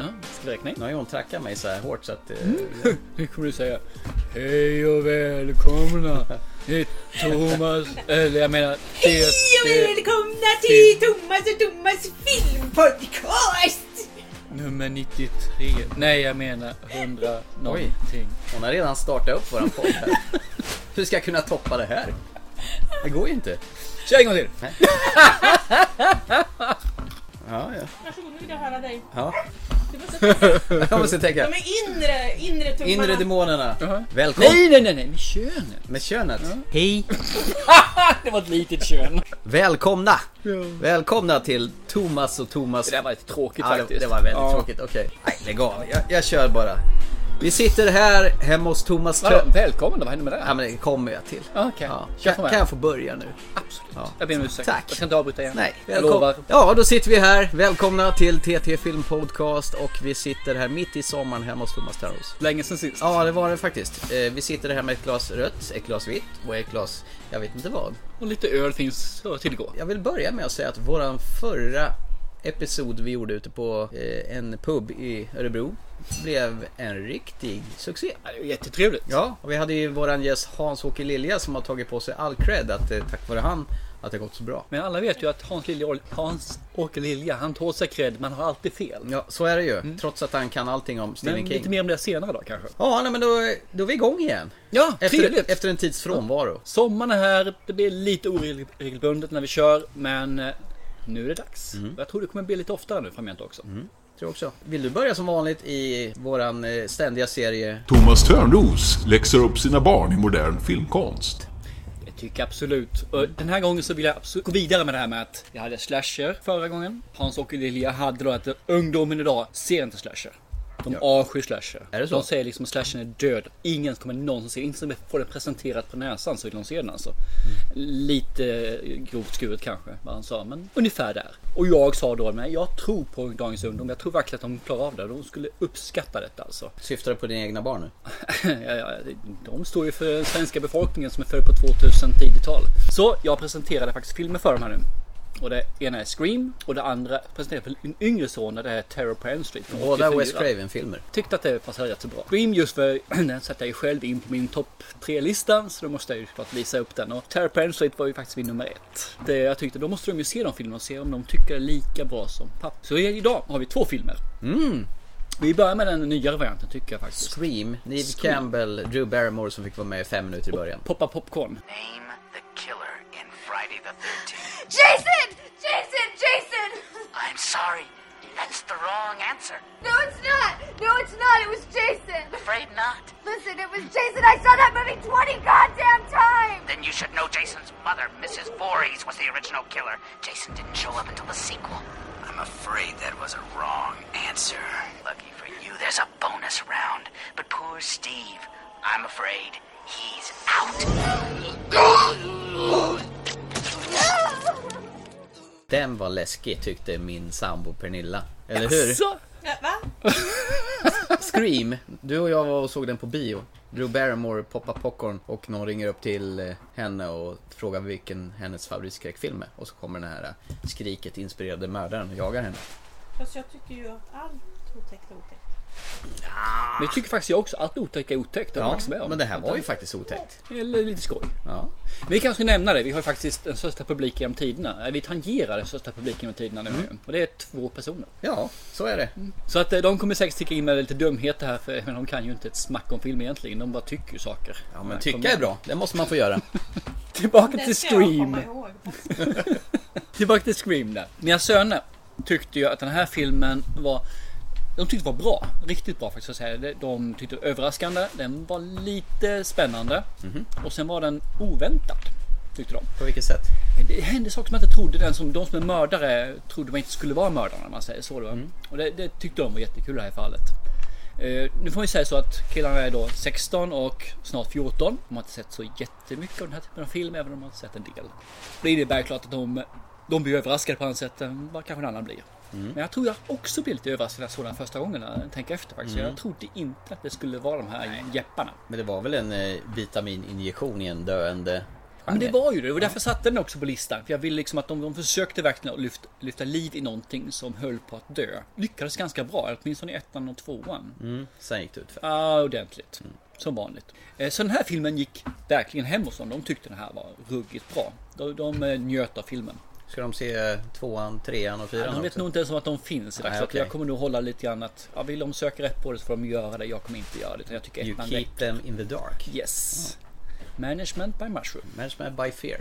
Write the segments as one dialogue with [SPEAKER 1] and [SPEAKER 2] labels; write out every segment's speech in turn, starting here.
[SPEAKER 1] utsträckning. Nu har ju hon trackat mig så här hårt så att... eh,
[SPEAKER 2] Mm. Nu kommer du säga Hej och välkomna till Thomas, eller jag menar det, det,
[SPEAKER 3] välkomna till Thomas och Thomas filmpodcast!
[SPEAKER 2] nummer 93. Nej jag menar 100 någonting.
[SPEAKER 1] Hon har redan startat upp våran podd här. Hur ska jag kunna toppa det här? Det går ju inte.
[SPEAKER 2] Kör en gång till!
[SPEAKER 1] Ja, ja.
[SPEAKER 3] Varsågod, nu vill jag höra dig.
[SPEAKER 1] ja.
[SPEAKER 3] Du måste...
[SPEAKER 1] Jag måste tänka.
[SPEAKER 3] De är inre, inre tummarna.
[SPEAKER 1] Inre demonerna.
[SPEAKER 2] Jaha.
[SPEAKER 1] Välkomna.
[SPEAKER 2] Nej nej nej nej, med könet!
[SPEAKER 1] Med könet.
[SPEAKER 2] Hej! det var ett litet kön.
[SPEAKER 1] Välkomna! Välkomna till Thomas och Thomas
[SPEAKER 2] Det där var lite tråkigt
[SPEAKER 1] Ja, det,
[SPEAKER 2] faktiskt.
[SPEAKER 1] det var väldigt
[SPEAKER 2] Ja.
[SPEAKER 1] tråkigt. Okej, nej lägg av. Jag, jag kör bara. Vi sitter här hemma hos Thomas
[SPEAKER 2] Vadå,
[SPEAKER 1] Trö...
[SPEAKER 2] välkommen då, vad hände med det?
[SPEAKER 1] Ja men det kommer jag till.
[SPEAKER 2] Ja, Okej,
[SPEAKER 1] Ja.
[SPEAKER 2] kör
[SPEAKER 1] Kan,
[SPEAKER 2] på med.
[SPEAKER 1] kan jag få börja nu?
[SPEAKER 2] Absolut.
[SPEAKER 1] Ja.
[SPEAKER 2] Jag ber om ursäkt.
[SPEAKER 1] Tack.
[SPEAKER 2] Jag ska inte avbryta igen.
[SPEAKER 1] Nej,
[SPEAKER 2] jag lovar.
[SPEAKER 1] Ja, då sitter vi här. Välkomna till TT Film Podcast och vi sitter här mitt i sommaren hemma hos Thomas Törnros.
[SPEAKER 2] Länge sen sist.
[SPEAKER 1] Ja, det var det faktiskt. Eh, Vi sitter här med ett glas rött, ett glas vitt och ett glas, jag vet inte vad.
[SPEAKER 2] Och lite öl finns att tillgå.
[SPEAKER 1] Jag vill börja med att säga att våran förra episod vi gjorde ute på eh, en pub i Örebro blev en riktig succé.
[SPEAKER 2] Ja, det är ju jättetrevligt.
[SPEAKER 1] Ja, och vi hade ju våran gäst Hans-Åke Lilja som har tagit på sig all cred att eh, tack vare han att det gått så bra.
[SPEAKER 2] Men alla vet ju att Hans, Lilja, Hans Åke Lilja, han tar åt sig cred, man har alltid fel.
[SPEAKER 1] Ja, så är det ju. Trots att han kan allting om Stephen
[SPEAKER 2] Men
[SPEAKER 1] King.
[SPEAKER 2] lite mer om det senare då kanske.
[SPEAKER 1] Ja, nej, men då, då är vi igång igen.
[SPEAKER 2] Ja,
[SPEAKER 1] Efter,
[SPEAKER 2] trevligt!
[SPEAKER 1] efter en tids frånvaro.
[SPEAKER 2] Sommaren är här, det blir lite oregelbundet när vi kör, men eh, nu är det dags. Jag tror det kommer bli lite oftare nu framgent också.
[SPEAKER 1] Tror jag också. Vill du börja som vanligt i våran eh, ständiga serie?
[SPEAKER 4] Thomas Törnros läxar upp sina barn i modern filmkonst.
[SPEAKER 2] Jag tycker absolut. Och den här gången så vill jag absolut gå vidare med det här med att jag hade slasher förra gången. Hans-Åke Lilja hade då att ungdomen idag ser inte slasher. De avskyr slasher.
[SPEAKER 1] Är det så?
[SPEAKER 2] De säger liksom att slashern är död. Ingen kommer någonsin se den. Inte som att får den presenterad på näsan så vill de se den alltså.
[SPEAKER 1] Mm.
[SPEAKER 2] Lite grovt skuret kanske vad han sa. Men ungefär där. Och jag sa då men jag tror på dagens ungdom. Jag tror verkligen att de klarar av det. De skulle uppskatta detta alltså.
[SPEAKER 1] Syftar du på dina egna barn nu?
[SPEAKER 2] Ja, ja, de står ju för den svenska befolkningen som är född på 2000 tidigt tal. Så jag presenterade faktiskt filmer för dem här nu. Och det ena är Scream och det andra presenterade för min yngre son och det är Terror på Elm Street. från
[SPEAKER 1] Båda
[SPEAKER 2] 84.
[SPEAKER 1] Wes Craven-filmer.
[SPEAKER 2] Tyckte att det passade rätt så bra. Scream just för den satte jag ju själv in på min topp tre-lista så då måste jag ju såklart visa upp den. Och Terror på Elm Street var ju faktiskt min nummer ett. Det jag tyckte, då måste de ju se de filmerna och se om de tycker det är lika bra som pappa. Så idag har vi två filmer. Vi börjar med den nyare varianten tycker jag faktiskt.
[SPEAKER 1] Scream, Neve
[SPEAKER 2] Scream.
[SPEAKER 1] Campbell, Drew Barrymore som fick vara med i fem minuter i början.
[SPEAKER 2] Poppa popcorn.
[SPEAKER 5] Name the killer in Friday the 13th.
[SPEAKER 6] Jason! Jason! Jason!
[SPEAKER 5] I'm sorry, that's the wrong answer.
[SPEAKER 6] No, it's not! No, it's not! It was Jason!
[SPEAKER 5] Afraid not.
[SPEAKER 6] Listen, it was Jason! I saw that movie 20 goddamn times!
[SPEAKER 5] Then you should know Jason's mother, Mrs. Voorhees, was the original killer. Jason didn't show up until the sequel. I'm afraid that was a wrong answer. Lucky for you, there's a bonus round. But poor Steve, I'm afraid he's out.
[SPEAKER 1] Den var läskig tyckte min sambo Pernilla. Eller hur?
[SPEAKER 2] Så.
[SPEAKER 3] Ja, Va?
[SPEAKER 1] Scream, du och jag var och såg den på bio. Drew Barrymore poppar popcorn och någon ringer upp till eh, henne och frågar vilken hennes favoritskräckfilm är. Och så kommer den här eh, skriket inspirerade mördaren och jagar henne.
[SPEAKER 3] Fast jag tycker ju att allt otäckt är otäckt.
[SPEAKER 2] Men jag tycker faktiskt jag också att otäckt är otäckt. Det håller jag
[SPEAKER 1] Ja,
[SPEAKER 2] faktiskt med om.
[SPEAKER 1] men det här var ju faktiskt otäckt.
[SPEAKER 2] Eller lite skoj.
[SPEAKER 1] Ja.
[SPEAKER 2] Vi kanske ska nämna det. Vi har ju faktiskt den största publiken genom tiderna. Eh, Vi tangerar den största publiken genom tiderna nu.
[SPEAKER 1] Mm.
[SPEAKER 2] Och det är två personer.
[SPEAKER 1] ja, så är det.
[SPEAKER 2] Så att eh, de kommer säkert sticka in med lite dumheter här. För men de kan ju inte ett smack om film egentligen. De bara tycker ju saker.
[SPEAKER 1] Ja, men
[SPEAKER 2] kom
[SPEAKER 1] tycka är
[SPEAKER 2] igen.
[SPEAKER 1] bra. Det måste man få göra.
[SPEAKER 2] Tillbaka
[SPEAKER 3] Det
[SPEAKER 2] till
[SPEAKER 3] ska jag
[SPEAKER 2] Scream.
[SPEAKER 3] komma ihåg.
[SPEAKER 2] Tillbaka till Scream där. Mina söner tyckte ju att den här filmen var de tyckte det var bra, riktigt bra faktiskt. Så att säga. De tyckte det var överraskande, den var lite spännande och sen var den oväntad. Tyckte de.
[SPEAKER 1] På vilket sätt?
[SPEAKER 2] Det hände saker som jag inte trodde, den som, de som är mördare trodde man inte skulle vara mördare om man säger så. Då. Och det, det tyckte de var jättekul i det här fallet. Eh, nu får vi säga så att killarna är då 16 och snart 14. De har inte sett så jättemycket av den här typen av film, även om de har sett en del. Det innebär klart att de, de blir överraskade på annat sätt än vad kanske en annan blir. Men jag tror jag också blev lite överraskad när jag såg den första gången, när jag tänker efter faktiskt. Jag trodde inte att det skulle vara de här jepparna.
[SPEAKER 1] Men det var väl en eh, vitamininjektion i en döende
[SPEAKER 2] Men det
[SPEAKER 1] genre.
[SPEAKER 2] var ju det. Det var därför jag satte den också på listan. För jag ville liksom att de, de försökte verkligen att lyfta, lyfta liv i någonting som höll på att dö. Lyckades ganska bra, åtminstone i ettan och tvåan.
[SPEAKER 1] Mm, sen gick det ut för.
[SPEAKER 2] Ja, ordentligt. Som vanligt. Eh, Så den här filmen gick verkligen hem hos dem. De tyckte den här var ruggigt bra. De, de eh, njöt av filmen.
[SPEAKER 1] Ska de se eh, tvåan, trean och fyran
[SPEAKER 2] De vet
[SPEAKER 1] också?
[SPEAKER 2] nog inte ens om att de finns i
[SPEAKER 1] Nej,
[SPEAKER 2] dagsläget.
[SPEAKER 1] okej.
[SPEAKER 2] Jag kommer nog hålla lite grann att ja, vill de söka rätt på det så får de göra det. Jag kommer inte göra det. utan Jag tycker
[SPEAKER 1] You
[SPEAKER 2] ettan
[SPEAKER 1] keep
[SPEAKER 2] räcker.
[SPEAKER 1] them in the dark.
[SPEAKER 2] Yes. Management by Mushroom.
[SPEAKER 1] Management by fear.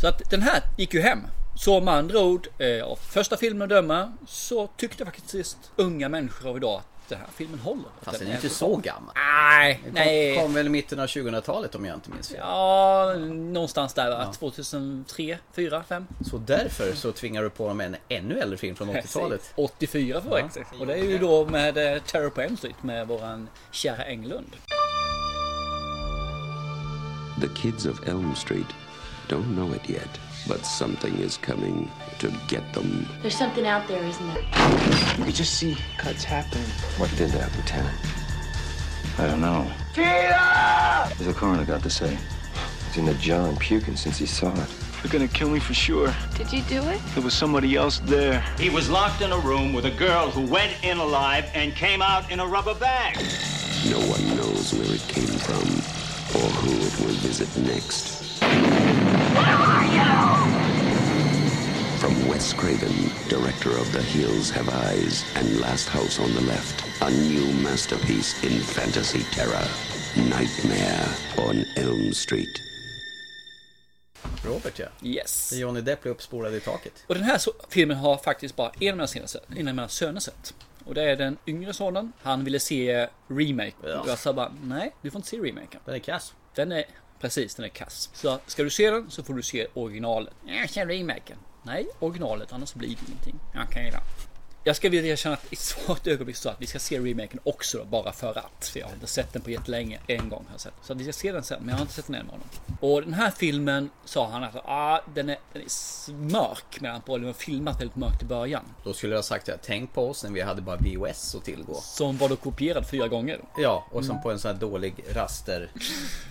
[SPEAKER 2] Så att den här gick ju hem. Så med andra ord, eh, av första filmen att döma, så tyckte faktiskt unga människor av idag att den här filmen håller.
[SPEAKER 1] Fast den är inte så gammal.
[SPEAKER 2] Nej,
[SPEAKER 1] Den
[SPEAKER 2] nej.
[SPEAKER 1] kom, kom väl i mitten av 2000-talet om jag inte minns fel.
[SPEAKER 2] Ja, någonstans där va? 2003, 4, 5?
[SPEAKER 1] Så därför så tvingar du på dem en ännu äldre film från 80-talet.
[SPEAKER 2] 84 för exakt. Och det är ju då med eh, Terror på Elm Street med våran kära Englund.
[SPEAKER 7] The kids of Elm Street don't know it yet, but something is coming to get them.
[SPEAKER 8] There's something out there, isn't there?
[SPEAKER 9] You just see cuts happen.
[SPEAKER 10] What did that, Lieutenant?
[SPEAKER 9] I don't know.
[SPEAKER 10] What the coroner got to say? He's in the jar and puking since he saw it.
[SPEAKER 9] They're gonna kill me for sure.
[SPEAKER 6] Did you do it?
[SPEAKER 9] There was somebody else there.
[SPEAKER 11] He was locked in a room with a girl who went in alive and came out in a rubber bag.
[SPEAKER 7] No one knows where it came from or who it will visit next. From Wes Craven, director of The Hills Have Eyes and Last House on the Left, a new masterpiece in fantasy terror. Nightmare on Elm Street.
[SPEAKER 1] Robert ja.
[SPEAKER 2] Yes.
[SPEAKER 1] Johnny Depp blev uppspolad i taket.
[SPEAKER 2] Och den här så, filmen har faktiskt bara en av mina, sina, en av mina söner sett. Och det är den yngre sonen. Han ville se remake.
[SPEAKER 1] Ja.
[SPEAKER 2] Och jag sa bara, nej, du får inte se remaken.
[SPEAKER 1] Den är kass.
[SPEAKER 2] Den är, precis, den är kass. Så ska du se den så får du se originalet. Jag ser remaken. Nej, originalet, annars blir det ingenting. Okej då. Jag ska vilja erkänna att i så ett ögonblick så att vi ska se remaken också då, bara för att. För jag har inte sett den på jättelänge. En gång har jag sett. Så att vi ska se den sen, men jag har inte sett den än med honom. Och den här filmen sa han att ah, den, är, den är mörk. Medan på den var filmat väldigt mörkt i början.
[SPEAKER 1] Då skulle jag ha sagt att tänk på oss när vi hade bara VOS att tillgå.
[SPEAKER 2] Som var då kopierad fyra gånger.
[SPEAKER 1] Ja, och sen på en sån här dålig raster...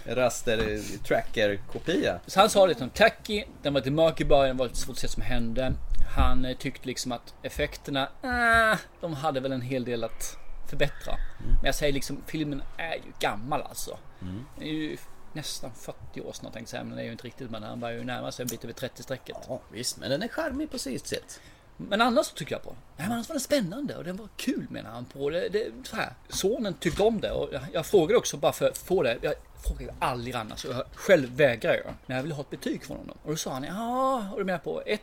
[SPEAKER 1] Raster tracker kopia.
[SPEAKER 2] Så han sa lite om Tacky, den var lite mörk i början, det var lite svårt att se vad som hände. Han eh, tyckte liksom att effekterna, eh, de hade väl en hel del att förbättra. Men jag säger liksom, filmen är ju gammal alltså. Den är ju nästan 40 år snart tänkte jag säga, men det är ju inte riktigt. Men han var ju närmare sig en bit över 30-strecket.
[SPEAKER 1] Ja, visst, men den är charmig på sitt sätt.
[SPEAKER 2] Men annars så tycker jag på den. Nej, men annars var den spännande och den var kul menar han på. Det, det, så här. Sonen tyckte om det och jag, jag frågade också bara för att få det. Jag frågade ju aldrig annars och jag, själv vägrar jag när jag ville ha ett betyg från honom. Och då sa han ja, och du menar på 1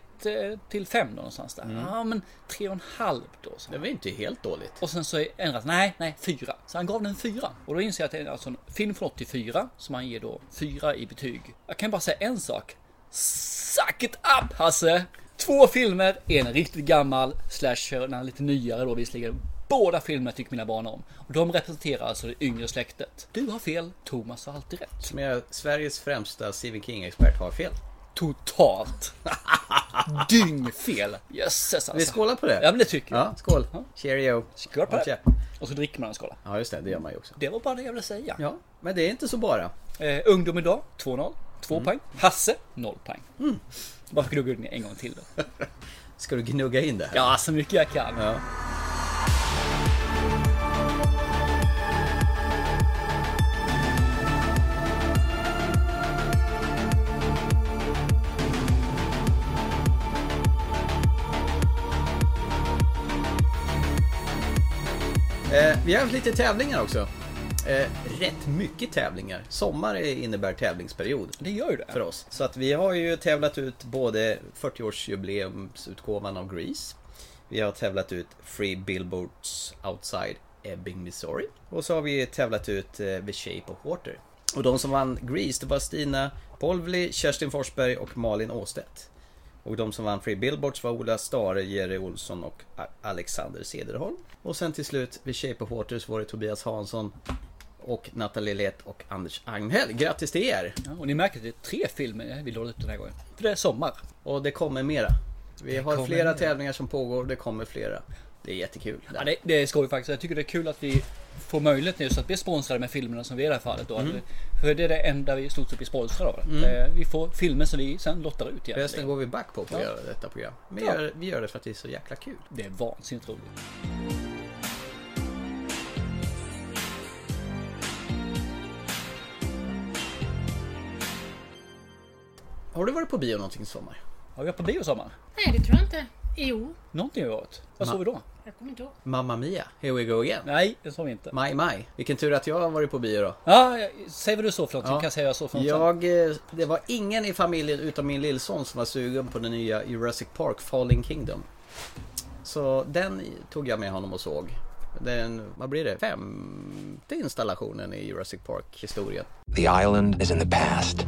[SPEAKER 2] till 5 någonstans där. Ja, men 3,5 då. sa
[SPEAKER 1] Det
[SPEAKER 2] han.
[SPEAKER 1] var ju inte helt dåligt.
[SPEAKER 2] Och sen så ändras nej, nej, 4. Så han gav den 4. Och då inser jag att det är alltså en film från 84 som han ger då 4 i betyg. Jag kan bara säga en sak. Suck it up Hasse! Två filmer, en riktigt gammal slasher, den här lite nyare då visserligen. Båda filmerna tycker mina barn om. Och de representerar alltså det yngre släktet. Du har fel, Thomas har alltid rätt.
[SPEAKER 1] Men jag- Sveriges främsta Stephen King-expert har fel.
[SPEAKER 2] Totalt dyngfel. Jösses
[SPEAKER 1] Vi
[SPEAKER 2] alltså.
[SPEAKER 1] skålar på det.
[SPEAKER 2] Ja men det tycker jag.
[SPEAKER 1] Ja, skål. Cheerio.
[SPEAKER 2] Skål på
[SPEAKER 1] Håll
[SPEAKER 2] det.
[SPEAKER 1] käft.
[SPEAKER 2] Och så dricker man en skåla.
[SPEAKER 1] Ja, just det. Det gör man ju också.
[SPEAKER 2] Det var bara det jag ville säga.
[SPEAKER 1] Ja, men det är inte så bara.
[SPEAKER 2] Eh, ungdom idag 2-0. 2 poäng. Hasse 0 poäng. Bara gnugga in en gång till då.
[SPEAKER 1] Ska du gnugga in det här?
[SPEAKER 2] Ja, så mycket jag kan.
[SPEAKER 1] Ja. Eh, vi har haft lite tävlingar också. Eh, rätt mycket tävlingar. Sommar innebär tävlingsperiod
[SPEAKER 2] Det gör ju det.
[SPEAKER 1] för oss. Så att vi har ju tävlat ut både 40-årsjubileumsutgåvan av Grease. Vi har tävlat ut Free Billboards Outside Ebbing, Missouri. Och så har vi tävlat ut eh, The Shape of Water. Och de som vann Grease, det var Stina Polvli, Kerstin Forsberg och Malin Åstedt. Och de som vann Free Billboards var Ola Stare, Jerry Olsson och A- Alexander Cederholm. Och sen till slut, The Shape of Water, så var det Tobias Hansson och Nathalie Leth och Anders Agnell. Grattis till er!
[SPEAKER 2] Ja, och ni märker att det är tre filmer jag vill hålla ut den här gången. För det är sommar.
[SPEAKER 1] Och det kommer mera. Vi har
[SPEAKER 2] kommer
[SPEAKER 1] flera
[SPEAKER 2] mera.
[SPEAKER 1] tävlingar som pågår, det kommer flera. Det är jättekul.
[SPEAKER 2] Ja, det, det är skoj faktiskt. Jag tycker det är kul att vi får möjlighet nu så att bli sponsrade med filmerna som vi är i det här fallet. Då.
[SPEAKER 1] Mm.
[SPEAKER 2] För det är det enda vi i stort sett blir sponsrade av.
[SPEAKER 1] Mm.
[SPEAKER 2] Det- Vi får filmer som vi sen lottar ut egentligen.
[SPEAKER 1] Resten går vi back på för att göra detta program. Vi,
[SPEAKER 2] Ja.
[SPEAKER 1] gör, vi gör det för att det är så jäkla kul.
[SPEAKER 2] Det är vansinnigt roligt.
[SPEAKER 1] Har du varit på bio någonting i sommar?
[SPEAKER 2] Har vi varit på bio i sommar?
[SPEAKER 8] Nej, det tror jag inte. Jo,
[SPEAKER 2] Någonting har vi varit. Vad
[SPEAKER 1] Ma-
[SPEAKER 2] såg vi då?
[SPEAKER 8] jag kommer inte ihåg.
[SPEAKER 1] Mamma Mia, here we go again.
[SPEAKER 2] Nej, det såg vi inte.
[SPEAKER 1] Maj, maj. Vilken tur att jag har varit på bio då.
[SPEAKER 2] Ja, jag- säg vad du såg för någonting.
[SPEAKER 1] Ja.
[SPEAKER 2] Kan jag säga vad jag såg för något sen.
[SPEAKER 1] Jag, eh, det var ingen i familjen utom min lillson som var sugen på den nya Jurassic Park Falling Kingdom. Så den tog jag med honom och såg. Den, vad blir det, femte installationen i Jurassic Park-historien.
[SPEAKER 7] The island is in the past.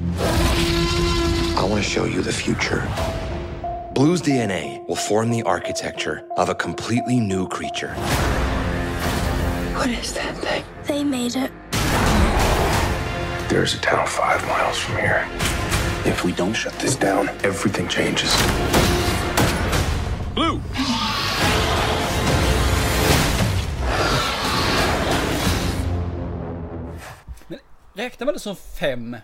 [SPEAKER 7] I want to show you the future. Blue's DNA will form the architecture of a completely new creature.
[SPEAKER 6] What is that thing? They made it.
[SPEAKER 12] There's a town five miles from here. If we don't shut this down, everything changes.
[SPEAKER 11] Blue!
[SPEAKER 2] Räknar man det som fem?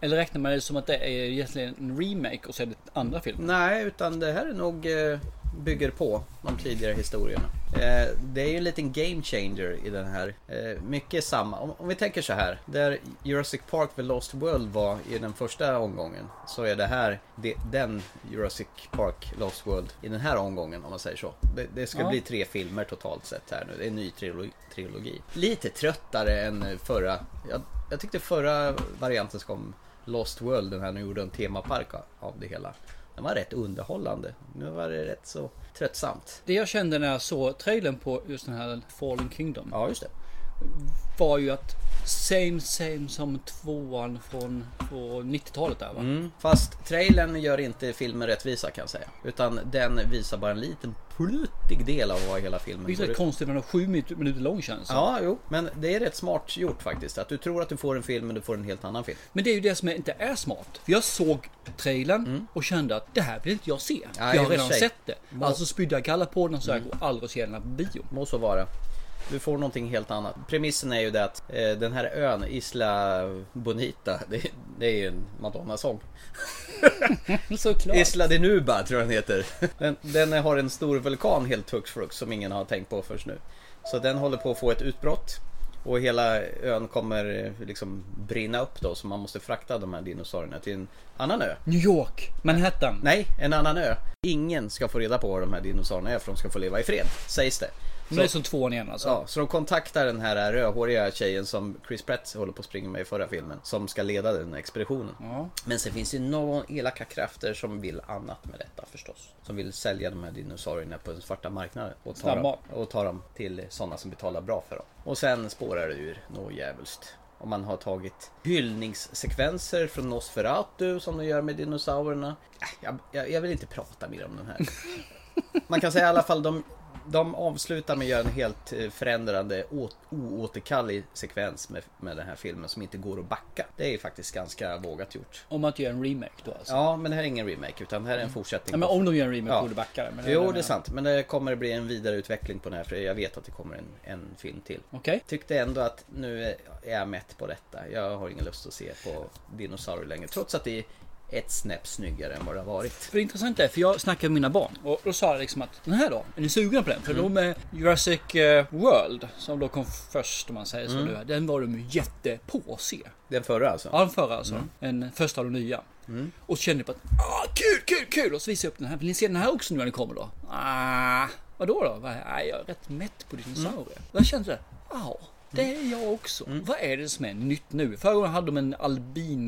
[SPEAKER 2] Eller räknar man det som att det är egentligen en remake och så är det andra filmen?
[SPEAKER 1] Nej, utan det här är nog eh, bygger på de tidigare historierna. Eh, det är ju en liten game changer i den här. Eh, mycket samma. Om, om vi tänker så här. Där Jurassic Park The Lost World var i den första omgången så är det här det, den Jurassic Park Lost World i den här omgången om man säger så. Det, det ska
[SPEAKER 2] Ja.
[SPEAKER 1] bli tre filmer totalt sett här nu. Det är en ny trilogi. trilogi. Lite tröttare än förra. Jag, jag tyckte förra varianten som Lost World, den här nu gjorde en temapark av det hela. Den var rätt underhållande. Nu var det rätt så tröttsamt.
[SPEAKER 2] Det jag kände när jag såg trailern på just den här Fallen Kingdom.
[SPEAKER 1] Ja, just det.
[SPEAKER 2] Var ju att same same som tvåan från, från 90-talet där va?
[SPEAKER 1] Mm. Fast trailern gör inte filmen rättvisa kan jag säga. Utan den visar bara en liten pluttig del av vad hela filmen
[SPEAKER 2] Vilket är
[SPEAKER 1] går
[SPEAKER 2] rätt
[SPEAKER 1] ut
[SPEAKER 2] konstigt när den är sju minut- minuter lång känns det
[SPEAKER 1] Ja, jo, men det är rätt smart gjort faktiskt. Att du tror att du får en film men du får en helt annan film.
[SPEAKER 2] Men det är ju det som är- inte är smart. För jag såg trailern och kände att det här vill inte jag se.
[SPEAKER 1] Nej,
[SPEAKER 2] jag
[SPEAKER 1] Mm. i och
[SPEAKER 2] har
[SPEAKER 1] för
[SPEAKER 2] redan
[SPEAKER 1] sig. Mm.
[SPEAKER 2] sett det.
[SPEAKER 1] Må-
[SPEAKER 2] Alltså spydde jag galla på den och så jag går aldrig och ser den här på bio.
[SPEAKER 1] Må så vara. Du får någonting helt annat. Premissen är ju det att eh, den här ön, Isla Bonita, det, det är ju en Madonna-sång.
[SPEAKER 2] Såklart.
[SPEAKER 1] Isla de Nuba tror jag den heter. Den, den har en stor vulkan helt hux flux som ingen har tänkt på först nu. Så den håller på att få ett utbrott. Och hela ön kommer eh, liksom brinna upp då så man måste frakta de här dinosaurierna till en annan ö.
[SPEAKER 2] New York, Manhattan.
[SPEAKER 1] Nej, en annan ö. Ingen ska få reda på var de här dinosaurierna är för de ska få leva i fred, sägs det.
[SPEAKER 2] Men det är som tvåan igen alltså.
[SPEAKER 1] Ja, så de kontaktar den här rödhåriga tjejen som Chris Pratt håller på att springa med i förra filmen. Som ska leda den här expeditionen.
[SPEAKER 2] Ja.
[SPEAKER 1] Men sen finns det ju några elaka krafter som vill annat med detta förstås. Som vill sälja de här dinosaurierna på den svarta marknaden. Och ta, dem,
[SPEAKER 2] Snabba.
[SPEAKER 1] och ta dem till sådana som betalar bra för dem. Och sen spårar det ur något djävulskt. Om man har tagit hyllningssekvenser från Nosferatu som de gör med dinosaurierna. Äh, Jag, jag, jag vill inte prata mer om den här. Man kan säga i alla fall de, de avslutar med att göra en helt eh, förändrande å- oåterkallelig sekvens med, med den här filmen som inte går att backa. Det är faktiskt ganska vågat gjort.
[SPEAKER 2] Om man inte gör en remake då alltså.
[SPEAKER 1] Ja, men det här är ingen remake utan det här är en fortsättning.
[SPEAKER 2] Mm. Ja, men
[SPEAKER 1] på-
[SPEAKER 2] om de gör en remake borde backa det, men det är det
[SPEAKER 1] jo,
[SPEAKER 2] jag
[SPEAKER 1] det är
[SPEAKER 2] menar.
[SPEAKER 1] sant. Men det kommer bli en vidareutveckling på den här för jag vet att det kommer en, en film till.
[SPEAKER 2] Okej.
[SPEAKER 1] Tyckte ändå att nu är är jag mätt på detta. Jag har ingen lust att se på dinosaurier längre. Trots att det är ett snäpp snyggare än vad det har varit.
[SPEAKER 2] För det intressanta är, för jag snackade med mina barn och då sa jag liksom att den här då, är ni sugna på den?
[SPEAKER 1] Mm.
[SPEAKER 2] För de är Jurassic eh, World som då kom först om man säger så.
[SPEAKER 1] Mm.
[SPEAKER 2] nu, Den var de ju jättepå att se.
[SPEAKER 1] Den förra alltså?
[SPEAKER 2] Ja, den förra alltså. Den första av de nya.
[SPEAKER 1] Mm.
[SPEAKER 2] Och så kände jag på att ah, kul, kul, kul! Och så visade jag upp den här. Vill ni se den här också nu när den kommer då? Ah, vadå då? Va- ah, jag är rätt mätt på dinosaurier.
[SPEAKER 1] Mm.
[SPEAKER 2] Jag kände det. Ja, det är jag också. Vad är det som är nytt nu? Förra gången hade de en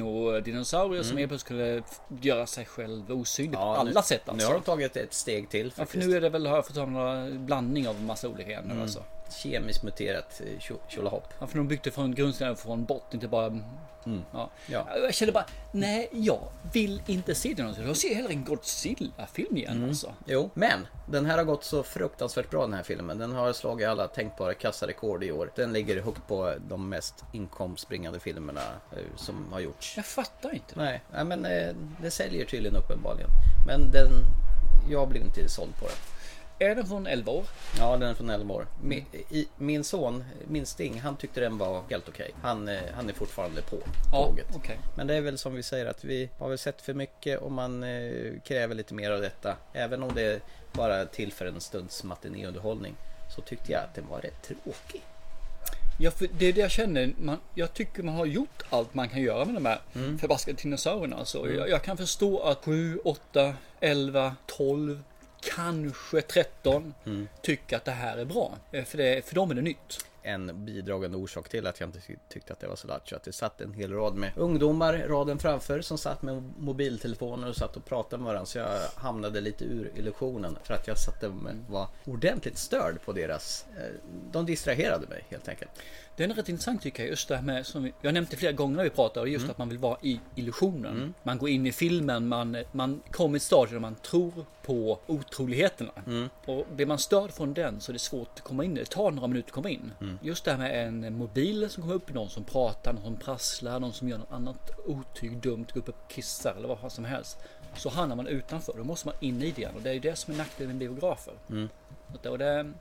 [SPEAKER 2] albino-dinosaurie som
[SPEAKER 1] Mm.
[SPEAKER 2] helt plötsligt skulle f- göra sig själv osynlig på
[SPEAKER 1] Ja,
[SPEAKER 2] alla
[SPEAKER 1] nu,
[SPEAKER 2] sätt alltså.
[SPEAKER 1] Nu har de tagit ett steg till
[SPEAKER 2] Ja,
[SPEAKER 1] faktiskt.
[SPEAKER 2] för nu är det väl, har jag fått höra, någon blandning av massa olika gener
[SPEAKER 1] Mm.
[SPEAKER 2] alltså.
[SPEAKER 1] Kemiskt muterat eh, tjo- tjolahopp.
[SPEAKER 2] Ja, för de byggde från grundstenen från botten, inte bara... Ja.
[SPEAKER 1] Mm. Ja.
[SPEAKER 2] Jag kände bara, nej, jag vill inte se det någonsin. Jag ser hellre en Godzilla-film igen
[SPEAKER 1] Mm.
[SPEAKER 2] alltså.
[SPEAKER 1] Jo, men den här har gått så fruktansvärt bra den här filmen. Den har slagit alla tänkbara kassarekord i år. Den ligger högt på de mest inkomstbringande filmerna eh, som har gjorts.
[SPEAKER 2] Jag fattar inte.
[SPEAKER 1] Nej, nej men eh, det säljer tydligen uppenbarligen. Men den... Jag blev inte såld på den.
[SPEAKER 2] Är den från 11 år?
[SPEAKER 1] Ja, den är från 11 år. Min, i, min son, min Sting, han tyckte den var helt okej. Han, eh, han är fortfarande på
[SPEAKER 2] Ja,
[SPEAKER 1] tåget.
[SPEAKER 2] okej.
[SPEAKER 1] Men det är väl som vi säger att vi har väl sett för mycket och man eh, kräver lite mer av detta. Även om det är bara till för en stunds matinéunderhållning så tyckte jag att den var rätt tråkig.
[SPEAKER 2] Ja, för det är det jag känner. Man, jag tycker man har gjort allt man kan göra med de här förbaskade dinosaurierna. Alltså,
[SPEAKER 1] Mm.
[SPEAKER 2] jag, jag kan förstå att 7, 8, 11, 12, kanske 13
[SPEAKER 1] Mm.
[SPEAKER 2] tycker att det här är bra. Eh, För, det, för dem är det nytt.
[SPEAKER 1] En bidragande orsak till att jag inte ty- tyckte att det var så lattjo att det satt en hel rad med ungdomar raden framför som satt med mobiltelefoner och satt och pratade med varandra så jag hamnade lite ur illusionen för att jag satt och var ordentligt störd på deras... eh, De distraherade mig helt enkelt.
[SPEAKER 2] Den är rätt intressant tycker jag. Just det här med, som vi- jag nämnde flera gånger när vi pratade, just att man vill vara i illusionen. Man går in i filmen, man, man kommer i ett stadium där man tror på otroligheterna. Och blir man störd från den så är det svårt att komma in i det. Det tar några minuter att komma in. Just det här med en mobil som kommer upp, någon som pratar, någon som prasslar, någon som gör något annat otyg, dumt, går upp och kissar eller vad som helst. Så hamnar man utanför, då måste man in i det igen. Och det är ju det som är nackdelen med biografer. Att- Och det är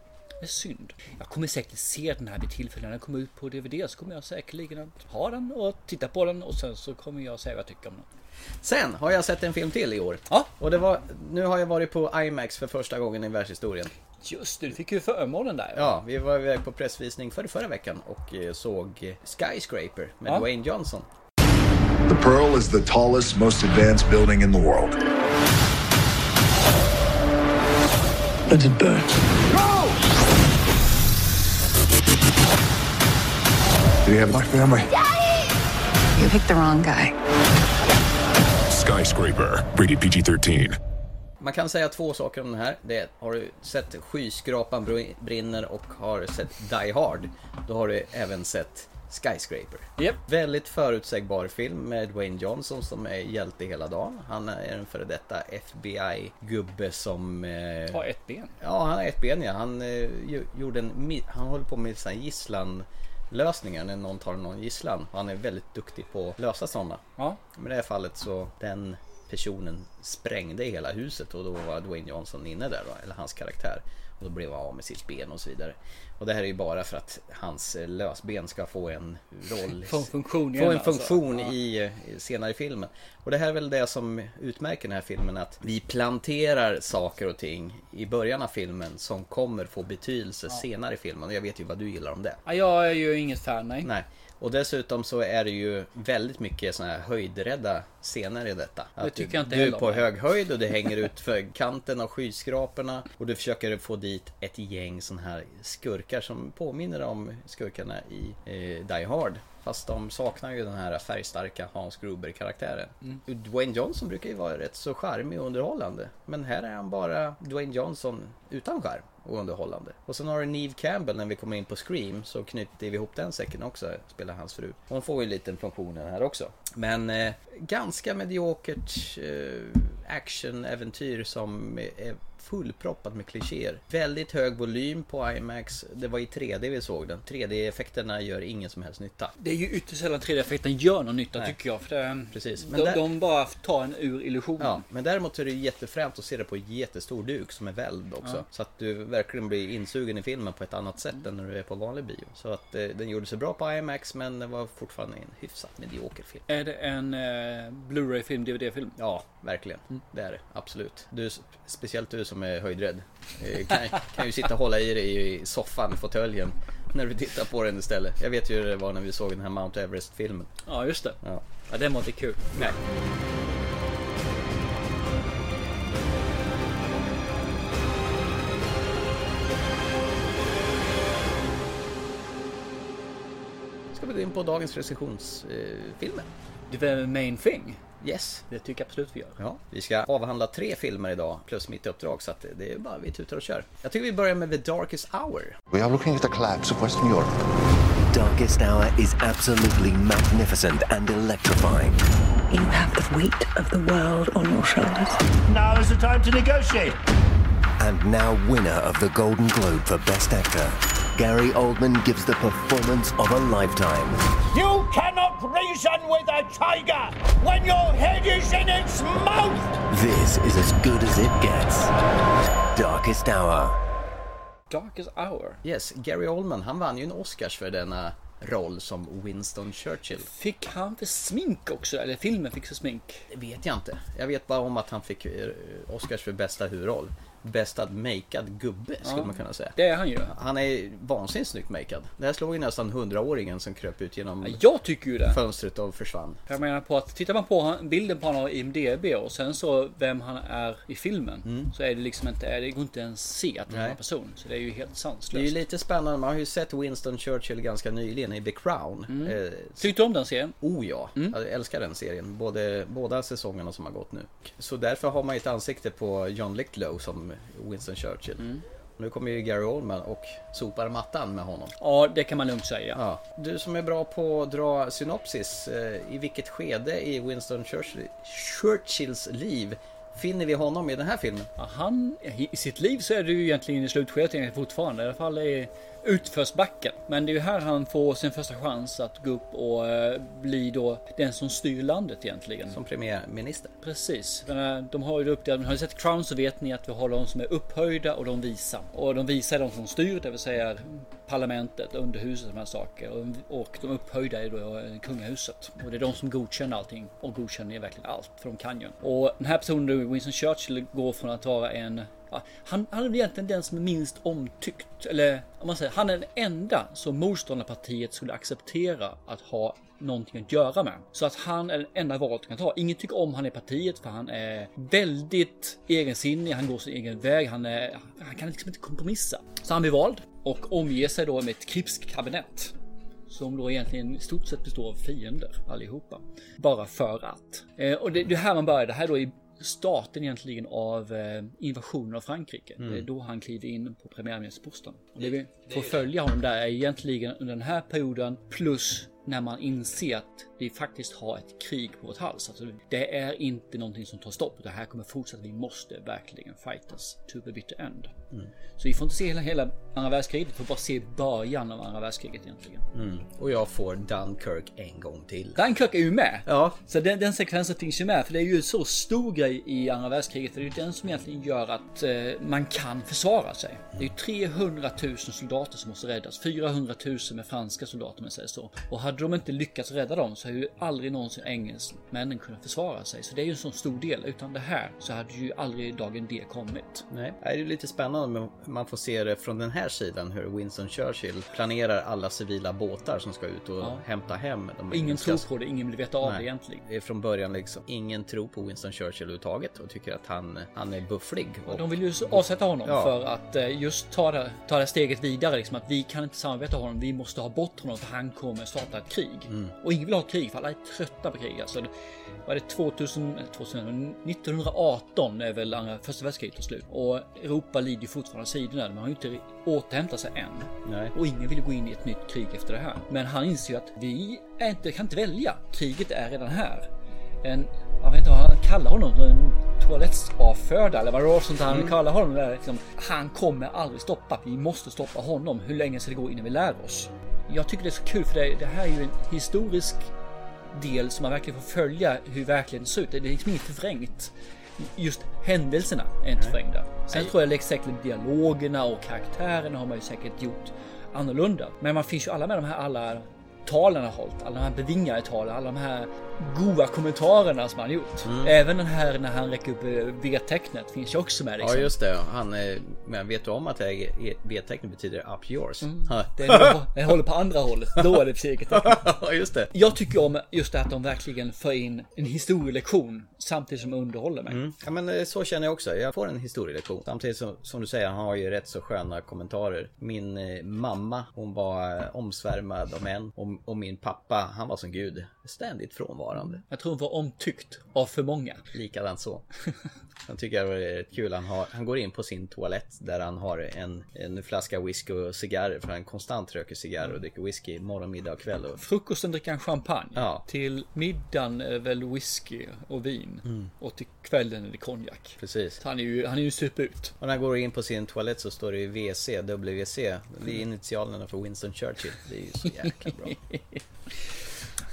[SPEAKER 2] synd. Jag kommer säkert se den här vid tillfälle när den kommer ut på DVD så kommer jag säkerligen att ha den och titta på den och sen så kommer jag säga vad jag tycker om den.
[SPEAKER 1] Sen har jag sett en film till i år.
[SPEAKER 2] Ja.
[SPEAKER 1] Och det var, nu har jag varit på IMAX för första gången i världshistorien.
[SPEAKER 2] Just det, du fick ju förmånen där.
[SPEAKER 1] Ja, vi var iväg på pressvisning för förra veckan och eh, såg Skyscraper med
[SPEAKER 2] Ja.
[SPEAKER 1] Dwayne Johnson.
[SPEAKER 13] The Pearl is the tallest, most advanced building in the world. Let it burn.
[SPEAKER 12] Do you have my family?
[SPEAKER 14] You picked the wrong guy.
[SPEAKER 4] Skyscraper, rated PG-13.
[SPEAKER 1] Man kan säga två saker om den här. Det är, har du sett Skyskrapan br- brinner och har sett Die Hard, då har du även sett Skyscraper. Väldigt förutsägbar film med Dwayne Johnson som är hjälte hela dagen. Han är en före detta FBI-gubbe som... Eh,
[SPEAKER 2] Har ett ben.
[SPEAKER 1] Ja, han har ett ben ja. Han, eh, ju- gjorde en, mi- han håller på med sådana gisslan lösningar när någon tar någon gisslan. Han är väldigt duktig på att lösa sådana.
[SPEAKER 2] Ja.
[SPEAKER 1] Men i det här fallet så den personen sprängde hela huset och då var Dwayne Johnson inne där då, eller hans karaktär. Och då blev han av med sitt ben och så vidare. Och det här är ju bara för att hans eh, lösben ska få en roll.
[SPEAKER 2] Få en funktion
[SPEAKER 1] Få
[SPEAKER 2] igen,
[SPEAKER 1] en
[SPEAKER 2] alltså.
[SPEAKER 1] funktion
[SPEAKER 2] Ja.
[SPEAKER 1] i, i- senare i filmen. Och det här är väl det som utmärker den här filmen att vi planterar saker och ting i början av filmen som kommer få betydelse senare i filmen. Och jag vet ju vad du gillar om det.
[SPEAKER 2] Ja, jag är ju inget fan, nej.
[SPEAKER 1] Nej. Och dessutom så är det ju väldigt mycket såna här höjdrädda scener i detta.
[SPEAKER 2] Det
[SPEAKER 1] Att
[SPEAKER 2] tycker jag inte
[SPEAKER 1] du är
[SPEAKER 2] heller om.
[SPEAKER 1] på hög höjd och det hänger ut för kanten av skyskraporna och du försöker få dit ett gäng såna här skurkar som påminner om skurkarna i eh, Die Hard. Fast de saknar ju den här färgstarka Hans Gruber-karaktären.
[SPEAKER 2] Mm.
[SPEAKER 1] Dwayne Johnson brukar ju vara rätt så charmig och underhållande. Men här är han bara Dwayne Johnson utan charm och underhållande. Och sen har du Neve Campbell när vi kommer in på Scream så knyter vi ihop den säcken också, spelar hans fru. Hon får ju en liten funktion i den här också. Men eh, ganska mediokert eh, actionäventyr som är fullproppat med klichéer. Väldigt hög volym på IMAX. Det var i 3D vi såg den. 3D-effekterna gör ingen som helst nytta.
[SPEAKER 2] Det är ju ytterst sällan 3D-effekten gör någon nytta tycker jag. För det,
[SPEAKER 1] Precis. Men
[SPEAKER 2] De,
[SPEAKER 1] där-
[SPEAKER 2] de bara tar en ur illusionen.
[SPEAKER 1] Ja, men däremot så är det ju jättefränt att se det på jättestor duk som är väljd också.
[SPEAKER 2] Ja.
[SPEAKER 1] Så att du verkligen blir insugen i filmen på ett annat sätt än när du är på vanlig bio. Så att eh, den gjorde sig bra på IMAX men det var fortfarande en hyfsat medioker film.
[SPEAKER 2] Är det en eh, Blu-ray-film, DVD-film?
[SPEAKER 1] Ja, verkligen. Det är det. Absolut. Du, speciellt du som är höjdrädd. eh, Kan, kan ju sitta och hålla i dig i soffan, fåtöljen. När du tittar på den istället. Jag vet ju hur det var när vi såg den här Mount Everest-filmen.
[SPEAKER 2] Ja, just det.
[SPEAKER 1] Ja.
[SPEAKER 2] Ja, den var inte kul.
[SPEAKER 1] Nej. Ska vi gå in på dagens recensionsfilmer?
[SPEAKER 2] The main thing?
[SPEAKER 1] Yes.
[SPEAKER 2] Det tycker jag absolut vi gör.
[SPEAKER 1] Ja, vi ska avhandla tre filmer idag plus mitt uppdrag så att det är bara vi tutar och kör. Jag tycker vi börjar med The Darkest Hour.
[SPEAKER 15] We are looking at the collapse of Western Europe. Darkest Hour is absolutely magnificent and electrifying. You have the weight of the world on your shoulders.
[SPEAKER 16] Now is the time to negotiate.
[SPEAKER 15] And now winner of the Golden Globe for Best Actor, Gary Oldman gives the performance of a lifetime.
[SPEAKER 16] You cannot reason with a tiger when your head is in its mouth.
[SPEAKER 15] This is as good as it gets. Darkest Hour.
[SPEAKER 2] Darkest Hour?
[SPEAKER 1] Yes, Gary Oldman, han vann ju en Oscars för denna roll som Winston Churchill.
[SPEAKER 2] Fick han inte smink också? Eller filmen fick så smink?
[SPEAKER 1] Det vet jag inte. Jag vet bara om att han fick eh, Oscars för bästa huvudroll. Bästa makead gubbe skulle
[SPEAKER 2] Ja,
[SPEAKER 1] man kunna säga.
[SPEAKER 2] det är han ju.
[SPEAKER 1] Han är vansinnigt snyggt makead. Det här slog ju nästan hundraåringen som kröp ut genom
[SPEAKER 2] jag tycker ju det.
[SPEAKER 1] fönstret och försvann.
[SPEAKER 2] Jag menar på att tittar man på han- bilden på honom i IMDB och sen så vem han är i filmen. Så är det liksom inte, det går inte ens se att det
[SPEAKER 1] Mm.
[SPEAKER 2] är
[SPEAKER 1] Nej.
[SPEAKER 2] en annan person. Så det är ju helt sanslöst.
[SPEAKER 1] Det är ju lite spännande, man har ju sett Winston Churchill ganska nyligen i The Crown.
[SPEAKER 2] Mm.
[SPEAKER 1] Eh,
[SPEAKER 2] Tyckte du om den serien?
[SPEAKER 1] Oh ja, jag älskar den serien. Både, båda säsongerna som har gått nu. Så därför har man ju ett ansikte på John Lithgow som Winston Churchill. Nu kommer ju Gary Oldman och sopar mattan med honom.
[SPEAKER 2] Ja, det kan man lugnt säga.
[SPEAKER 1] Ja. Du som är bra på att dra synopsis, eh, i vilket skede i Winston Churchill, Churchills liv finner vi honom i den här filmen?
[SPEAKER 2] Ja, Han, I sitt liv så är det ju egentligen i slutskedet egentligen fortfarande. I alla fall i utförsbacken. Men det är ju här han får sin första chans att gå upp och eh, bli då den som styr landet egentligen.
[SPEAKER 1] Som premiärminister.
[SPEAKER 2] Precis. Jag menar, De har ju det uppdelat. Har ni sett Crown så vet ni att vi har de som är upphöjda och de visa. Och de visa är de som styr, det vill säga parlamentet, underhuset och de här saker. Och- Och de upphöjda är då eh, kungahuset. Och det är de som godkänner allting och godkänner verkligen allt, för de kan ju. Och den här personen, då, Winston Churchill, går från att vara en ja, han, han är väl egentligen den som är minst omtyckt. Eller om man säger, han är den enda som motståndarpartiet skulle acceptera att ha någonting att göra med. Så att han är den enda valet de kan ta. Ingen tycker om han i partiet för han är väldigt egensinnig, han går sin egen väg, han, är, han kan liksom inte kompromissa. Så han blir vald och omger sig då med ett krigskabinett. Som då egentligen i stort sett består av fiender allihopa. Bara för att. Eh, och det, det är här man börjar. Det här är då i starten egentligen av eh, invasionen av Frankrike.
[SPEAKER 17] Mm.
[SPEAKER 2] Det är då han kliver in på premiärministerposten. Och det vi får följa honom där är egentligen under den här perioden plus när man inser att vi faktiskt har ett krig på vårt hals. Alltså, det är inte någonting som tar stopp. Det här kommer fortsätta. Vi måste verkligen fightas to the bitter end.
[SPEAKER 1] Mm.
[SPEAKER 2] Så vi får inte se hela, hela andra världskriget. Vi får bara se början av andra världskriget egentligen.
[SPEAKER 1] Mm. Och jag får Dunkirk en gång till.
[SPEAKER 2] Dunkirk är ju med.
[SPEAKER 1] Ja.
[SPEAKER 2] Så den, den sekvensen finns ju med. För det är ju en så stor grej i andra världskriget. För det är ju den som egentligen gör att eh, man kan försvara sig. Det är ju 300 000 soldater som måste räddas. 400 000 med franska soldater om jag säger så. Och hade de inte lyckats rädda dem så hade ju aldrig någonsin engelsmännen kunnat försvara sig. Så det är ju en sån stor del. Utan det här så hade ju aldrig dagen D kommit.
[SPEAKER 1] Nej. Det är ju lite spännande men man får se det från den här sidan hur Winston Churchill planerar alla civila båtar som ska ut och
[SPEAKER 2] Ja.
[SPEAKER 1] hämta hem de
[SPEAKER 2] Ingen
[SPEAKER 1] engelska-
[SPEAKER 2] tror på det, ingen vill veta av det
[SPEAKER 1] Nej.
[SPEAKER 2] egentligen.
[SPEAKER 1] Det är från början liksom ingen tror på Winston Churchill överhuvudtaget och tycker att han, han är bufflig. Och
[SPEAKER 2] De vill ju avsätta honom
[SPEAKER 1] Ja.
[SPEAKER 2] för att eh, just ta det, ta det steget vidare. Liksom, att vi kan inte samarbeta med honom. Vi måste ha bort honom för han kommer starta ett krig.
[SPEAKER 1] Mm.
[SPEAKER 2] Och ingen vill ha krig för alla är trötta på krig. Alltså, det- var det 2000, eh, 2000, 1918 är väl andra- första världskriget tar slut. Och Europa lider ju fortfarande av sidorna. Man har ju inte återhämtat sig än.
[SPEAKER 1] Nej.
[SPEAKER 2] Och ingen vill gå in i ett nytt krig efter det här. Men han inser ju att vi är inte, kan inte välja. Kriget är redan här. En, jag vet inte vad han kallar honom. En toalettsavfödare eller vad det var sånt han
[SPEAKER 1] Mm.
[SPEAKER 2] kallar honom. Där, liksom, han kommer aldrig stoppa. Vi måste stoppa honom. Hur länge ska det gå innan vi lär oss? Jag tycker det är så kul för det, det här är ju en historisk del som man verkligen får följa hur verkligheten ser ut. Det är liksom inget förvrängt. Just händelserna är inte
[SPEAKER 1] Nej.
[SPEAKER 2] förvrängda. Sen
[SPEAKER 1] Nej.
[SPEAKER 2] tror jag liksom säkert dialogerna och karaktärerna har man ju säkert gjort annorlunda. Men man finns ju alla med de här alla talen har hållit, alla de här bevingade talen, alla de här goa kommentarerna som han gjort.
[SPEAKER 1] Mm.
[SPEAKER 2] Även den här när han räcker upp eh, V-tecknet finns ju också med. Liksom.
[SPEAKER 1] Ja just det, han är, men vet du om att det är- V-tecknet betyder up yours?
[SPEAKER 2] Mm.
[SPEAKER 1] Ha.
[SPEAKER 2] Det, är, det håller på andra hållet. Då är det psyket.
[SPEAKER 1] Ja just det.
[SPEAKER 2] Jag tycker om just det att de verkligen för in en historielektion samtidigt som de underhåller mig.
[SPEAKER 1] Mm. Ja men eh, så känner jag också. Jag får en historielektion. Samtidigt som, som du säger, han har ju rätt så sköna kommentarer. Min eh, mamma, hon var eh, omsvärmad av män. Och, och min pappa, han var som gud. Ständigt frånvarande.
[SPEAKER 2] Jag tror hon var omtyckt av för många.
[SPEAKER 1] Likadant så. Sen tycker jag det är rätt kul. Han, har, han går in på sin toalett där han har en, en flaska whisky och cigarrer. För han konstant röker cigarrer och dricker whisky morgon, middag och kväll. Och
[SPEAKER 2] Frukosten dricker han champagne.
[SPEAKER 1] Ja.
[SPEAKER 2] Till middagen är väl whisky och vin. Och till kvällen är det konjak.
[SPEAKER 1] Mm. Precis.
[SPEAKER 2] Han är ju, han är ju superut.
[SPEAKER 1] Och när han går in på sin toalett så står det ju WC, WC. Det är initialerna för Winston Churchill. Det är ju så jäkla bra.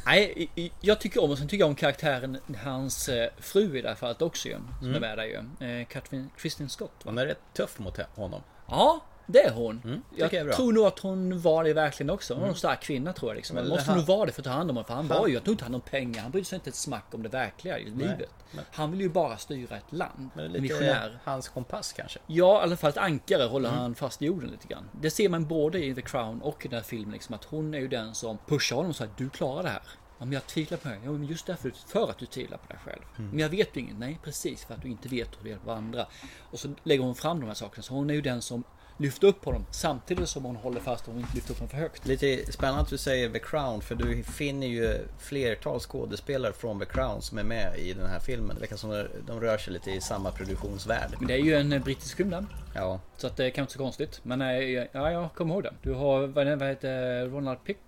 [SPEAKER 2] Nej, i- i- jag tycker om och sen tycker jag om karaktären, hans eh, fru i det här fallet också ju. Som är
[SPEAKER 1] Mm.
[SPEAKER 2] med där ju. Eh, Katrin, Kristin Scott. Va?
[SPEAKER 1] Hon är rätt tuff mot honom.
[SPEAKER 2] Ja, det är hon. jag
[SPEAKER 1] Mm, tycker jag är bra.
[SPEAKER 2] tror nog att hon var det verkligen också. Hon var
[SPEAKER 1] Mm.
[SPEAKER 2] en stark kvinna tror jag. Liksom.
[SPEAKER 1] Men
[SPEAKER 2] Hon måste
[SPEAKER 1] han-
[SPEAKER 2] nog vara det för att ta hand om honom. För han
[SPEAKER 1] Han-
[SPEAKER 2] var ju, jag tog inte hand om pengar. Han brydde sig inte ett smack om det verkliga i livet. Han ville ju bara styra ett land.
[SPEAKER 1] Men lite
[SPEAKER 2] Missionär.
[SPEAKER 1] hans kompass kanske.
[SPEAKER 2] Ja, i alla fall ett ankare håller
[SPEAKER 1] Mm.
[SPEAKER 2] han fast i jorden lite grann. Det ser man både i The Crown och i den här filmen. Liksom, att hon är ju den som pushar honom så att du klarar det här. Ja, men jag tvivlar på det. Ja, men just därför, för att du tvivlar på dig själv.
[SPEAKER 1] Mm.
[SPEAKER 2] Men jag vet ju inget. Nej, precis för att du inte vet hur du hjälper andra. Och så lägger hon fram de här sakerna. Så hon är ju den som lyfter upp honom samtidigt som hon håller fast och hon inte lyfter upp honom för högt.
[SPEAKER 1] Lite spännande att du säger The Crown för du finner ju flertal skådespelare från The Crown som är med i den här filmen. Det verkar som att de rör sig lite i samma produktionsvärld.
[SPEAKER 2] Men det är ju en eh, brittisk film den.
[SPEAKER 1] Ja.
[SPEAKER 2] Så att det kan inte så konstigt. Men eh, ja, jag kommer ihåg den. Du har, vad är det- vad heter Ronald Pick?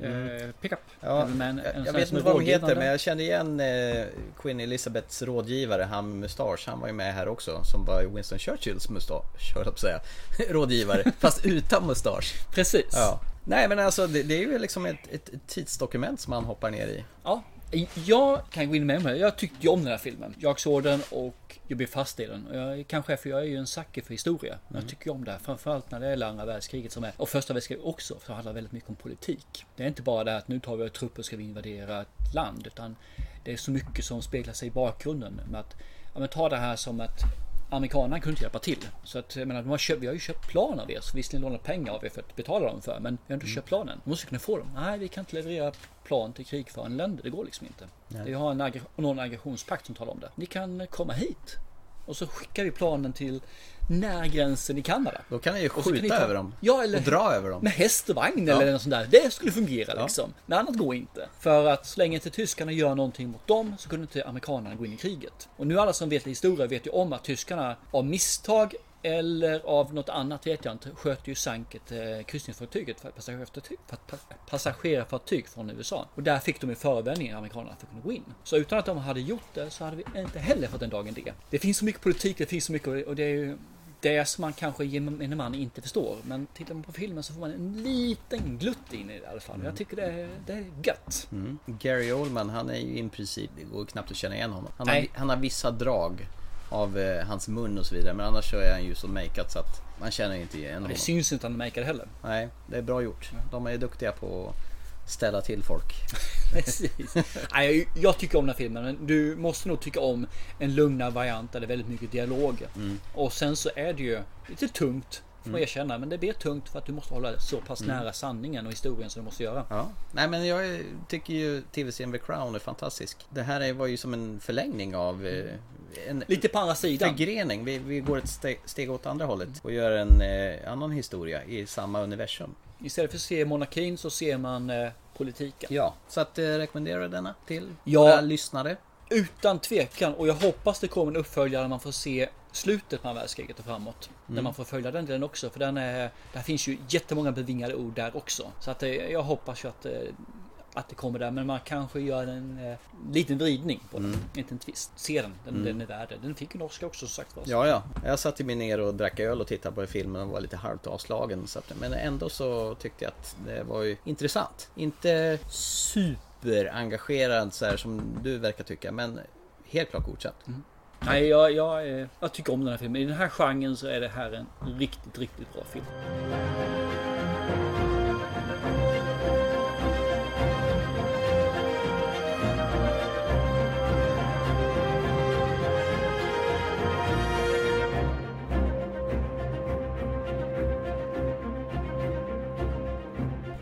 [SPEAKER 1] Mm.
[SPEAKER 2] Eh, Pickup.
[SPEAKER 1] Ja,
[SPEAKER 2] Även med en- en
[SPEAKER 1] jag,
[SPEAKER 2] sån
[SPEAKER 1] jag
[SPEAKER 2] här
[SPEAKER 1] vet
[SPEAKER 2] som
[SPEAKER 1] inte
[SPEAKER 2] är
[SPEAKER 1] vad de heter
[SPEAKER 2] rådgivande.
[SPEAKER 1] men jag kände igen eh, Queen Elizabeths rådgivare, han med mustasch, han var ju med här också. Som var Winston Churchills mustasch, höll jag på att säga. rådgivare, fast utan mustasch.
[SPEAKER 2] Precis.
[SPEAKER 1] Ja. Nej men alltså det, det är ju liksom ett, ett ett tidsdokument som man hoppar ner i.
[SPEAKER 2] Ja, jag kan gå in med mig. Jag tyckte ju om den här filmen. Jag såg den och jag blev fast i den. Och Jag, kanske är för jag är ju en sucker för historia. Men Jag
[SPEAKER 1] Mm.
[SPEAKER 2] tycker ju om det här. Framförallt när det gäller andra världskriget som är, och första världskriget också. För det handlar väldigt mycket om politik. Det är inte bara det här att nu tar vi våra trupper och ska vi invadera ett land. Utan det är så mycket som speglar sig i bakgrunden. Med att, ja, men ta det här som att Amerikanerna kunde inte hjälpa till. Så att, jag menar, de har köpt, vi har ju köpt plan av er. Så visserligen lånat pengar av er för att betala dem för. Men vi har
[SPEAKER 1] Mm.
[SPEAKER 2] inte köpt planen. Vi måste kunna få dem. Nej, vi kan inte leverera plan till krigförande länder. Det går liksom inte.
[SPEAKER 1] Nej.
[SPEAKER 2] Vi har en aggre- någon aggressionspakt som talar om det. Ni kan eh, komma hit. Och så skickar vi planen till närgränsen i Kanada.
[SPEAKER 1] Då kan ni ju
[SPEAKER 2] Och så kan
[SPEAKER 1] skjuta
[SPEAKER 2] ni ta-
[SPEAKER 1] över dem.
[SPEAKER 2] Ja, eller
[SPEAKER 1] Och dra över dem.
[SPEAKER 2] Med häst och vagn
[SPEAKER 1] Ja.
[SPEAKER 2] eller något sånt där. Det skulle fungera liksom. Men annat går inte. För att så länge inte tyskarna gör någonting mot dem så kunde inte amerikanerna gå in i kriget. Och nu alla som vet historia vet ju om att tyskarna av misstag eller av något annat vet jag inte sköt ju sanket eh, kryssningsfartyget för passagerarfartyg, för pa- passagerarfartyg från USA. Och där fick de ju förevändningar amerikanerna för att kunna gå in. Så utan att de hade gjort det så hade vi inte heller fått en dagen det. Det finns så mycket politik, det finns så mycket och det är ju det som man kanske gemene man inte förstår. Men tittar man på filmen så får man en liten glutt in i det i alla fall. Jag tycker det är, det är gött.
[SPEAKER 1] Mm. Gary Oldman, han är ju i princip, det går knappt att känna igen honom. Han har,
[SPEAKER 2] Nej.
[SPEAKER 1] han har vissa drag av eh, hans mun och så vidare, men annars så är han ju så makead så att man känner inte igen honom.
[SPEAKER 2] Det syns inte att han makear heller.
[SPEAKER 1] Nej, det är bra gjort.
[SPEAKER 2] Mm.
[SPEAKER 1] De är ju duktiga på att ställa till folk.
[SPEAKER 2] Precis. Nej, jag, jag tycker om den här filmen. Men du måste nog tycka om en lugnare variant där det är väldigt mycket dialog.
[SPEAKER 1] Mm.
[SPEAKER 2] Och sen så är det ju lite tungt. Får man
[SPEAKER 1] Mm.
[SPEAKER 2] erkänna. Men det blir tungt för att du måste hålla så pass
[SPEAKER 1] Mm.
[SPEAKER 2] nära sanningen och historien som du måste göra.
[SPEAKER 1] Ja. Nej men jag eh, tycker ju tv-serien The Crown är fantastisk. Det här är- var ju som en förlängning av eh, en
[SPEAKER 2] Lite på andra sidan.
[SPEAKER 1] förgrening. Vi, vi går ett steg, steg åt andra hållet och gör en eh, annan historia i samma universum.
[SPEAKER 2] Istället för att se monarkin så ser man eh, politiken.
[SPEAKER 1] Ja, så att eh, rekommenderar jag denna till
[SPEAKER 2] Ja.
[SPEAKER 1] våra lyssnare.
[SPEAKER 2] Utan tvekan och jag hoppas det kommer en uppföljare där man får se slutet på andra världskriget och framåt. Där
[SPEAKER 1] Mm.
[SPEAKER 2] man får följa den delen också för den är, där finns ju jättemånga bevingade ord där också. Så att eh, jag hoppas ju att, eh, att det kommer där men man kanske gör en eh, liten vridning på den. Inte en twist. Se den, den,
[SPEAKER 1] Mm.
[SPEAKER 2] den är värd det. Den fick ju en Oscar också som sagt var.
[SPEAKER 1] Ja, ja. Jag satte mig ner och drack öl och tittade på filmen och var lite halvt avslagen. Så att, men ändå så tyckte jag att det var ju intressant. Inte superengagerad så här som du verkar tycka, men helt klart godkänt.
[SPEAKER 2] Mm. Nej, jag, jag, eh, jag tycker om den här filmen. I den här genren så är det här en riktigt, riktigt bra film.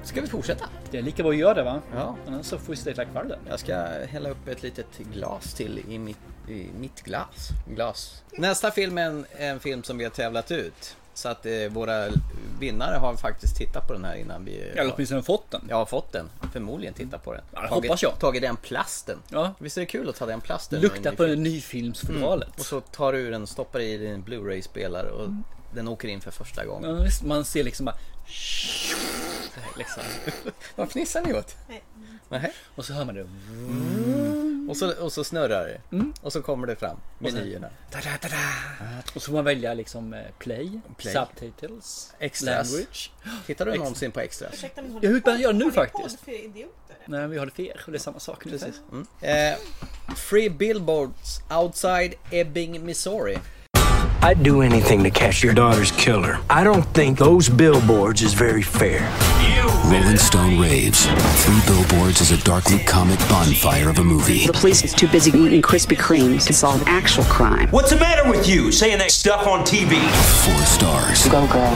[SPEAKER 1] Ska vi fortsätta?
[SPEAKER 2] Det är lika bra att göra det va?
[SPEAKER 1] Ja.
[SPEAKER 2] Annars så får vi stilla kvar där.
[SPEAKER 1] Jag ska hälla upp ett litet glas till i mitt, i mitt glas. glas. Nästa film är en, en film som vi har tävlat ut. Så att eh, våra vinnare har faktiskt tittat på den här innan vi...
[SPEAKER 2] Eller åtminstone fått den.
[SPEAKER 1] Jag har fått den. Förmodligen tittat på den.
[SPEAKER 2] det
[SPEAKER 1] Tagit-
[SPEAKER 2] hoppas jag.
[SPEAKER 1] Tagit den plasten.
[SPEAKER 2] Ja.
[SPEAKER 1] Visst är det kul att ta den plasten? ur en
[SPEAKER 2] Lukta
[SPEAKER 1] ny
[SPEAKER 2] på Mm.
[SPEAKER 1] film?
[SPEAKER 2] nyfilmsfodralet.
[SPEAKER 1] Och så tar du ur den, stoppar i din Blu-ray-spelare och den åker in för första gången.
[SPEAKER 2] Ja, visst, man ser liksom bara... Liksom.
[SPEAKER 1] Vad fnissar ni åt?
[SPEAKER 3] Nej.
[SPEAKER 1] Nähä.
[SPEAKER 2] Och så hör man det.
[SPEAKER 1] Och så, och så snurrar det. Och så kommer det fram, menyerna.
[SPEAKER 2] Och så får man välja liksom eh, play,
[SPEAKER 1] Play.
[SPEAKER 2] subtitles,
[SPEAKER 1] Extras.
[SPEAKER 2] language.
[SPEAKER 1] Tittar du någonsin på extras?
[SPEAKER 3] Ursäkta, men har
[SPEAKER 2] Jag
[SPEAKER 3] ni
[SPEAKER 2] hittar jag nu
[SPEAKER 3] podd- har ni podd
[SPEAKER 2] faktiskt.
[SPEAKER 3] för idioter?
[SPEAKER 2] Nej, vi har det för er och det är samma sak. ungefär.
[SPEAKER 1] Precis. Eh, free billboards outside Ebbing, Missouri.
[SPEAKER 17] I'd do anything to catch your daughter's killer. I don't think those billboards is very fair.
[SPEAKER 18] Rolling Stone raves. Three Billboards is a darkly comic bonfire of a movie.
[SPEAKER 19] The police is too busy eating Krispy Kremes to solve actual crime.
[SPEAKER 18] What's the matter with you saying that stuff on TV? Four stars. Go, girl.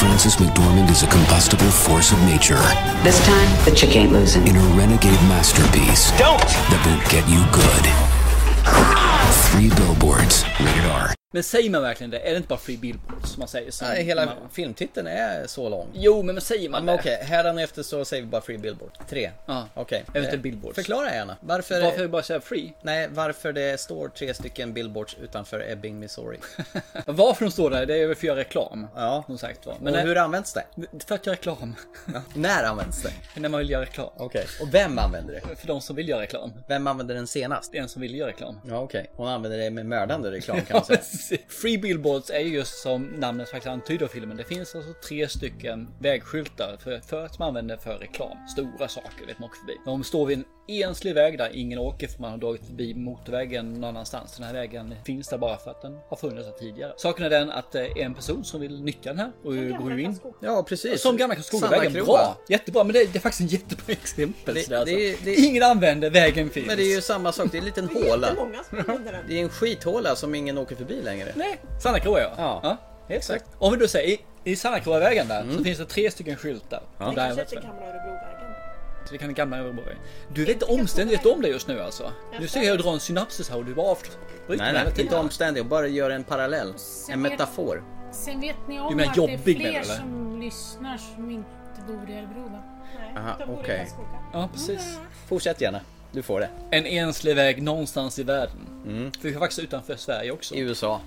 [SPEAKER 18] Frances McDormand is a combustible force of nature. This time, the chick ain't losing. In a renegade masterpiece. Don't! That will get you good. Three Billboards. Rated R.
[SPEAKER 2] Men säger man verkligen det? Är det inte bara free billboards som man säger? Som
[SPEAKER 1] Nej, Eh, hela
[SPEAKER 2] man...
[SPEAKER 1] filmtiteln är så lång.
[SPEAKER 2] Jo, men säger man
[SPEAKER 1] Men
[SPEAKER 2] det?
[SPEAKER 1] okej, hädanefter så säger vi bara free billboard. Tre.
[SPEAKER 2] Ja.
[SPEAKER 1] Okej.
[SPEAKER 2] Eventuellt
[SPEAKER 1] Eh,
[SPEAKER 2] billboards.
[SPEAKER 1] Förklara gärna. Varför,
[SPEAKER 2] Varför bara säga free?
[SPEAKER 1] Nej, varför det står tre stycken billboards utanför Ebbing, Missouri.
[SPEAKER 2] Varför de står där, det är väl för att göra reklam.
[SPEAKER 1] Ja.
[SPEAKER 2] Som sagt var.
[SPEAKER 1] Men och hur används det?
[SPEAKER 2] För att göra reklam.
[SPEAKER 1] När används det?
[SPEAKER 2] När man vill göra reklam.
[SPEAKER 1] Okej. Och vem använder det?
[SPEAKER 2] För de som vill göra reklam.
[SPEAKER 1] Vem använder den senast?
[SPEAKER 2] En som vill göra reklam.
[SPEAKER 1] Ja, okej. Hon använder det med mördande reklam kan man säga.
[SPEAKER 2] Free Billboards är ju just som namnet faktiskt antyder filmen. Det finns alltså tre stycken vägskyltar för, för att man använder för reklam. Stora saker vet man åker förbi. De står vid en enslig väg där ingen åker för man har dragit förbi motorvägen någon annanstans. Den här vägen finns där bara för att den har funnits där tidigare. Saken är den att det är en person som vill nyttja den här och går ju in.
[SPEAKER 1] Ja, precis.
[SPEAKER 2] Som gamla
[SPEAKER 1] Sanna
[SPEAKER 2] Karlskogavägen.
[SPEAKER 1] Kroa.
[SPEAKER 2] Bra! Jättebra, men det är, det är faktiskt en jättebra exempel.
[SPEAKER 1] Det-
[SPEAKER 2] sådär, alltså.
[SPEAKER 1] det är- det-
[SPEAKER 2] Ingen använder, vägen finns.
[SPEAKER 1] Men det är ju samma sak, det är en liten
[SPEAKER 2] Det är
[SPEAKER 1] håla.
[SPEAKER 2] jättemånga
[SPEAKER 1] Det är en skithåla som ingen åker förbi längre.
[SPEAKER 2] Nej, Sanna Kroa ja. ja. helt exakt. Om vi då säger i, i Sanna Kroa-vägen där så finns det tre stycken skyltar.
[SPEAKER 3] Det
[SPEAKER 2] Där,
[SPEAKER 3] kanske heter Gamla Örebrovägen.
[SPEAKER 2] så det kan gamla Örebrovägen. Du vet inte omständigheter om det just nu alltså? Nu ser jag dra en synapsis här och du bara avbryter mig
[SPEAKER 1] Nej,
[SPEAKER 2] hela
[SPEAKER 1] nej,
[SPEAKER 2] tiden.
[SPEAKER 1] inte omständig. Bara gör en parallell. En metafor.
[SPEAKER 8] Sen vet ni om
[SPEAKER 1] menar
[SPEAKER 8] att det
[SPEAKER 1] jobbig,
[SPEAKER 8] är fler
[SPEAKER 1] menar du, eller?
[SPEAKER 8] som lyssnar som inte bor i Örebro va?
[SPEAKER 1] Aha, de bor i okej. Karlskoga.
[SPEAKER 2] Ja, precis.
[SPEAKER 1] Fortsätt gärna. Du får det.
[SPEAKER 2] En enslig väg någonstans i världen. För vi är faktiskt utanför Sverige också.
[SPEAKER 1] I USA.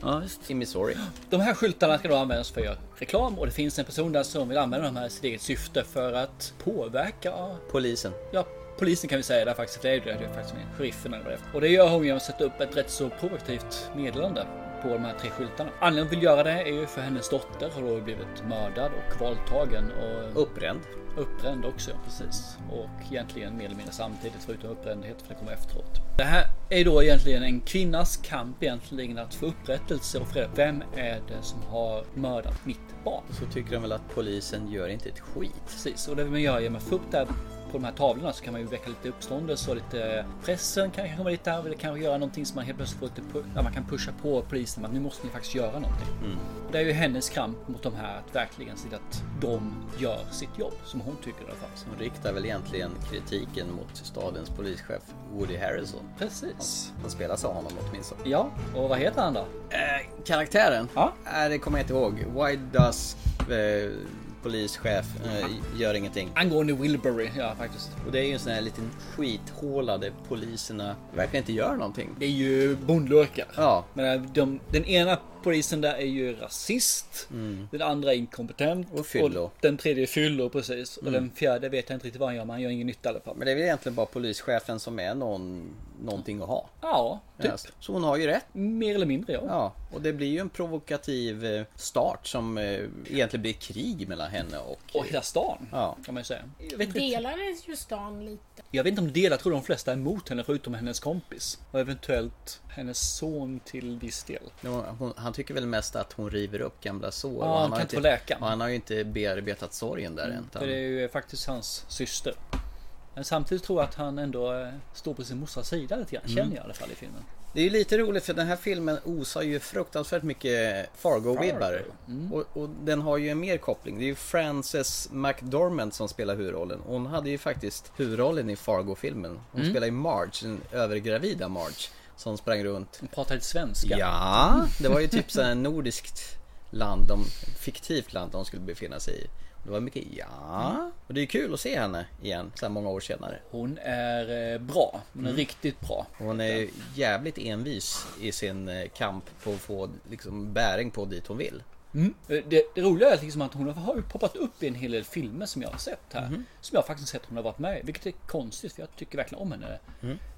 [SPEAKER 1] I Missouri.
[SPEAKER 2] De här skyltarna ska då användas för reklam och det finns en person där som vill använda de här i sitt eget syfte för att påverka
[SPEAKER 1] Polisen.
[SPEAKER 2] Ja, polisen kan vi säga där faktiskt. för Det är ju det, det är faktiskt med sheriffen eller vad det är. Och det gör hon genom att sätta upp ett rätt så provokativt meddelande på de här tre skyltarna. Anledningen till att vill göra det är ju för hennes dotter har då blivit mördad och våldtagen och
[SPEAKER 1] uppbränd.
[SPEAKER 2] Uppbränd också, ja, precis. Och egentligen mer eller mindre samtidigt förutom uppbrändhet för det kommer efteråt. Det här är då egentligen en kvinnas kamp egentligen att få upprättelse och få reda på vem är det som har mördat mitt barn.
[SPEAKER 1] Så tycker de väl att polisen gör inte ett skit.
[SPEAKER 2] Precis, och det vill man göra genom att få upp det här på de här tavlorna så kan man ju väcka lite uppståndelse och lite pressen kanske kommer lite där och kanske göra någonting som man helt plötsligt får lite pu- ja, man kan pusha på polisen att nu måste ni faktiskt göra någonting. Det är ju hennes kamp mot de här att verkligen se till att de gör sitt jobb som hon tycker i alla fall.
[SPEAKER 1] Hon riktar väl egentligen kritiken mot stadens polischef Woody Harrison.
[SPEAKER 2] Precis.
[SPEAKER 1] Han spelas av honom åtminstone.
[SPEAKER 2] Ja, och vad heter han då?
[SPEAKER 1] Eh, karaktären?
[SPEAKER 2] Ja.
[SPEAKER 1] Eh, det kommer jag inte ihåg. Why does eh, polischef eh, gör ingenting?
[SPEAKER 2] Angående Wilbury, ja faktiskt.
[SPEAKER 1] Och det är ju en sån här liten skithåla där poliserna verkligen inte gör någonting.
[SPEAKER 2] Det är ju bondlurkar.
[SPEAKER 1] Ja.
[SPEAKER 2] Men eh, de, den ena polisen där är ju rasist.
[SPEAKER 1] Mm.
[SPEAKER 2] Den andra är inkompetent. Och
[SPEAKER 1] fyllo.
[SPEAKER 2] den tredje är fyllo precis.
[SPEAKER 1] Mm.
[SPEAKER 2] Och den fjärde vet jag inte riktigt vad han gör men han gör ingen nytta i alla fall.
[SPEAKER 1] Men det är väl egentligen bara polischefen som är någon, någonting att ha.
[SPEAKER 2] Ja, typ.
[SPEAKER 1] Yes. Så hon har ju rätt.
[SPEAKER 2] Mer eller mindre ja.
[SPEAKER 1] Ja, och det blir ju en provokativ eh, start som eh, egentligen blir krig mellan henne och...
[SPEAKER 2] Och hela stan
[SPEAKER 1] ja.
[SPEAKER 2] kan man ju säga.
[SPEAKER 8] Delades ju stan lite.
[SPEAKER 2] Jag vet inte om det delar, jag tror de flesta är emot henne förutom hennes kompis. Och eventuellt hennes son till viss del.
[SPEAKER 1] Jo, Hon, han tycker väl mest att hon river upp gamla sår.
[SPEAKER 2] Ja, han
[SPEAKER 1] har ju
[SPEAKER 2] kan
[SPEAKER 1] typ-
[SPEAKER 2] inte få läka. Mm,
[SPEAKER 1] Och han har ju inte bearbetat sorgen där än.
[SPEAKER 2] För det är ju faktiskt hans syster. Men samtidigt tror jag att han ändå eh, står på sin morsas sida lite grann.
[SPEAKER 1] Mm.
[SPEAKER 2] Känner jag i alla fall i filmen.
[SPEAKER 1] Det är ju lite roligt för den här filmen osar ju fruktansvärt mycket Fargo-vibbar.
[SPEAKER 2] mm.
[SPEAKER 1] Och, och den har ju en mer koppling. Det är ju Frances McDormand som spelar huvudrollen. Hon hade ju faktiskt huvudrollen i Fargo-filmen. Hon
[SPEAKER 2] Mm.
[SPEAKER 1] spelar ju Marge, den övergravida Marge. Som sprang runt.
[SPEAKER 2] Hon pratar lite svenska.
[SPEAKER 1] Ja, det var ju typ så här nordiskt land, de, fiktivt land de skulle befinna sig i. Det var mycket ja. Och det är kul att se henne igen så här många år senare.
[SPEAKER 2] Hon är eh, bra. Hon är
[SPEAKER 1] Mm.
[SPEAKER 2] riktigt bra.
[SPEAKER 1] Hon är ju jävligt envis i sin eh, kamp på att få liksom, bäring på dit hon vill.
[SPEAKER 2] Det, det roliga är liksom att hon har ju poppat upp i en hel del filmer som jag har sett här.
[SPEAKER 1] Mhm.
[SPEAKER 2] Som jag faktiskt sett hon har varit med i. Vilket är konstigt för jag tycker verkligen om henne.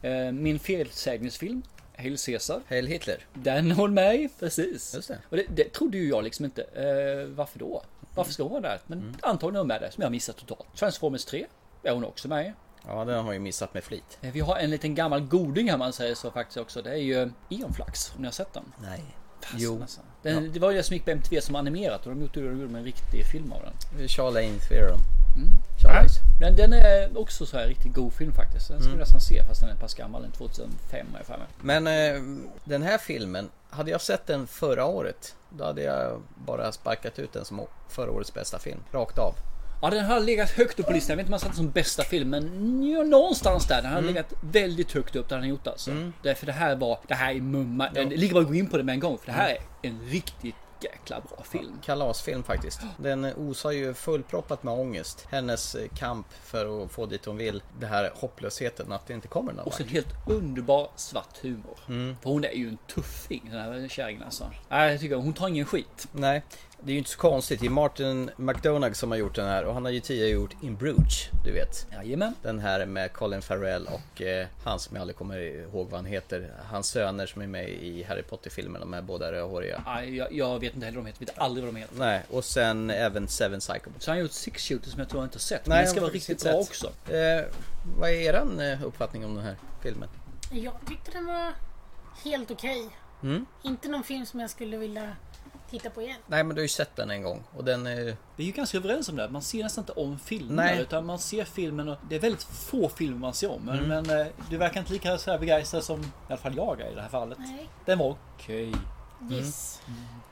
[SPEAKER 2] Eh, Min felsägningsfilm Hail Caesar.
[SPEAKER 1] Hail Hitler.
[SPEAKER 2] Den har hon med i, precis. Just det. Och det, det trodde ju jag liksom inte. Eh, varför då? Varför ska hon vara där? Men antagligen är hon med där, som jag har missat totalt. Transformers 3 är hon också med i.
[SPEAKER 1] Ja, den har jag ju missat med flit.
[SPEAKER 2] Eh, Vi har en liten gammal goding här man säger så faktiskt också. Det är ju Eonflax, om ni har sett den.
[SPEAKER 1] Nej.
[SPEAKER 2] Fasen,
[SPEAKER 1] Jo.
[SPEAKER 2] Alltså. Den, Det var ju det som gick på MTV som animerat och de gjorde, de gjorde en riktig film av den.
[SPEAKER 1] Charlie in Theorem.
[SPEAKER 2] Mm.
[SPEAKER 1] Charlie.
[SPEAKER 2] Men den är också så här riktigt god film faktiskt. Den ska
[SPEAKER 1] Mm.
[SPEAKER 2] vi nästan se fast den är pass gammal. Den är 2005 har jag för mig.
[SPEAKER 1] Men eh, den här filmen, hade jag sett den förra året, då hade jag bara sparkat ut den som å- förra årets bästa film. Rakt av.
[SPEAKER 2] Ja, den har legat högt upp på listan. Jag vet inte om jag satt den som bästa film, men ja, någonstans där. Den har
[SPEAKER 1] Mm.
[SPEAKER 2] legat väldigt högt upp där den har gjort alltså. Därför det här var, det här är mumma. Det är lika bra att gå in på det med en gång, för det här
[SPEAKER 1] Mm.
[SPEAKER 2] är en riktigt jäkla bra film.
[SPEAKER 1] Kalasfilm faktiskt. Den osar ju fullproppat med ångest. Hennes eh, kamp för att få dit hon vill. Det här hopplösheten att det inte kommer någon
[SPEAKER 2] Och sen
[SPEAKER 1] vart.
[SPEAKER 2] helt underbar svart humor.
[SPEAKER 1] Mm.
[SPEAKER 2] För hon är ju en tuffing den här kärringen alltså. Nej, jag tycker hon tar ingen skit.
[SPEAKER 1] Nej, det är ju inte så konstigt. Det är Martin McDonagh som har gjort den här och han har ju tidigare gjort In Bruges, du vet.
[SPEAKER 2] Jajamän.
[SPEAKER 1] Den här med Colin Farrell och eh, han som jag aldrig kommer ihåg vad han heter. Hans söner som är med i Harry Potter-filmerna, de här båda rödhåriga.
[SPEAKER 2] Nej, jag, jag vet inte heller vad de heter. Vet aldrig vad de heter.
[SPEAKER 1] Nej, och sen även Seven Psychopaths.
[SPEAKER 2] Så han har gjort Six Shooters som jag tror jag inte har sett.
[SPEAKER 1] Nej,
[SPEAKER 2] men den ska
[SPEAKER 1] jag har
[SPEAKER 2] vara
[SPEAKER 1] faktiskt
[SPEAKER 2] riktigt
[SPEAKER 1] inte
[SPEAKER 2] bra
[SPEAKER 1] sett.
[SPEAKER 2] också.
[SPEAKER 1] Eh, vad är eran eh, uppfattning om den här filmen?
[SPEAKER 8] Jag tyckte den var helt okej.
[SPEAKER 1] Mm?
[SPEAKER 8] Inte någon film som jag skulle vilja titta på igen.
[SPEAKER 1] Nej, men du har ju sett den en gång och den eh, är...
[SPEAKER 2] Vi är ju ganska överens om det. här. Man ser nästan inte om filmer.
[SPEAKER 1] Nej.
[SPEAKER 2] Utan man ser filmen och det är väldigt få filmer man ser om. Men,
[SPEAKER 1] Mm.
[SPEAKER 2] men eh, du verkar inte lika så här begeistrad som i alla fall jag är i det här fallet.
[SPEAKER 8] Nej.
[SPEAKER 2] Den var okej.
[SPEAKER 8] Mm. Yes.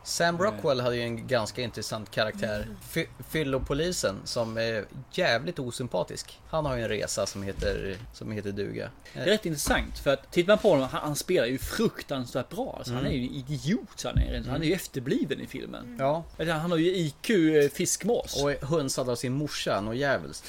[SPEAKER 1] Sam Rockwell hade ju en ganska intressant karaktär. Fy- Fyllopolisen som är jävligt osympatisk. Han har ju en resa som heter, som heter duga.
[SPEAKER 2] Det är rätt intressant för att tittar man på honom, han, han spelar ju fruktansvärt bra. Alltså, Han
[SPEAKER 1] Mm.
[SPEAKER 2] är ju en idiot. Så han, är, han är ju efterbliven i filmen.
[SPEAKER 1] Ja.
[SPEAKER 2] Eller, Han har ju IQ eh, fiskmås.
[SPEAKER 1] Och är hunsad av sin morsa, något jävligt.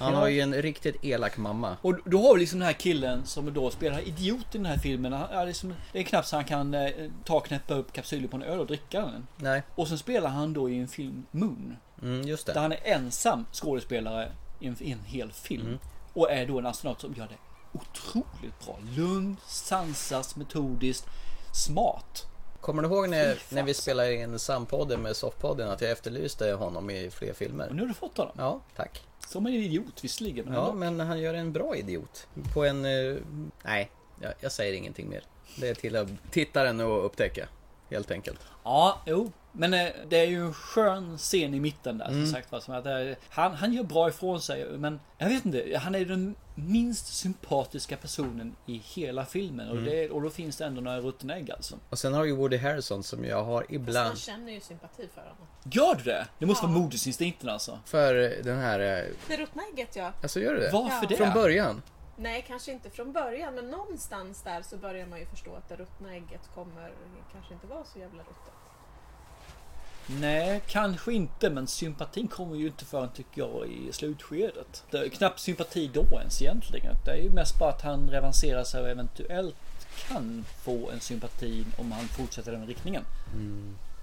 [SPEAKER 1] Han har ju en riktigt elak mamma.
[SPEAKER 2] Och då har vi liksom den här killen som då spelar idiot i den här filmen. Han är liksom, det är knappt så han kan eh, ta och knäppa upp kapsylen på en öl och dricka den.
[SPEAKER 1] Nej.
[SPEAKER 2] Och sen spelar han då i en film Moon.
[SPEAKER 1] Mm, just det.
[SPEAKER 2] Där han är ensam skådespelare i en, i en hel film.
[SPEAKER 1] Mm.
[SPEAKER 2] Och är då en astronaut som gör det otroligt bra. Lugn, sansas, metodiskt, smart.
[SPEAKER 1] Kommer du ihåg när,
[SPEAKER 2] Fy fan.
[SPEAKER 1] när vi spelade in Sampodden med Softpodden att jag efterlyste honom i fler filmer? Och
[SPEAKER 2] nu har du fått honom?
[SPEAKER 1] Ja, tack.
[SPEAKER 2] Som en idiot visserligen. men
[SPEAKER 1] Ja,
[SPEAKER 2] ändå.
[SPEAKER 1] men han gör en bra idiot. På en... eh, nej, jag, jag säger ingenting mer. Det är till att tittaren att upptäcka, helt enkelt.
[SPEAKER 2] Ja, jo. Men eh, det är ju en skön scen i mitten där
[SPEAKER 1] Mm.
[SPEAKER 2] som sagt var. Som att, eh, han, han gör bra ifrån sig men jag vet inte. Han är den minst sympatiska personen i hela filmen. Och,
[SPEAKER 1] Mm.
[SPEAKER 2] det, och då finns det ändå några ruttna ägg alltså.
[SPEAKER 1] Och sen har ju Woody Harrison som jag har
[SPEAKER 3] Man
[SPEAKER 1] ibland
[SPEAKER 3] känner ju sympati för honom.
[SPEAKER 2] Gör du det? Det måste vara modesinstinkten alltså.
[SPEAKER 1] för den här... eh,
[SPEAKER 3] Det ruttna ägget ja.
[SPEAKER 1] Alltså gör du det?
[SPEAKER 2] Varför
[SPEAKER 3] Ja. det?
[SPEAKER 1] Från början?
[SPEAKER 3] Nej, kanske inte från början, men någonstans där så börjar man ju förstå att det ruttna ägget kommer kanske inte vara så jävla ruttet.
[SPEAKER 2] Nej, kanske inte. Men sympatin kommer ju inte förrän tycker jag i slutskedet. Det är knappt sympati då ens egentligen. Det är ju mest bara att han revancerar sig och eventuellt kan få en sympati om han fortsätter i den riktningen.